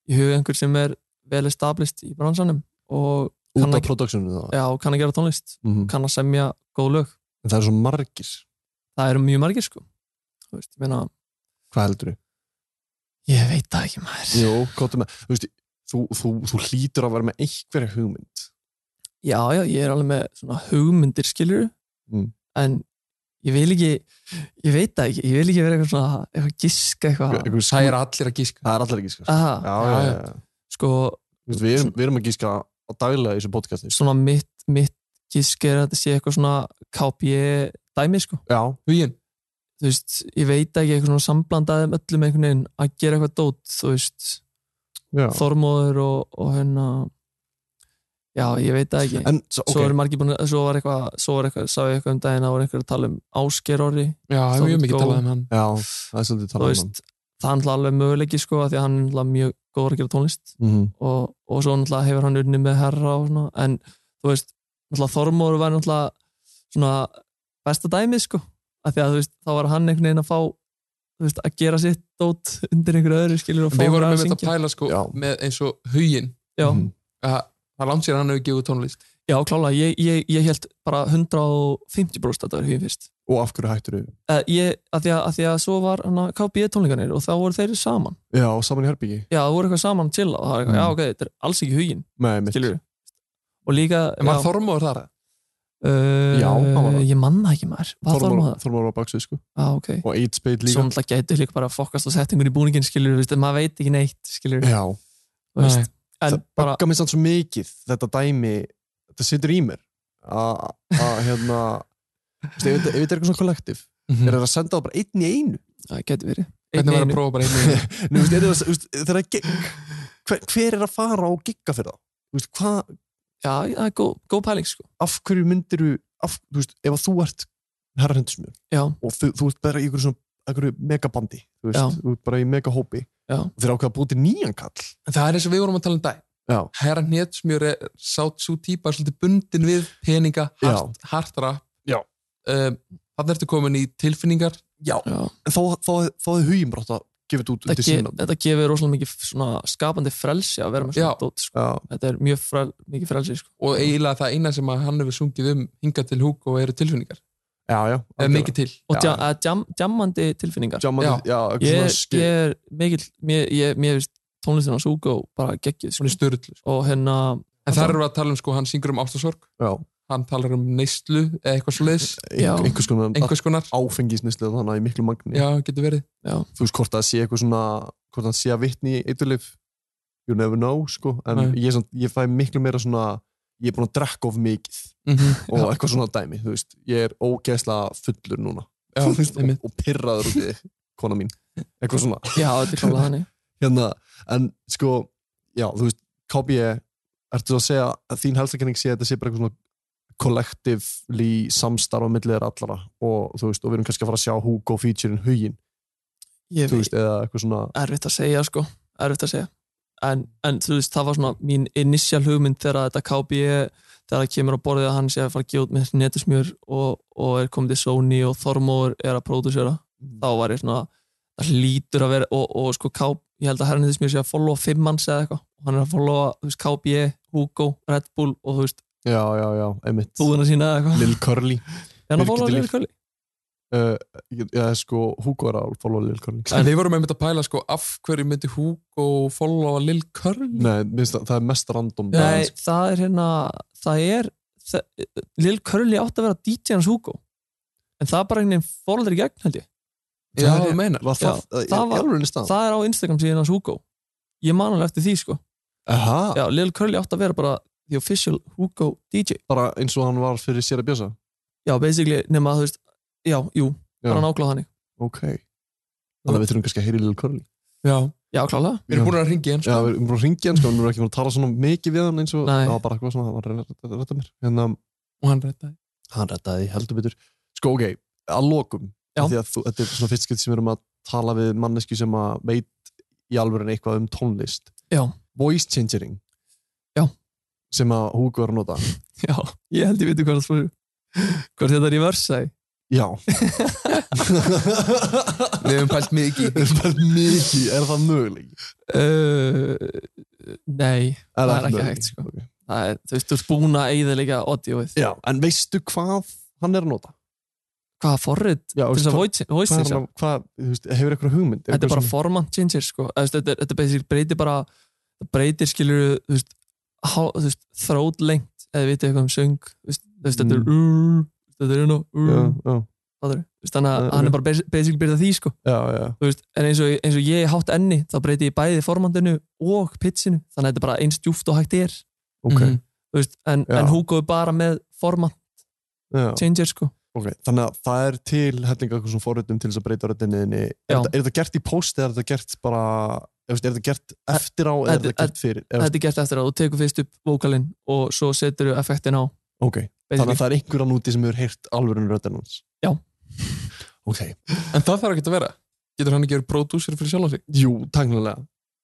í huga einhver sem er vel established í bransanum og út á kann að, productioninu það já, kann að gera tónlist Mhm. kann að semja góð lög En það eru svo margir það eru mjög margir sko Þú veist, ég meina, Hvað heldur þið? ég veit það ekki maður Jó, kóttu með Þú veist, þú, þú, þú hlýtur að vera með einhverja hugmynd já, já, ég er alveg með svona hugmyndir skilur Mm. en ég vil ekki ég veit það ekki, ég vil ekki vera eitthvað svona eitthvað giska eitthvað Einhver- Það er allir að gíska Það er allir ekki skar Aha, Já, já, já, já. sko, Þú veist, Við erum, við erum að gíska á daglega í þessu podcasti sko. svona mitt, mitt gisk er að þetta sé eitthvað svona KP dæmi sko Já, Huginn, þú veist, ég veit ekki eitthvað svona samblandaðum öllum einhvern veginn að gera eitthvað dót þú veist, já þormóður og, og hérna já, ég veit það ekki En, svo, svo ok, eru margir búin að, svo var eitthvað, svo var eitthvað, sá ég eitthvað um daginn að voru einhver að tala um ásker orði, já, Solid hefur mjög mikið goal. talað um hann já, það er svolítið þú talað um hann veist, það er náttúrulega alveg möguleiki sko, af því að hann er náttúrulega mjög góður að gera tónlist Mhm. og, og svo náttúrulega hefur hann unni með herra og svona, en þú veist, náttúrulega Þormóður var náttúrulega svona besta dæmið sko, af því að þú veist, þá var hann einhvern veginn að fá, þú veist, að gera sitt dót undir einhverju öðru skilur og fá Við vorum hann með að þetta að syngja. pæla sko Já. með eins og huginn Já, Mhm. að Það er langt sér að hann hefur gefið út tónlist já, klálega, ég, ég, ég held bara 150 bróst að þetta var hugin fyrst. Og af hverju hættur þau? Eh, ég, að, því að, að því að svo var hana, KB tónleikanir og þá voru þeir saman Já, saman í herbyggi já, það voru eitthvað saman til og það var eitthvað, Mm. já ok, þetta er alls ekki hugin Nei, mitt skilur og líka, En já, var Þormóður þar? uh, Já, hann var það. ég manna ekki maður var það Þormar maður, Þormar á baksuð, sko já ok Og eitt speit svo líka náttúrulega gætu líka bara að fokast á settingun í búningin skilur, veist, maður veit ekki neitt skilur, Já, þú veist, en það bara bugga mér samt svo mikið þetta dæmi, þetta situr í mér að, að hérna þú veist, ef þetta ef þetta er eitthvað svona kollektiv Mhm. er Hvernig það að senda það bara einn í *laughs* einu það getur verið var að einu. prófa bara einu *laughs* Nei, þú veist, er það, þú veist, þegar það gig- hver, hver er að fara og gigga fyrir það Þú veist, hvað, já, það er góð, góð pæling sko af hverju myndir af, þú veist, ef að þú ert herrahendismjör já, og þú, þú ert bara í einhverju svona einhverju megabandi, þú veist, Já. þú ert bara í megahópi Já. og þeir ákveða að búti nýjan kall En Það er eins og við vorum að tala um dag Já. Herra Hnetsmjör er sátt svo típa svolítið bundin við peninga hart, hart rap Já. um, Þannig ertu komin í tilfinningar Já, já. en þá, þá, þá, þá er hugin brátt að gefa þetta út Þetta, undir gef, síðan þetta gefur rosalega mikið svona skapandi frelsi að vera með Já. svona dót sko. Já, þetta er mjög frel, mikið frelsi sko. og eiginlega það eina sem að hann hefur sungið um hinga til húk og eru tilfinningar já, já eða mikið til og Já. djam, að djam, djammandi tilfinningar Jammandi, já, ég, eitthvað svona er- skil ég er mikill mér, ég, mér finnst tónlistin hans Hugo bara geggið sko. hún er störtlu og hérna en þar erum við að tala um sko hann syngur um ástasorg Já, hann talar um neyslu eða eitthvað svoleiðis Já. ein- einhvers konar einhvers konar áfengisnislega þannig að í miklu magni já getur verið þú veist hvort það sé eitthvað svona hvort það sé að vitni í eiturlif you never know sko en Nei. ég, er samt, ég fæ miklu meira svona ég er búin að drekka of mikið Mhm. og eitthvað svona dæmi þú veist ég er ógeðslega fullur núna já *laughs* Þú veist, einmitt. og, og pirraður út í þig kona mín eitthvað svona já, þetta er klálega þannig hérna en sko já þú veist KB ertu að segja að þín helstakenning sé að þetta sé bara eitthvað svona kollektivli samstarf á millið er allara og þú veist og við erum kannski að fara að sjá Hugo featurein hugin ég þú veit, veist eða eitthvað svona erfitt að segja sko erfitt að segja en, en þú veist, það var svona mín initial hugmynd þegar þetta KB þegar það kemur á borðið að hann sé að fara að gefa út með netusmjör og, og er komið til Sony og Þormóður er að pródúsera þá var ég svona, það lítur að vera og, og sko KB, ég held að herran netusmjör sé að followa fimm manns eða eitthvað og hann er að followa þú veist, KB, Hugo, Red Bull og þú veist, já já já einmitt búðuna sína eða eitthvað Lil Curly en að Birgitte followa Líf. Lil Curly Uh, ég, ég, sko, Hugo er að followa Lil Curly En við vorum einmitt að pæla sko af hverju myndi Hugo followa Lil Curly Nei, minnst, það er mest random sko. Nei, það er hérna það er, það, Lil Curly átti að vera DJ hans Hugo en það bara einhvern veginn fórhaldur í gegn held ég Já, Það er- þú meinar. Já, Var það- í- í það, alvörunni staðan? það er á Instagram síðan hans Hugo ég man alveg eftir því sko Aha. Já, Lil Curly átti að vera bara the official Hugo DJ bara eins og hann var fyrir sér að bjösa Já, basically, nema að þú veist Já, jú, Já. bara nákvæmlega þannig ok þannig að við þurfum kannski að heyra í Lil Curly Já, já klálega Við erum búin að ringi hann sko. Já, við erum búin að ringi hann sko, en við erum ekki búin að tala svona mikið við hann eins og það var bara eitthvað svona, það var að reyna að redda mér en um, og hann rettaði hann reddaði því heldur betur sko ok, að lokum Já. því að þú, þetta er svona fyrst skipti sem við erum að tala við manneski sem að veit í alvöru eitthvað um tónlist Já, voice changering Já. sem að Hugo er að nota já, ég held ég viti hvað það spyrir Hvort þetta er í versaði Já *laughs* Við hefum pælt mikið Við hefum pælt mikið, er það möguleg? Uh, nei, það er ekki möguleiki? hægt sko. það er, Þú veist, þú ert búin að eigða líka audióið Já, en veistu hvað hann er að nota? Hvaða forrið til þess að voice voice hvað, er change hann að- hvað, þú veist, hefur eitthvað hugmynd Þetta er bara format changer sko. Eða, þú veist, þetta, er- þetta basic breytir bara það breytir skilur þú veist, há, þú veist, throat lengt eða við eitthvað um söng þú veist, þú veist, þetta er mm. þetta er nú Já, já. Fattarðu? Þú veist, þannig að Já, hann ok. er bara basi- basically byrjað því sko. já, já. Veist, en eins og, eins og ég er hátt enni þá breyti ég bæði formandinu og pitchinu þannig að þetta er bara eins djúft og hægt er Ok. Mhm. Þú veist, en, Já. en Hugo er bara með formand Já. changer sko Ok, þannig að það er til hellinga eitthvað svona forritum til þess að breyta röddinniðinni er, Já. þetta- er þetta gert í post eða er þetta gert bara eða, veist, er þetta gert eftir á eða er Þetta- þetta gert fyrir eða, þetta er gert eftir að þú tekur fyrst upp vókalinn og svo setur þú effektin á ok, þannig að það er einhverjan úti sem hefur heyrt alvörun röddinn hans Já. ok, En það þarf ekki að vera Getur hann ekki verið pródúsir fyrir sjálf á sig? jú, tæknilega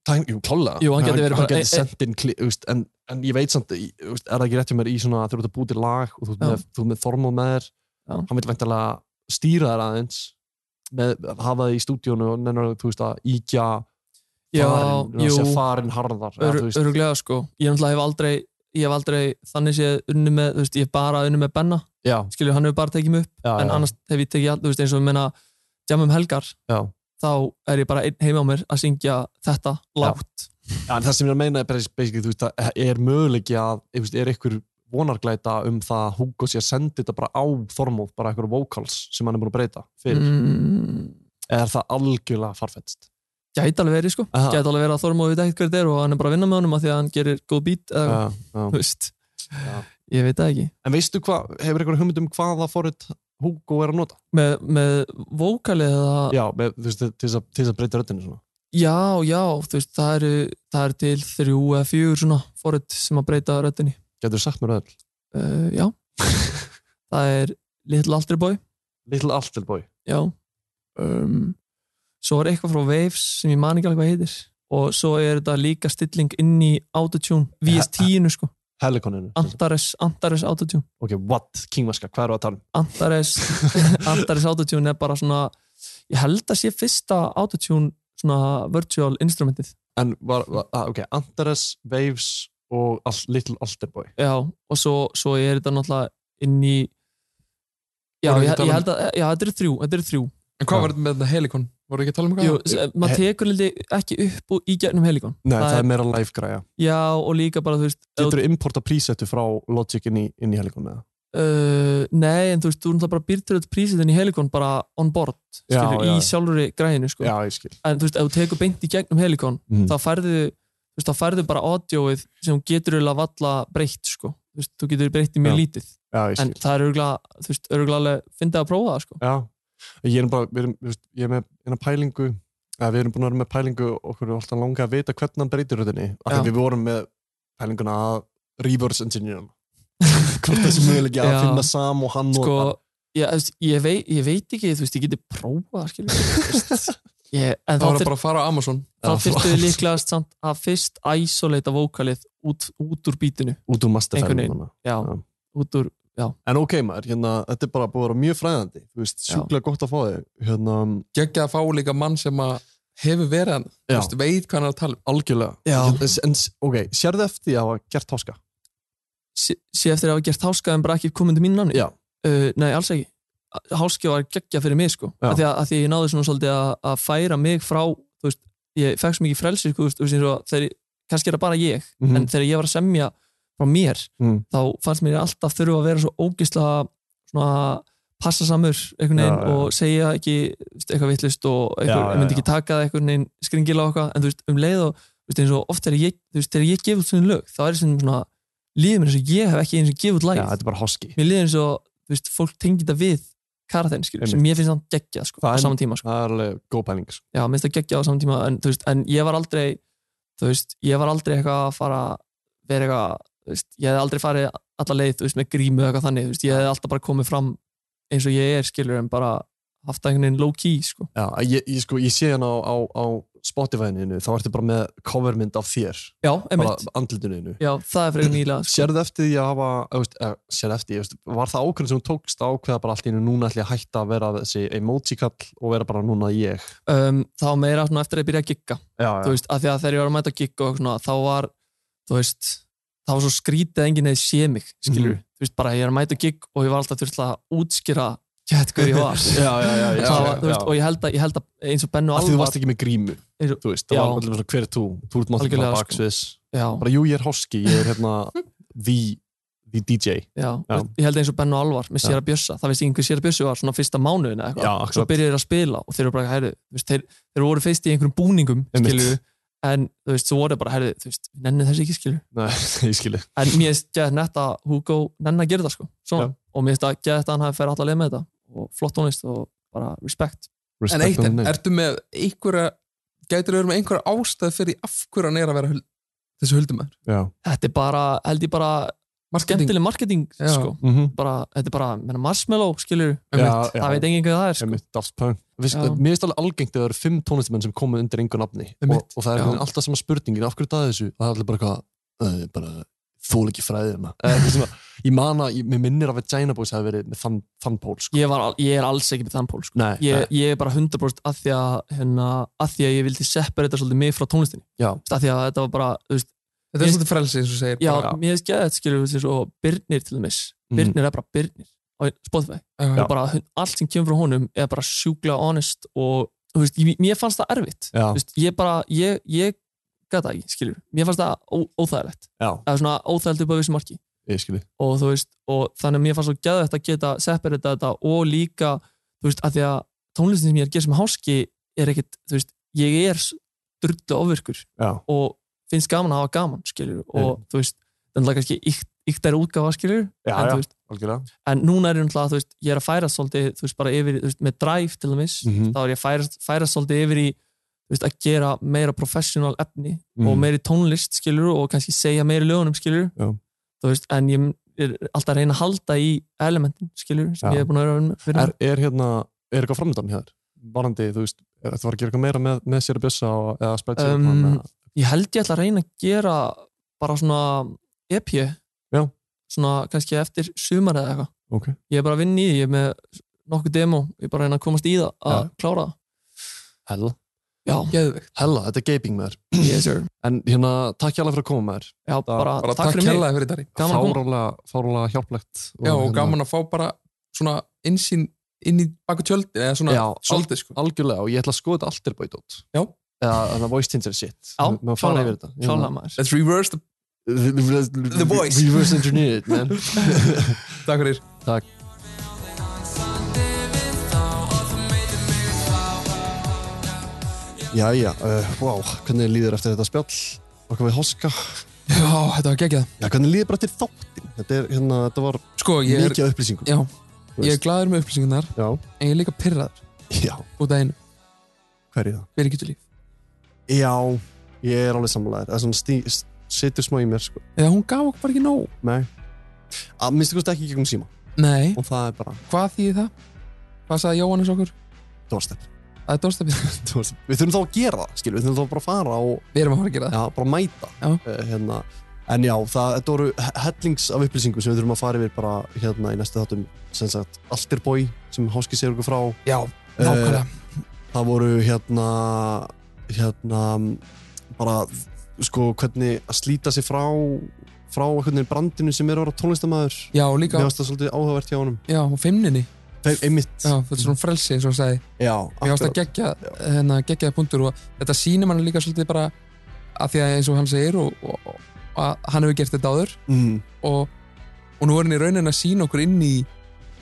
Tæk, jú, klálega Jú, hann gæti verið bara- hann gæti e- e- sendt inn kli, veist, en, en ég veit samt, ég- þú veist, er það ekki rétt hjá mér í svona að þú ert að búið til lag og þú ert Já. með, þú ert með formóð með þér Já. hann vil væntalega stýra þér aðeins með, hafa þið í stúdíónu og nennar þú veist að íkja Já, farin, að sé jú. farin harðar eða Ör, þú veist, öruglega sko ég náttúrulega hef aldrei, ég hef aldrei þannig séð unni með, þú veist, ég hef bara unni með Benna Já. skilur, hann hefur bara tekið mig upp Já, en já. annars hef ég tekið allt, þú veist, eins og ég meina Jam um helgar, já. þá er ég bara einn heima á mér að syngja þetta lágt Já, en það sem ég er að meina er bara basically, þú veist, að er möguleiki að þú veist, er einhver vonarglæta um það að Hugo sé að senda þetta bara á formóð bara einhverjum vocals sem hann er búin að breyta fyrir, mm, eða er það algjörlega farfetst gæti alveg verið sko Aha. gæti alveg verið að Þormóð veit ekkert hver þetta er og hann er bara að vinna með honum að því að hann gerir góð beat eða, Já, já. þú veist, ég veit það ekki En veistu hvað, hefur einhver hugmynd um hvað það fórut Hugo er að nota? með, með vókalið eða Já, með, þú veist, til þess að, til þess að breyta röddinni svona Já, já, þú veist, það eru, það eru til þrjú eða fjögur svona forrödd sem að breyta röddinni. Getur sagt mér öll? Uh, já. það er Little Alter Boy, Little Alter Boy já. Um, svo er eitthvað frá Waves sem ég man ekki alveg hvað heitir. Og svo er þetta líka stilling inn í Autotune, VS10-inu sko. Helikoninu Antares, Antares Autotune. Ok, what, kingmaska, hvað eru að tala um? Antares, *laughs* *laughs* Antares Autotune er bara svona, ég held að sé fyrsta Autotune svona virtual instrumentið. En var, var ah, ok, Antares, Waves og all, Little Alter Boy Já, og svo, svo er þetta náttúrulega inn í Já, Vorum ég, við að ég tala um- held að, já, þetta eru þrjú, þetta eru þrjú. En hvað var þetta með þetta helikon? Voru ekki að tala um Jú, eitthvað? s- maður tekur lítið ekki upp og í gegnum helikon. Nei, það, er meira live græja Já, og líka bara, þú veist, ef Getur þú importa prísetu frá Logic inn í, inn í Helikon eða? Uh, nei, en þú veist, þú náttúrulega bara býr til þetta prísið inn í Helikon bara on board Já, já. skilur, í sjálfurri græðinu sko. Já, ég skil. en þú veist, ef þú tekur beint í gegnum Helikon Mhm. þá færðu þú veist, þá færðu bara audioið sem getur eiginlega valla breytt sko. þú, veist, þú getur breytt í Já. mjög lítið Já, ég en það er örgulega, þú veist, örgulega alveg fyndið að prófa það sko. Já, ég er bara, við erum, við veist, ég er með eina pælingu, eða við erum búin að vera með pælingu og okkur er alltaf langa að vita hvernig hann breytir röddinni, af því Já. að við vorum með pælinguna að reverse *laughs* engineerum hvort það sé möguleiki að Já. finna sam og hann sko, og ég, þú veist, ég, veit, ég veit ekki, þú veist, ég geti prófað skilur, þú veist. *laughs* ég, en þá Það var þyr- bara að fara á Amazon þá þyrftu við líklegast samt að fyrst isolata vókalið út, út úr bítinu út úr einhvern masterfælum veginn, já, út úr já. En ok maður, hérna, þetta er bara búið að vera mjög fræðandi, þú veist, sjúklega gott að fá þig hérna, Gekkja að fá líka mann sem að hefur verið hann Já. veist, Veit hvað hann er að tala um algjörlega Já. en, en, ok, sérðu eftir því að hafa gert háska? sé, sé eftir að hafa gert háska en bara ekki komin til mín nafni Já. uh, nei, alls ekki háski var geggja fyrir mig sko Já. af því, að, af því að ég náði svona svolítið að, að færa mig frá þú veist, ég fekk svo mikið frelsi sko, þú veist, þú veist, eins og þegar, ég- kannski er það bara ég Mhm. en þegar ég var að semja frá mér Mm. þá fannst mér ég alltaf þurfa að vera svo ógislega svona passa samur einhvern veginn Já, já. og segja ekki þú veist, eitthvað vittlust og Já, eitthvað, já, ég myndi já. ekki taka það eitthvað neginn skringila og eitthvað, en þú veist, um leið og þú veist, eins og oft þegar ég, þú veist, þegar ég gef út svona lög, þá er þessum svona líður mér eins og ég hef ekki eins og gef út læg Já, þetta er bara háski. Mér líður eins og, þú veist, fólk tengir þetta við karatenn, skilur, sem Einmitt. ég finnst þannig geggjað, sko, á saman tíma, sko. Það er alveg góð pæling, sko. Já, mér finnst það geggjað á saman tíma, en, þú veist, en ég var aldrei, þú veist, ég var aldrei eitthvað að fara, vera eitthvað, þú veist, ég hef aldrei farið alla leið, þú veist, með grímu eða eitthvað þannig, þú veist, ég hef alltaf bara komið fram eins og ég er, skilur, en bara haft það einhvern veginn low key, sko. Já, ég, ég, sko, ég sé hann á, á, á Spotify-inu, þá ertu bara með covermynd af þér. Já, bara einmitt. andlitinu. Já, það er frekar nýlega, sko. Sérðu eftir því að hafa, eða, veist, eða, sérðu eftir, eða, veist, var það ákveðin sem hún tókst að ákveða bara allt í einu núna ætli ég að hætta að vera þessi emoji-kall og vera bara núna ég. um, þá meira svona eftir að ég byrja að gigga Já, já. þú veist, af því að þegar ég var að mæta að gigga og eitthvað svona, þá var, þú veist þá var svo skrítið að enginn eða sé mig skilur, Mhm. þú veist, bara ég er að mæta að gigg og ég var alltaf þurft að útskýra gett hver ég var *laughs* Já, já, já, já, Það var, já, þú veist, já. og ég held, að, ég held að eins og Bennu Af því þú Alvar varst ekki með grímu, eins og, þú veist, það Já. var allir svona hver er þú, þú ert náttúrulega Algjörlega, bara sko. baksviðs. Já. Bara jú, ég er hoski, ég er hérna *laughs* the, the DJ. Já, já. ég held eins og Bennu Alvar með Já. Sera Bjössa, það veist ég einhver Sera Bjössu var svona fyrsta mánuðin eða Já, eitthvað, akkurat. svo byrjuðir að spila og þeir eru bara, herðu, þú veist, þeir, þeir voru fyrst í einhverjum búningum, Einmitt. skilur en þú veist, svo voru bara, herðu, þú veist, nenni þessi ekki, skilur Nei, *laughs* ég skilji. en mér finnst gett nett að Hugo nenn að gera það sko Svona. og mér finnst að gett að hann hafi fyrir alla leið með þetta og flott tónlist og bara respect en eitt, en, ertu með einhverja gætir verið með einhverja ástæð fyrir því af hverju hann er að vera hul, þessu huldumæður Já. þetta er bara, held ég bara Marketing. skemmtileg marketing Já. sko. Mhm. bara, þetta er bara, menna marshmallow skilur, Einmitt. Já, já. það veit enginn hvað það er sko. Einmitt, Daft Punk. Viss, Já. mér finnst alveg algengt að það eru fimm tónlistamenn sem komu undir engu nafni og, Einmitt, og það er já. einhvern veginn alltaf sama spurningin af hverju daði þessu, það er allir bara hvað "Það er bara þól ekki fræðina Eða eitthvað sem að- ég man að, ég- mér minnir að Vagina Boys hafi verið með þann, þann pól sko. ég, var, al- ég er alls ekki með þann pól sko. Nei, ég, ég er bara 100% að því að, hérna, að því að ég vildi separata svolítið mig frá tónlistinni Já. Þú veist, að því að þetta var bara þú veist, þetta er Ég- svolítið frelsi eins og þú segir já, bara, mér finnst geðið skilur þessi svo Birnir til dæmis Mhm. Birnir er bara Birnir á Spotify Já. og bara hun- allt sem kemur frá honum er bara sjúklega honest og þú veist, ég, mér fannst það erfitt Já. Þú veist, ég bara, ég, ég gata ekki, skilur, mér fannst það ó, óþægilegt Já. eða svona óþægilegt upp á vissu marki ég skilji og þú veist, og þannig að mér fannst svo geðvægt að geta separate þetta og líka þú veist, að því að tónlistin sem ég er að gera sem háski er ekkit, þú veist, ég er drullu ofvirkur Já. og finnst gaman að hafa gaman, skilur og þú veist, þannig að kannski ykt, yktari útgáfa, skilur, Mm. Já, en já. þú veist algjörlega en núna er ég náttúrulega, þú veist, ég er að færa svolítið, þú veist, bara yfir, þú veist, með drive til dæmis, Mhm. þá er ég að færa, færa svolítið yfir í, þú veist, að gera meira professional efni Mhm. og meiri tónlist, skilur, og kannski segja meiri lögunum, skilur, Já. þú veist, en ég er alltaf að reyna að halda í elementin, skilur, sem Já. ég er búin að vera að vinna með fyrir. er, er hérna, er eitthvað framöndan hér varandi, þú veist, er þetta var að gera eitthvað meira með, með sér að bjössa og, eða spætsi um, ég held ég ætla að reyna að gera bara svona EP Já. svona kannski eftir sumar eða eitthvað Ok. ég er bara að vinna í því, ég er með nokkuð demo ég er bara að reyna að komast í það að Já. klára það hella, já, geðveikt. hella, þetta er gaping með þér yes sir en hérna, takk hjá alveg fyrir að koma með þér já, bara, bara takk fyrir mig kærlega fyrir Dari gaman að koma fárálega, fárálega hjálplegt hérna- já, og gaman að fá bara svona innsýn inn í baku tjöldin eða svona Já, svolítið sko algjörlega og ég ætla að skoða þetta allt er bæt út Já. eða þannig að voice changer shit Já, Við- við fara klálega, yfir þetta Ég klála meina- maður let's reverse the the, The voice. reverse engineer it, man *laughs* takk fyrir Jæja, uh, wow, hvernig líður eftir þetta spjall okkar við hoska já, þetta var geggjað Já, hvernig líður bara til þáttin þetta, er, hérna, þetta var sko, ég er, mikið af upplýsingum já, þú ég er veist. gladur með upplýsingarnar Já, en ég er líka pyrraður já, út af einu hver er það? Birgitulíf Já, ég er alveg sammálaðir það er svona stí, st- situr smá í mér sko. eða hún gaf okkur bara ekki nóg Nei, að minnstu kosti ekki í gegnum síma nei, og það er bara hvað þýði það? hvað sagði Jóhannes okkur? *laughs* doorstep að það er dórstafið Doorstep. Við þurfum þá að gera það, skilur, við þurfum þá bara að fara og við erum að fara að gera það já, bara mæta Já. Eh, hérna. en já, það, þetta voru he- hellings af upplýsingum sem við þurfum að fara yfir bara hérna í næstu þáttum sem sagt Alterboy sem Háski segir okkur frá Eh, já, nákvæmlega það voru hérna hérna bara sko hvernig að slíta sig frá frá einhvern veginn brandinu sem er að vera tónlistamæður já, mér líka, finnst það svolítið áhugavert hjá honum já, og feimninni Þeir, einmitt. Já, þetta er svona frelsi eins og hann sagði. Já, Mér ást að gegja, hérna, geggjaði punktur og þetta sýnir mann líka svolítið bara að því að eins og hann segir og, og, og að hann hefur gert þetta áður Mm. og, og nú er hann í raunin að sína okkur inn í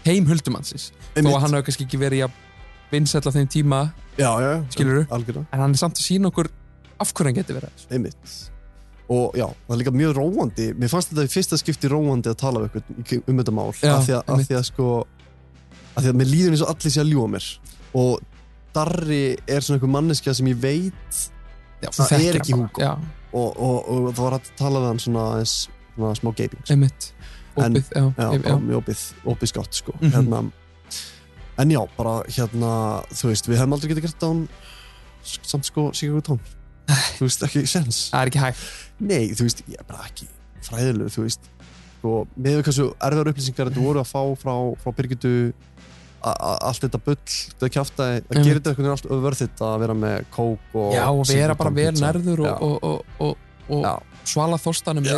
heim huldumannsins þó Einmitt. að hann hefur kannski ekki verið jafn vinsæll á þeim tíma já, já, skilur algjörða en hann er samt að sína okkur af hverju hann getur verið að þessu. einmitt og já, það er líka mjög róandi mér fannst þetta í fyrsta skipti róandi að tala við ykkur um þetta mál Já, af því að, að, einmitt. því að sko af því að mér líður eins og allir sé að ljúa mér og Darri er svona einhver manneskja sem ég veit já, það þekkir er hann ekki bara. Hugo Já. og, og, og það var hægt að tala við hann svona, aðeins, svona smá gaping sko. einmitt, En- opið, já, já, ég- bara mjög opið, opið skátt sko. Mhm. hérna, en já, bara hérna þú veist, við hefum aldrei getið gert án samt sko Sigurður *laughs* Tón þú veist, ekki sens það er ekki hægt Nei, þú veist, ég er bara ekki fræðilegu, þú veist og með því hversu erfiðar upplýsingar þetta voru að fá frá, frá Birgitu a- a- allt þetta bull, þetta kjafta að Einmitt. gera þetta einhvern veginn allt öðvörðitt að vera með kók og já, og vera bara vel síkardómpizza. nærður Já. og, og, og, og, og Já. svala þorstanum Já.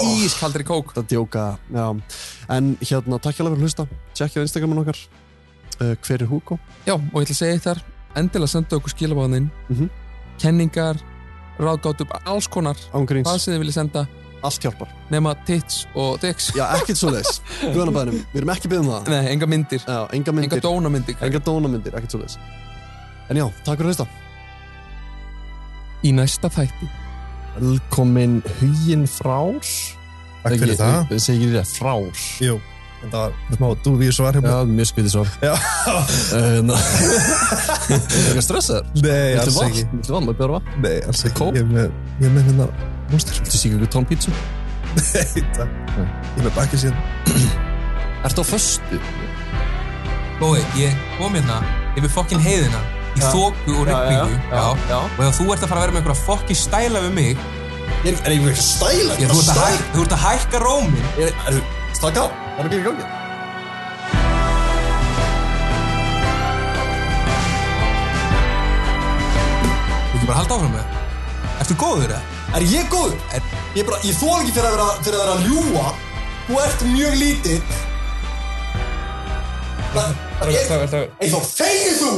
í ískaldri kók Þetta djóka, já En hérna, takk hjá fyrir að hlusta Tjekkja á Instagraman okkar uh, Hver er Hugo? já, og ég ætla að segja eitt þar endilega senda okkur skilabáðin Mhm. kenningar, ráðgátum alls konar, Ángríns, hvað sem þið viljið senda allt hjálpar nema tits og dicks Já, ekkert svo leis Guðanabæðinum, við erum ekki byggðum það Nei, enga myndir, Já, enga enga myndir, dónamyndir enga dónamyndir, ekkert svo leis En já, takk fyrir að hlusta Í næsta þætti Velkomin huginn frár Takk fyrir það. Ég segi ekki rétt, frár Jú, þetta var smá dúvíu svar hjá mér. Já, mjög skvítið svo Já. Ná Er það stressaður? Nei, Viltu alls ekki. vatn? Viltu vatn? Má ég bjóra vatn? Nei, alls ekki. Kók? Ég er með, ég er með hérna *laughs* mústur. Viltu síka ykkur tónpítsu? Nei, það. Ég er með bakið síðan. Ertu á föstu? Bói, ég kom hérna yfir fokkin heiðina í Já. þóku og rigningu já. já. og ef þú ert að fara að vera með einhverja fokkin stæla við mig Er ég verið stæla? ég, þú, ert að hæk, þú ert að hækka rómin Er þú stakka? Er það ekki í gangi? Þú ert bara að halda áfram með það Ertu góður það? Er ég góð? Er, ég bara, ég þól ekki fyrir að vera, fyrir að vera að ljúa Þú ert mjög lítill Það er, Það er það eða þegir þú!